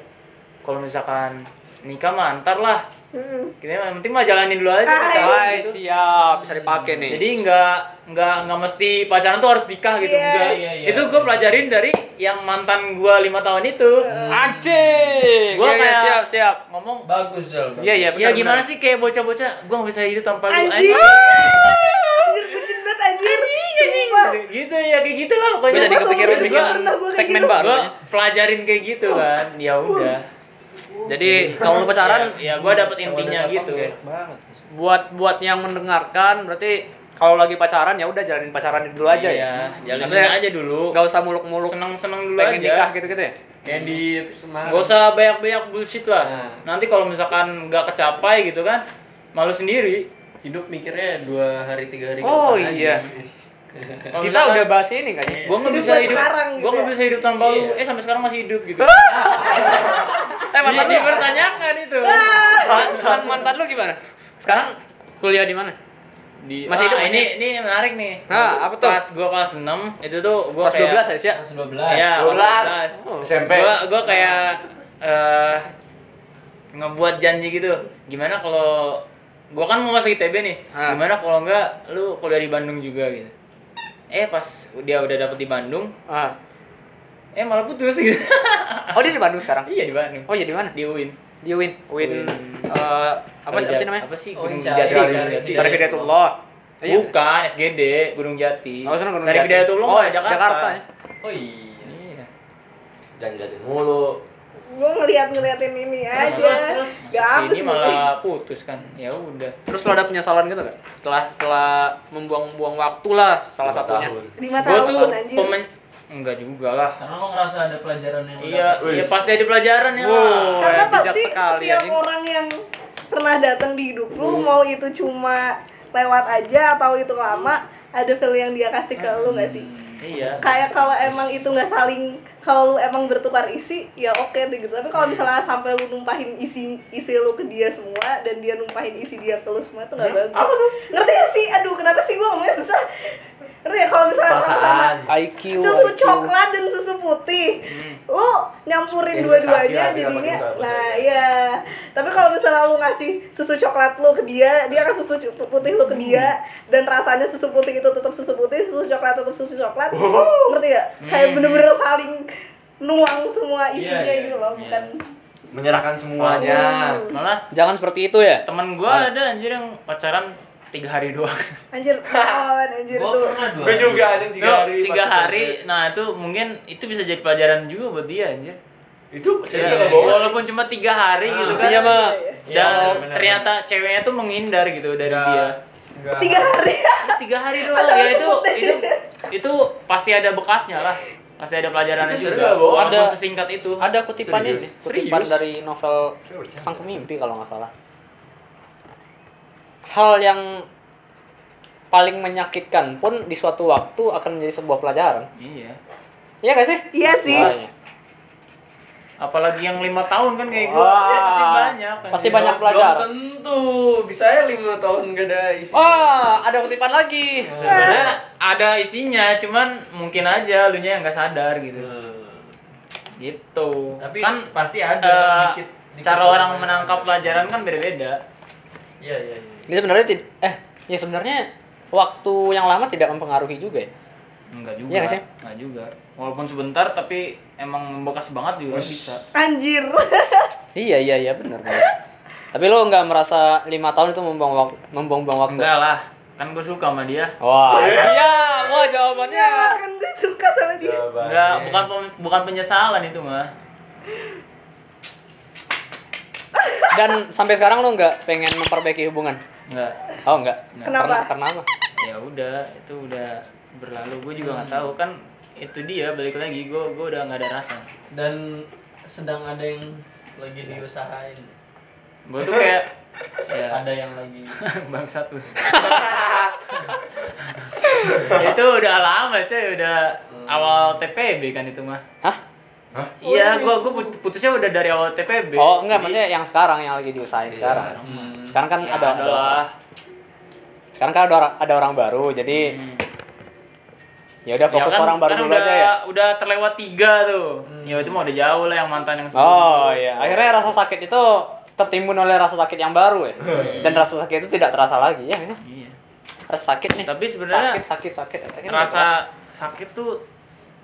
S3: Kalau misalkan nikah mah antar lah.
S5: Hmm.
S3: Kita yang penting mah jalanin dulu
S4: Ah,
S3: aja pacaran
S4: iya
S1: Hai,
S3: gitu.
S1: siap, bisa dipakai nih.
S3: Jadi nggak nggak nggak mesti pacaran tuh harus nikah gitu
S5: Iya.
S3: enggak.
S4: Iya, iya.
S3: Itu gua pelajarin dari yang mantan gua lima tahun itu.
S1: anjing.
S3: Gua
S1: Gua
S3: kayak-
S1: siap, siap.
S3: Ngomong
S4: bagus jol
S1: Iya, iya, benar,
S3: Ya gimana
S1: benar.
S3: sih kayak bocah-bocah gua gak bisa hidup tanpa lu
S5: Anjir.
S3: anjing.
S5: Anjir bucin banget anjir. Sumpah.
S3: Gitu ya kayak gitu lah pokoknya.
S1: Gua jadi
S5: Sumpah,
S1: kepikiran
S5: sumpah,
S1: bikin
S5: iya. juga pernah gua kayak
S1: segmen
S5: gitu.
S1: baru.
S3: Gua
S1: ya.
S3: pelajarin kayak gitu kan. Ya udah.
S1: Jadi
S3: Hmm.
S1: kalau lu pacaran
S3: ya, ya gua dapet intinya gitu.
S4: ya. banget
S1: buat buat yang mendengarkan berarti kalau lagi pacaran ya udah jalanin pacaran dulu aja
S3: Iya,
S1: ya.
S3: jalanin
S1: Maksudnya
S3: aja dulu.
S1: Nggak usah muluk-muluk
S3: Seneng-seneng dulu
S1: pengen
S3: aja.
S1: nikah gitu-gitu ya.
S4: kayak di semangat
S3: Gak usah banyak-banyak bullshit lah.
S4: Nah.
S3: Nanti kalau misalkan nggak kecapai gitu kan, malu sendiri.
S4: hidup mikirnya dua hari tiga hari ke
S1: Oh,
S4: depan
S1: iya.
S4: aja.
S3: Kalau
S1: Kita
S3: misalkan, Iya.
S1: udah bahas ini kan ya.
S3: gua nggak
S5: Hidup
S3: bisa
S5: buat
S3: hidup.
S5: sekarang
S3: gua
S5: gitu
S3: nggak
S5: ya.
S3: bisa hidup tanpa lu.
S4: Iya.
S3: Eh sampai sekarang masih hidup gitu.
S1: Eh
S3: Jadi
S1: mantan lu
S3: dipertanyakan itu.
S5: Ah.
S1: mantan, mantan lu gimana? Sekarang kuliah di mana?
S3: di
S1: Masih
S3: masih
S1: hidup,
S3: Ah, ini ini menarik nih
S1: Nah, apa tuh?
S3: pas gua kelas 6 itu tuh gua
S1: Kelas
S3: kayak
S1: 12 ya, Sia?
S4: Terus dua belas
S3: iya kelas 12
S1: Oh.
S2: SMP.
S3: gua gua kayak eh ngebuat janji gitu gimana kalau gua kan mau masuk ITB nih
S1: Ah.
S3: gimana kalau enggak lu kuliah di Bandung juga gitu eh pas dia udah dapet di Bandung
S1: Ah.
S3: eh malah putus gitu
S1: Oh, dia di Bandung sekarang.
S3: iya di Bandung
S1: Oh, iya di mana?
S3: di UIN
S1: Di Win. Win
S3: Win.
S1: eh, apa sih apa sih namanya? iya.
S3: apa sih
S4: Oh,
S3: Gunung
S4: Inca-
S3: Jati
S4: Syarif-
S3: Gunung Jati.
S4: Syarif-
S1: Sarifidayatullah. Iya.
S3: bukan SGD Gunung Jati
S1: Oh, sana Gunung
S3: Syarif
S1: Jati.
S3: Hidayatullah
S1: Oh,
S3: nggak Jakarta,
S1: Jakarta ya.
S4: oh iya
S3: Iya.
S2: Jangan diliatin mulu.
S5: Gue ngeliat-ngeliatin ini aja.
S4: terus, terus.
S5: Gak
S3: Masuk
S5: habis
S3: sini
S5: nih.
S3: malah putus kan ya udah
S1: Terus lo ada penyesalan gitu gak? Setelah setelah membuang-buang waktu lah salah
S2: Lima
S1: satunya.
S2: tahun.
S5: Lima
S3: gue tuh
S5: tahun kan, anjir.
S3: pemen enggak juga lah
S4: karena lo ngerasa ada pelajaran yang lo
S3: iya
S2: Wih.
S3: iya pasti ada pelajaran ya
S1: Wow.
S3: lah
S5: Karena
S1: Wah, bijak
S5: pasti
S1: sekali,
S5: setiap
S1: anjing.
S5: orang yang pernah datang di hidup lu mau itu cuma lewat aja atau itu lama ada value yang dia kasih ke lu gak sih?
S1: Hmm.
S3: iya
S5: Kayak kalau emang itu nggak saling kalau lu emang bertukar isi ya oke deh gitu. Tapi
S1: Hmm.
S5: kalau misalnya sampai lu numpahin isi isi lu ke dia semua dan dia numpahin isi dia ke lu semua itu nggak bagus. Ngerti gak sih? Aduh, kenapa sih gua ngomongnya susah? Ngerti ya kalau misalnya
S1: IQ
S5: susu
S1: IQ.
S5: coklat dan susu putih lu nyampurin
S2: Ya, investasi
S5: dua-duanya
S2: lah, tapi
S5: jadinya
S2: nggak bagus,
S5: nah
S2: nggak
S5: iya tapi kalau misalnya lu ngasih susu coklat lu ke dia dia akan susu cu- putih lu ke dia dan rasanya susu putih itu tetap susu putih susu coklat tetap susu coklat ngerti gak? kayak bener-bener saling nuang semua isinya
S3: Iya, iya,
S5: gitu loh
S3: iya.
S5: bukan
S2: menyerahkan semuanya
S3: malah
S1: Jangan seperti itu ya.
S3: teman
S8: Kan.
S3: gua ada anjir yang pacaran tiga hari doang
S5: anjir kawan anjir
S4: Gua
S5: tuh
S4: pernah dua.
S8: Gue juga anjing tiga
S3: Bro,
S8: hari.
S3: tiga
S8: pas
S3: hari
S8: SMP.
S3: nah itu mungkin itu bisa jadi pelajaran juga buat dia anjir
S8: Itu serius apa
S3: Iya,
S8: bohong?
S3: walaupun cuma tiga hari
S8: Ah.
S3: gitu
S8: Iya,
S3: kan
S1: Intinya mah
S3: dan
S4: bener-bener.
S3: ternyata ceweknya tuh menghindar gitu dari
S8: Iya.
S4: Nggak-
S3: dia
S4: nggak-
S5: tiga hari
S3: Itu tiga hari doang
S5: Pacaran
S3: ya itu
S5: sebutin.
S3: itu itu pasti ada bekasnya lah pasti ada pelajarannya
S8: Itu serius
S3: juga
S8: nggak bohong?
S3: walaupun
S1: Ada-
S3: sesingkat itu
S1: Ada kutipannya
S8: Serius?
S1: nih, kutipan
S3: Serius?
S1: dari novel
S8: Saya bercanda.
S1: Sang Pemimpi kalau nggak salah. Hal yang paling menyakitkan pun di suatu waktu akan menjadi sebuah pelajaran.
S3: iya
S1: Iya gak sih?
S5: iya sih
S1: Makanya.
S3: apalagi yang lima tahun kan kayak gua
S1: Wah.
S3: pasti banyak kan.
S1: Pasti banyak pelajaran.
S4: Belum tentu bisa ya lima tahun gak ada isi.
S3: Oh.
S1: Wah, ada kutipan lagi.
S3: sebenarnya ada isinya cuman mungkin aja lu nya yang nggak sadar gitu gitu
S4: Iya. Eh, Tapi
S3: kan
S4: pasti ada
S3: eh,
S4: dikit- dikit
S3: cara
S4: orang
S3: orang
S4: yang-
S3: menangkap pelajaran kan beda-beda
S4: Iya iya iya.
S1: Ini sebenarnya tid- eh ya sebenarnya waktu yang lama tidak mempengaruhi juga ya.
S3: enggak juga
S1: Iya nggak sih?
S3: enggak juga walaupun sebentar tapi emang membekas banget juga kan bisa
S5: anjir
S1: Iya iya iya benar. Tapi lo nggak merasa lima tahun itu membuang waktu, membuang-buang waktu?
S3: enggak lah kan gue suka sama dia
S1: Wah,
S3: Iya.
S1: siap. Wah, jawabannya.
S5: kan gue suka sama dia
S2: Jawabannya.
S3: enggak bukan pem- bukan penyesalan itu mah
S1: Dan sampai sekarang lo nggak pengen memperbaiki hubungan?
S3: enggak
S1: Oh, nggak.
S5: Kenapa?
S1: Karena, karena apa?
S3: ya udah itu udah berlalu gue juga nggak tahu kan itu dia balik lagi gue gue udah nggak ada rasa
S4: Dan sedang ada yang lagi
S3: Iya.
S4: diusahain.
S3: gue tuh kayak ya
S4: Ada yang lagi
S3: bangsat lu itu udah lama cuy udah
S1: Hmm.
S3: awal TPB kan itu mah
S1: Hah?
S3: iya gua gua put- putusnya udah dari awal TPB
S1: Oh, enggak,
S3: Jadi,
S1: maksudnya yang sekarang yang lagi diusahain sekarang. Sekarang kan
S3: Iya. ya,
S1: ada, ada
S3: adalah
S1: Sekarang kan ada orang, ada orang baru, jadi ya udah fokus
S3: Hmm. kan-
S1: orang baru
S3: kan
S1: dulu
S3: udah,
S1: aja ya.
S3: udah terlewat tiga tuh ya itu mah udah jauh lah yang mantan yang
S1: Oh iya, akhirnya rasa sakit itu tertimbun oleh rasa sakit yang baru ya. Dan rasa sakit itu tidak terasa lagi ya. nggak sih?
S3: iya.
S1: Rasa sakit nih.
S3: Tapi sebenarnya
S1: sakit sakit sakit. akhirnya nggak terasa.
S3: rasa sakit tuh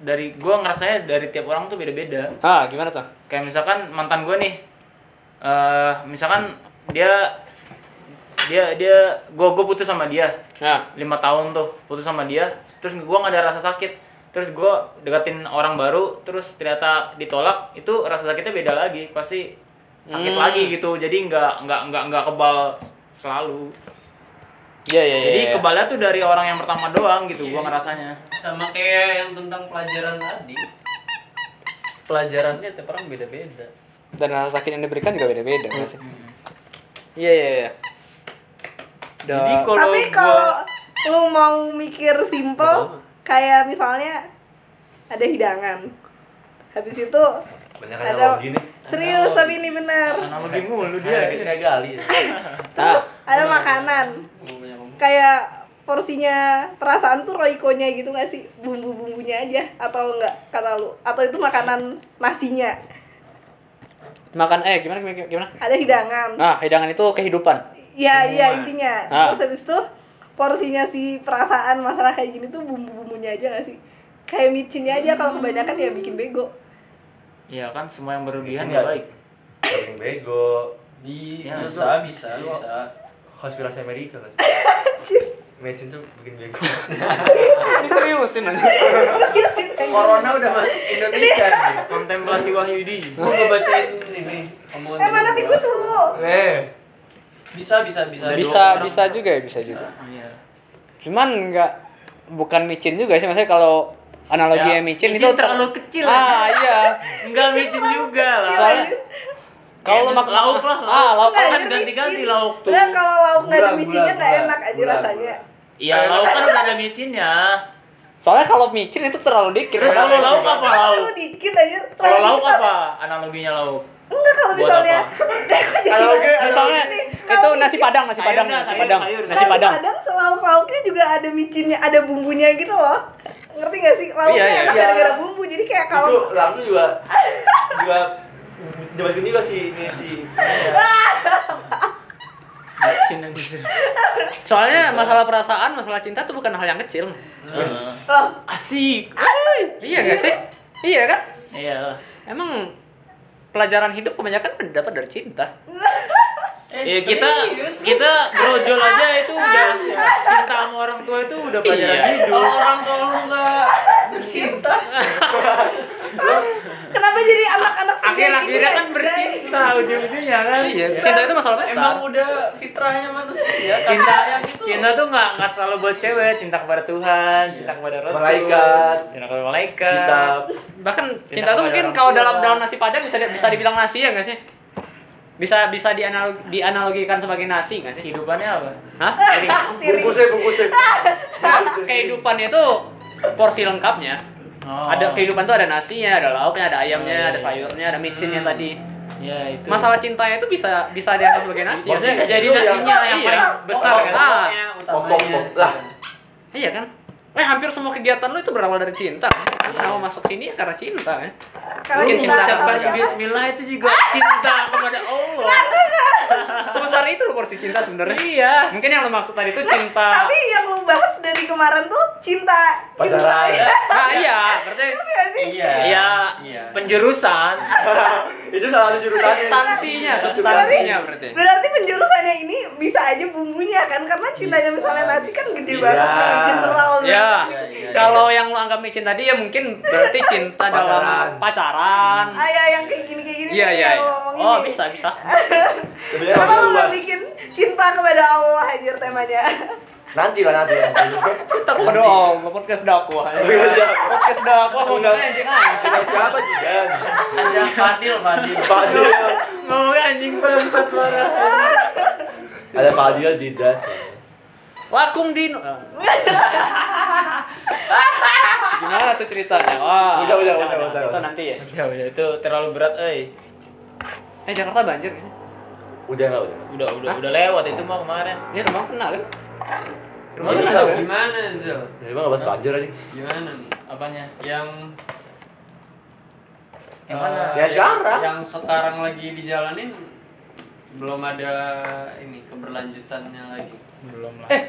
S3: dari gua ngerasanya dari tiap orang tuh beda-beda
S1: Ah, gimana tuh?
S3: kayak misalkan mantan gue nih eh misalkan dia dia dia gue gue putus sama dia
S1: Nah,
S3: lima tahun tuh putus sama dia terus gue nggak ada rasa sakit terus gue deketin orang baru terus ternyata ditolak itu rasa sakitnya beda lagi pasti sakit
S1: Hmm.
S3: lagi gitu jadi nggak nggak nggak nggak kebal selalu
S1: iya iya iya.
S3: jadi
S1: iya.
S3: kebalnya tuh dari orang yang pertama doang gitu gue ngerasanya
S4: sama kayak yang tentang pelajaran tadi. Pelajarannya tiap orang beda-beda.
S1: dan rasa sakit yang diberikan juga beda-beda nggak sih? Iya iya iya.
S3: jadi kalau
S5: tapi
S3: gua-
S5: kalau lu mau mikir simple kayak misalnya ada hidangan habis itu
S2: banyak
S5: Ada-
S2: analogi nih
S5: serius tapi ini benar
S3: analogi mulu
S2: kayak
S3: dia
S2: kayak gali ya.
S3: Iya,
S5: terus ada makanan kayak porsinya perasaan tuh roikonya gitu gak sih bumbu-bumbunya aja atau enggak kata lu atau itu makanan nasinya
S1: Makan eh gimana gimana gimana?
S5: ada hidangan
S1: Nah, hidangan itu kehidupan.
S5: ya ya intinya
S1: Ah.
S5: terus habis itu porsinya si perasaan masalah kayak gini tuh bumbu-bumbunya aja gak sih kayak micinnya aja kalau kebanyakan ya bikin bego
S3: ya kan semua yang berlebihan
S2: Mungkin
S3: ya
S2: nggak-
S3: baik
S2: Paling bego
S4: Di
S3: Ya,
S4: bisa, bisa,
S2: Iya.
S4: bisa.
S2: konspirasi Amerika kan Mecin tuh bikin bego
S1: Ini seriusin aja.
S5: Iya
S4: Corona udah masuk Indonesia nih.
S3: kontemplasi Wahyudi
S4: Gue ngebacain ini nih omongan.
S5: eh mana
S4: temen gua.
S5: tikus lu
S2: nih
S4: Bisa, bisa, bisa.
S1: Bisa bisa juga ya bisa juga.
S3: iya
S1: Cuman nggak bukan micin juga sih maksudnya kalau analogi
S3: Ya,
S1: yang micin, itu
S3: micin
S1: ter-
S3: terlalu kecil. ya.
S1: Ah iya.
S3: Enggak micin juga lah.
S1: Soalnya kalau lo
S3: Kayak
S1: makan
S3: lauk lah,
S1: Ah, lauk
S5: Enggak,
S1: kan
S5: jadi
S3: ganti-ganti
S5: micin.
S3: lauk tuh.
S5: Enggak, kalau lauk nggak ada
S2: Gula,
S5: micinnya
S2: gula,
S5: nggak
S2: gula,
S5: enak aja
S2: gula,
S5: rasanya.
S3: Iya, lauk kan udah ada micinnya.
S1: Soalnya kalau micin itu terlalu dikit.
S3: Terus
S1: padahal-
S3: kalau lauk apa
S5: Masa
S3: lauk?
S5: lu dikit aja.
S3: Kalau
S5: terakhir
S3: lauk
S5: kita-
S3: apa analoginya lauk?
S5: Enggak kalau
S3: Buat
S5: misalnya.
S2: kalau
S5: Iya.
S2: oke
S1: Misalnya
S5: Ini,
S1: itu
S5: kalau
S1: nasi
S5: micin-
S1: padang, nasi
S3: Sayur
S1: padang,
S3: dah,
S1: nasi
S3: sayur,
S1: padang,
S3: sayur.
S1: nasi padang.
S5: Kadang selauk lauknya juga ada micinnya, ada bumbunya gitu loh.
S7: ngerti gak sih lauknya
S1: Iya, iya,
S7: enak
S2: iya.
S7: gara-gara bumbu jadi kayak kalau
S2: itu lalu juga juga jebakin juga sih ini ya. si
S3: Action yang gitu.
S1: Soalnya masalah perasaan, masalah cinta tuh bukan hal yang kecil.
S7: loh
S1: Asik. Iya gak sih? Iya kan?
S3: Iya lah.
S1: Emang pelajaran hidup kebanyakan dapat dari cinta.
S4: Eh,
S3: Ya kita kita brojol aja itu udah cinta sama orang tua itu udah pelajaran
S1: Iya.
S3: hidup.
S4: Kalau orang tua lu nggak cinta,
S7: kenapa jadi anak-anak sendiri
S3: Akhir-akhirnya kan
S5: Iya,
S3: bercinta ujung-ujungnya kan.
S1: Iya, cinta itu masalah besar.
S4: emang udah fitrahnya manusia. kan?
S3: Cinta
S4: Kasih sayang itu
S3: cinta tuh nggak nggak selalu buat cewek, cinta kepada Tuhan, cinta kepada Rasul,
S2: Malaikat.
S3: cinta kepada malaikat.
S2: kitab
S1: bahkan
S3: Cinta
S1: cinta, tuh
S3: kepada
S1: mungkin
S3: orang
S1: kalau
S3: tua.
S1: dalam dalam nasi padang bisa di- bisa dibilang nasi ya nggak sih? Bisa bisa dianal, dianalogikan sebagai nasi nggak sih?
S3: Kehidupannya apa?
S1: Hah?
S3: Piring.
S2: bungkusnya bungkusnya
S1: Kehidupan itu porsi lengkapnya.
S3: Oh.
S1: Ada kehidupan tuh ada nasinya, ada lauknya, ada
S3: Oh,
S1: ayamnya,
S3: iya,
S1: ada
S3: iya.
S1: sayurnya, ada micinnya
S3: Hmm.
S1: tadi.
S3: Ya itu.
S1: Masalah cintanya itu bisa bisa dianggap sebagai Iya, nasi. ya
S3: Maksudnya bisa jadi
S2: Itu
S3: nasinya yang
S1: Iya.
S3: paling besar kan.
S1: Ah,
S2: pokok pokok lah
S1: Iya kan? Eh hampir semua kegiatan lu itu berawal dari cinta. Lu Kenapa masuk sini ya karena cinta kan?
S7: Karena
S1: Mungkin
S7: cinta
S1: mengucapkan
S7: sama
S1: diri
S7: siapa?
S3: Bismillah itu juga cinta kepada Allah.
S1: Sebesar itu lo porsi cinta sebenarnya. Iya. Mungkin yang lo maksud tadi itu cinta.
S7: tapi yang lu bahas dari kemarin tuh cinta
S2: pacaran
S1: Nah, iya, berarti
S3: Iya.
S1: Iya.
S3: Iya. Penjurusan.
S2: itu salah satu jurusannya
S1: substansinya, substansinya berarti.
S7: berarti penjurusannya ini bisa aja bumbunya kan karena cintanya misalnya nasi kan gede
S2: Bisa.
S7: banget nih general gitu.
S1: Ya,
S4: iya.
S1: kalau yang lo anggap micin tadi ya mungkin berarti cinta dalam
S2: Pacaran.
S1: pacaran.
S7: ayah yang kayak gini kayak gini
S1: Iya,
S7: nih
S1: iya.
S7: yang
S1: iya.
S7: lo ngomongin
S1: Oh,
S7: nih.
S1: bisa, bisa.
S2: Sebenarnya
S7: kenapa lu nggak
S2: luas.
S7: bikin cinta kepada Allah aja temanya
S2: nanti lah nanti nanti
S1: Kita kok dong, podcast dakwah. Podcast dakwah
S2: Undang-
S1: ngomongnya anjing anjing.
S2: Kita siapa juga
S3: Ada Fadil, Fadil.
S2: Fadil
S1: Ngomongnya anjing bangsat parah.
S2: ada Fadil Jidat
S1: Wakum Dino. Gimana tuh ceritanya? Wah.
S2: Udah,
S1: Jangan,
S2: udah, udah,
S1: jangan.
S2: udah.
S1: Itu nanti ya.
S3: Ya udah itu terlalu berat, eh.
S1: Eh Jakarta banjir kan?
S2: udah nggak udah
S3: Udah udah udah lewat itu mah kemarin.
S1: Ini rumah kena kan? Rumah
S2: Iya,
S4: Jadi,
S3: Iya,
S1: kena
S4: Zal,
S1: kan?
S4: gimana Zal?
S2: Ya, emang nggak bahas banjir aja
S4: Gimana nih?
S3: Apanya?
S4: Yang
S3: Yang mana?
S4: eh,
S2: Ya, sekarang.
S4: Yang sekarang lagi dijalanin belum ada ini keberlanjutannya lagi.
S3: Belum lah.
S1: Eh,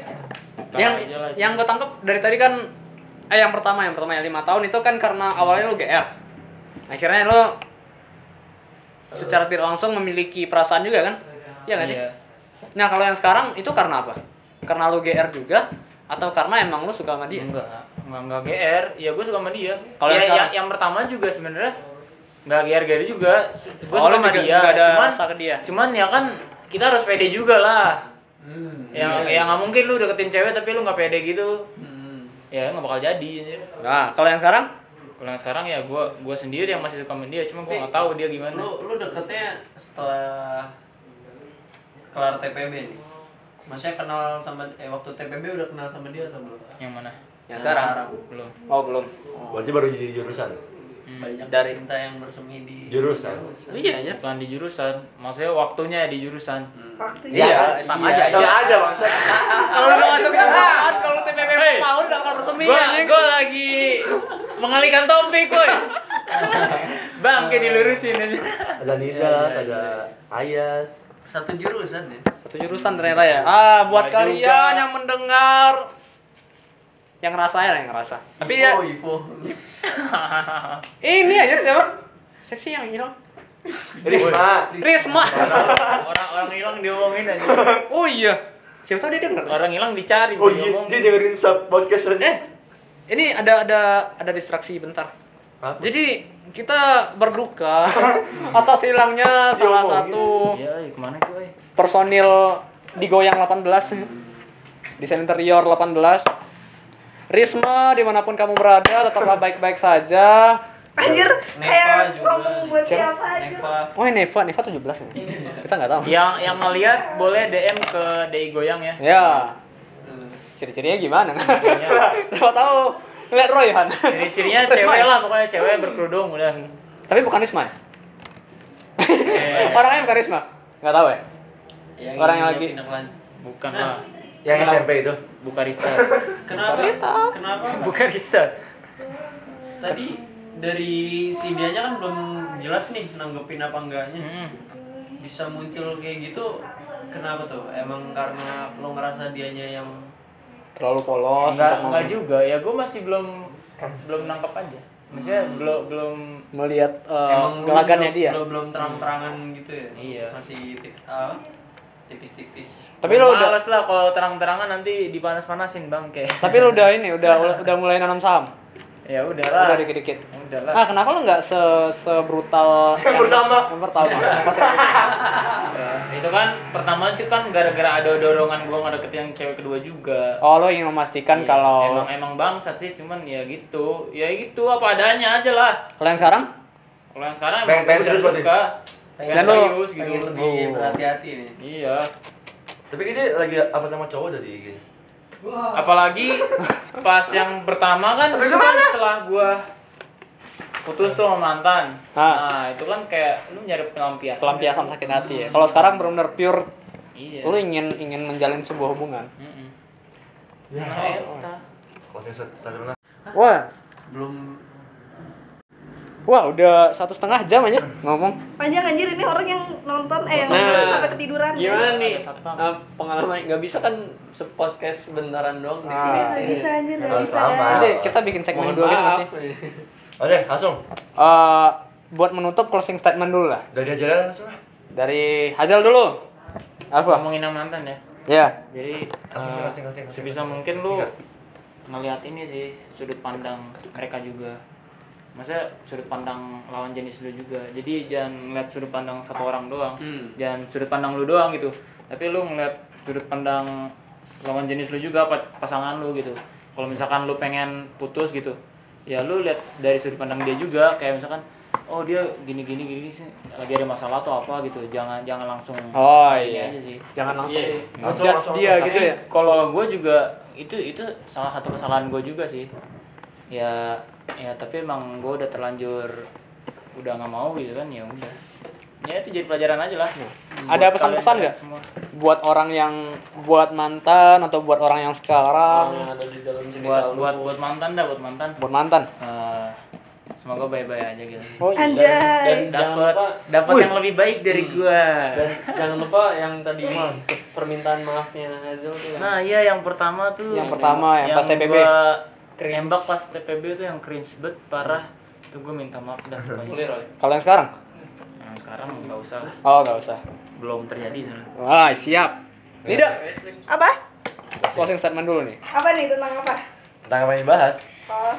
S3: Ntar
S1: Yang
S3: aja lah.
S1: yang gue tangkap dari tadi kan eh yang pertama yang pertama yang lima tahun itu kan karena awalnya lu GR. Akhirnya lu secara tidak langsung memiliki perasaan juga kan? Iya nggak sih?
S3: Iya.
S1: Nah kalau yang sekarang itu karena apa? Karena lu GR juga atau karena emang lu suka sama dia?
S3: Enggak, enggak enggak GR. Ya gue suka sama dia.
S1: Iya. Kalau
S3: ya,
S1: yang
S3: yang,
S1: sekarang?
S3: yang pertama juga sebenarnya enggak GR GR juga. Gue
S1: Oh,
S3: suka
S1: lu
S3: sama
S1: juga-
S3: dia.
S1: juga ada
S3: Cuman
S1: rasa ke dia.
S3: cuman ya kan kita harus pede juga lah.
S4: Hmm.
S3: Ya ya nggak mungkin lu deketin cewek tapi lu nggak pede gitu.
S4: Hmm.
S3: Ya nggak bakal jadi. anjir.
S1: Nah, kalau yang sekarang
S3: Kalau yang sekarang ya gue gue sendiri yang masih suka sama dia, cuma gue nggak tahu dia gimana.
S4: Lu lu deketnya setelah kelar TPB nih. Maksudnya kenal sama eh waktu TPB udah kenal sama dia atau belum?
S3: Yang mana?
S1: yang sekarang.
S3: Belum. Hmm.
S1: Oh, belum.
S2: berarti baru jadi jurusan
S4: Banyak
S1: Dari-
S4: cinta yang bersemi di
S2: Jurusan.
S1: Iya, iya.
S3: Bukan di jurusan, maksudnya waktunya di jurusan.
S7: waktunya
S1: Iya,
S2: kan?
S1: sama aja.
S2: sama aja bang
S1: Kalau udah masuk jurusan, kalau TPP hey. tahun udah kelar resmi
S3: Gua,
S1: ya.
S3: gua lagi mengalihkan topik, woi. Bang, kayak dilurusin aja.
S2: ada
S1: Iya,
S2: Nida ada Ayas
S4: satu jurusan ya.
S1: Satu jurusan ternyata ya. Ah, buat
S3: Nggak
S1: kalian
S3: juga.
S1: yang mendengar yang ngerasa ya, yang ngerasa. Tapi ya
S4: Oh, Ivo.
S1: ini aja siapa? Seksi yang hilang.
S2: Risma
S1: Risma.
S3: Orang-orang hilang diomongin aja.
S1: Oh iya. Siapa tahu dia denger.
S3: Orang hilang dicari,
S2: oh
S3: bukan
S2: iya
S3: diomongin.
S2: dia dengerin sub podcast aja
S1: Eh, ini ada ada ada distraksi bentar.
S2: Apa?
S1: Jadi kita berduka atas hilangnya salah
S2: Diomongin.
S1: satu
S3: Iya, iya, kemana tuh, woi?
S1: personil digoyang 18 desain interior 18 Risma dimanapun kamu berada tetaplah baik-baik saja
S7: anjir
S4: Neva
S7: kayak
S4: juga.
S7: ngomong buat siapa aja
S4: Neva.
S1: oh ini Neva Neva 17 ya kita nggak tahu
S3: Yang yang ngelihat boleh DM ke DI Goyang ya.
S1: ya
S4: Hmm.
S1: ciri-cirinya gimana siapa tahu ngeliat Royhan
S3: Ciri-cirinya cewek lah, pokoknya cewek berkerudung udah.
S1: ya? tapi bukan Risma ya?
S3: Eh,
S1: orangnya bukan Risma nggak tahu ya Orang yang
S4: ini
S1: lagi-
S4: iya, tindak lanjut.
S3: bukan
S1: Nah.
S3: lah.
S2: yang SMP itu
S3: Bukarista.
S4: Kenapa? Kenapa?
S3: Bukarista.
S4: tadi dari si dianya kan belum jelas nih nanggepin apa enggaknya
S3: Hmm.
S4: bisa muncul kayak gitu kenapa tuh emang karena lo ngerasa dianya yang
S1: terlalu polos
S3: Enggak,
S1: untuk
S3: enggak
S1: mem-
S3: juga ya gue masih belum belum nangkep aja maksudnya
S1: Hmm.
S3: belum belum
S1: melihat eh,
S4: emang lu
S1: gelagatnya dia
S4: belum,
S1: Hmm.
S4: belum, belum terang-terangan gitu ya
S3: Iya.
S4: masih tip- apa? tipis-tipis
S1: tapi lo udah
S3: males lah kalau terang-terangan nanti dipanas-panasin bang kayak
S1: tapi lo udah ini udah udah mulai nanam saham
S3: ya udahlah
S1: udah dikit-dikit
S3: udahlah
S1: ah kenapa lo nggak se sebrutal yang pertama yang pertama Pas-
S3: Ya, itu kan pertama itu kan gara-gara ada dorongan gue ngedeketin cewek kedua juga
S1: oh lo ingin memastikan
S3: Iya,
S1: kalau
S3: emang emang bangsat sih cuman ya gitu ya gitu apa adanya aja lah
S1: kalian sekarang
S3: kalau yang sekarang
S2: Pengen- pengen
S3: gua udah
S2: serius berarti?
S3: suka pengen
S1: Dan lu-
S3: serius gitu
S4: pengen
S1: Oh.
S4: lebih berhati-hati nih
S3: iya
S6: Tapi ini lagi apa sama cowok tadi IG?
S3: apalagi pas yang pertama kan itu kan setelah gua putus tuh sama mantan
S1: Ah.
S3: nah itu kan kayak lu nyari pelampiasan
S1: pelampiasan Oh. sakit hati ya kalau sekarang benar-benar pure
S3: iya
S1: lo ingin ingin menjalin sebuah hubungan
S3: Mm-mm. Nah, eta.
S6: Kalau saya sadar benar.
S1: wah
S4: belum
S1: wah udah satu setengah jam aja ngomong
S5: panjang anjir ini orang yang nonton eh yang
S4: Nah.
S5: nonton sampai ketiduran
S1: Kan
S4: gimana nih
S3: Ada satpam.
S4: eh, pengalaman nggak bisa kan podcast bentaran dong di sini
S1: Ah.
S5: Gak bisa anjir gak
S6: Nggak
S5: bisa
S6: sama.
S1: Pasti kita bikin segmen
S4: Mohon
S1: dua gitu nggak sih?
S4: maaf
S6: Oke, langsung.
S1: Eh, buat menutup closing statement dulu lah.
S6: Dari ajaran langsung lah.
S1: Dari Hazal dulu. Apa?
S3: ngomongin yang mantan ya
S1: Ya.
S3: jadi
S6: Langsung,
S3: eh,
S6: langsung, langsung, langsung,
S3: sebisa
S6: langsung,
S3: mungkin lu ngelihat ini sih sudut pandang mereka juga masa sudut pandang lawan jenis lu juga jadi jangan ngeliat sudut pandang satu orang doang jangan sudut pandang lu doang gitu tapi lu ngeliat sudut pandang lawan jenis lu juga pa- pasangan lu gitu kalau misalkan lu pengen putus gitu ya lu lihat dari sudut pandang dia juga kayak misalkan oh dia gini gini gini sih lagi ada masalah atau apa gitu jangan jangan langsung
S1: Oh
S3: langsung ini
S1: iya.
S3: aja sih
S1: Jangan langsung
S3: Iya.
S1: ngejudge dia gitu ya.
S3: kalau gue juga itu itu salah satu kesalahan gue juga sih ya ya tapi emang gue udah terlanjur udah nggak mau gitu kan ya udah ya itu jadi pelajaran aja lah
S1: Iya. Ada pesan-pesan
S3: kalian-
S1: nggak?
S3: semua
S1: Buat orang yang buat mantan atau buat orang yang sekarang,
S4: yang ada di dalam cerita
S3: buat
S4: lu.
S3: buat buat mantan dah buat mantan
S1: buat mantan.
S3: Eh, semoga bye bye aja gitu
S1: Oh
S5: anjay
S4: dan jangan
S3: dapat
S4: lupa
S3: dapat yang lebih baik dari
S1: Hmm.
S3: gue
S4: dan jangan lupa yang tadi permintaan maafnya Hazel tuh ya. yang
S3: nah iya yang pertama tuh
S1: Yang pertama, yang pas TPB.
S3: gua tembak pas TPB itu yang cringe banget parah itu gue minta maaf dah pokoknya.
S4: clear Roy.
S1: Kalau yang sekarang?
S3: Nah, sekarang nggak usah lah.
S1: Oh, nggak usah.
S3: belum terjadi sebenarnya
S1: Wah, siap. Tidak.
S5: apa
S1: Closing statement dulu nih
S5: apa nih tentang apa
S6: Tentang apa yang dibahas?
S5: oh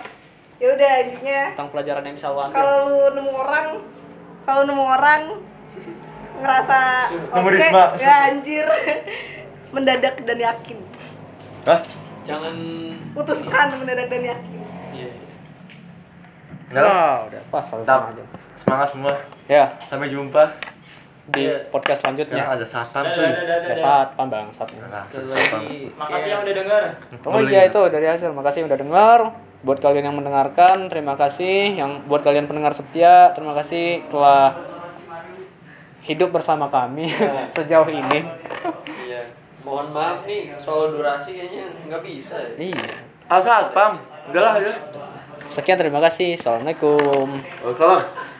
S5: ya udah intinya
S1: tentang pelajaran yang bisa lo ambil.
S5: kalau lu nemu orang kalau nemu orang ngerasa
S6: Nemu
S5: oke
S6: Risma.
S5: ya anjir mendadak dan yakin
S6: Hah?
S4: jangan
S5: putuskan mendadak dan yakin
S4: iya
S6: Kenapa?
S1: Wah, Ah, udah pas satu setengah jam.
S6: Semangat semua.
S1: Ya,
S6: Sampai jumpa.
S1: di podcast
S6: Ya,
S1: selanjutnya.
S6: ada satan cuy.
S1: Iya. Ada saat pambang saatnya.
S6: Nah,
S4: sekali
S6: satan.
S4: lagi Iya.
S3: Makasih
S4: kayak-
S3: yang udah dengar.
S1: Oh
S6: Boleh
S1: iya
S6: nggak?
S1: itu dari hasil. Makasih yang udah dengar. Buat kalian yang mendengarkan, terima kasih. Yang buat kalian pendengar setia, terima kasih telah hidup bersama kami sejauh ini.
S4: iya mohon maaf nih soal durasi kayaknya nggak bisa ya.
S1: Iya.
S2: Asal, pam. Udahlah, ya.
S1: Sekian terima kasih. Assalamualaikum.
S2: Waalaikumsalam.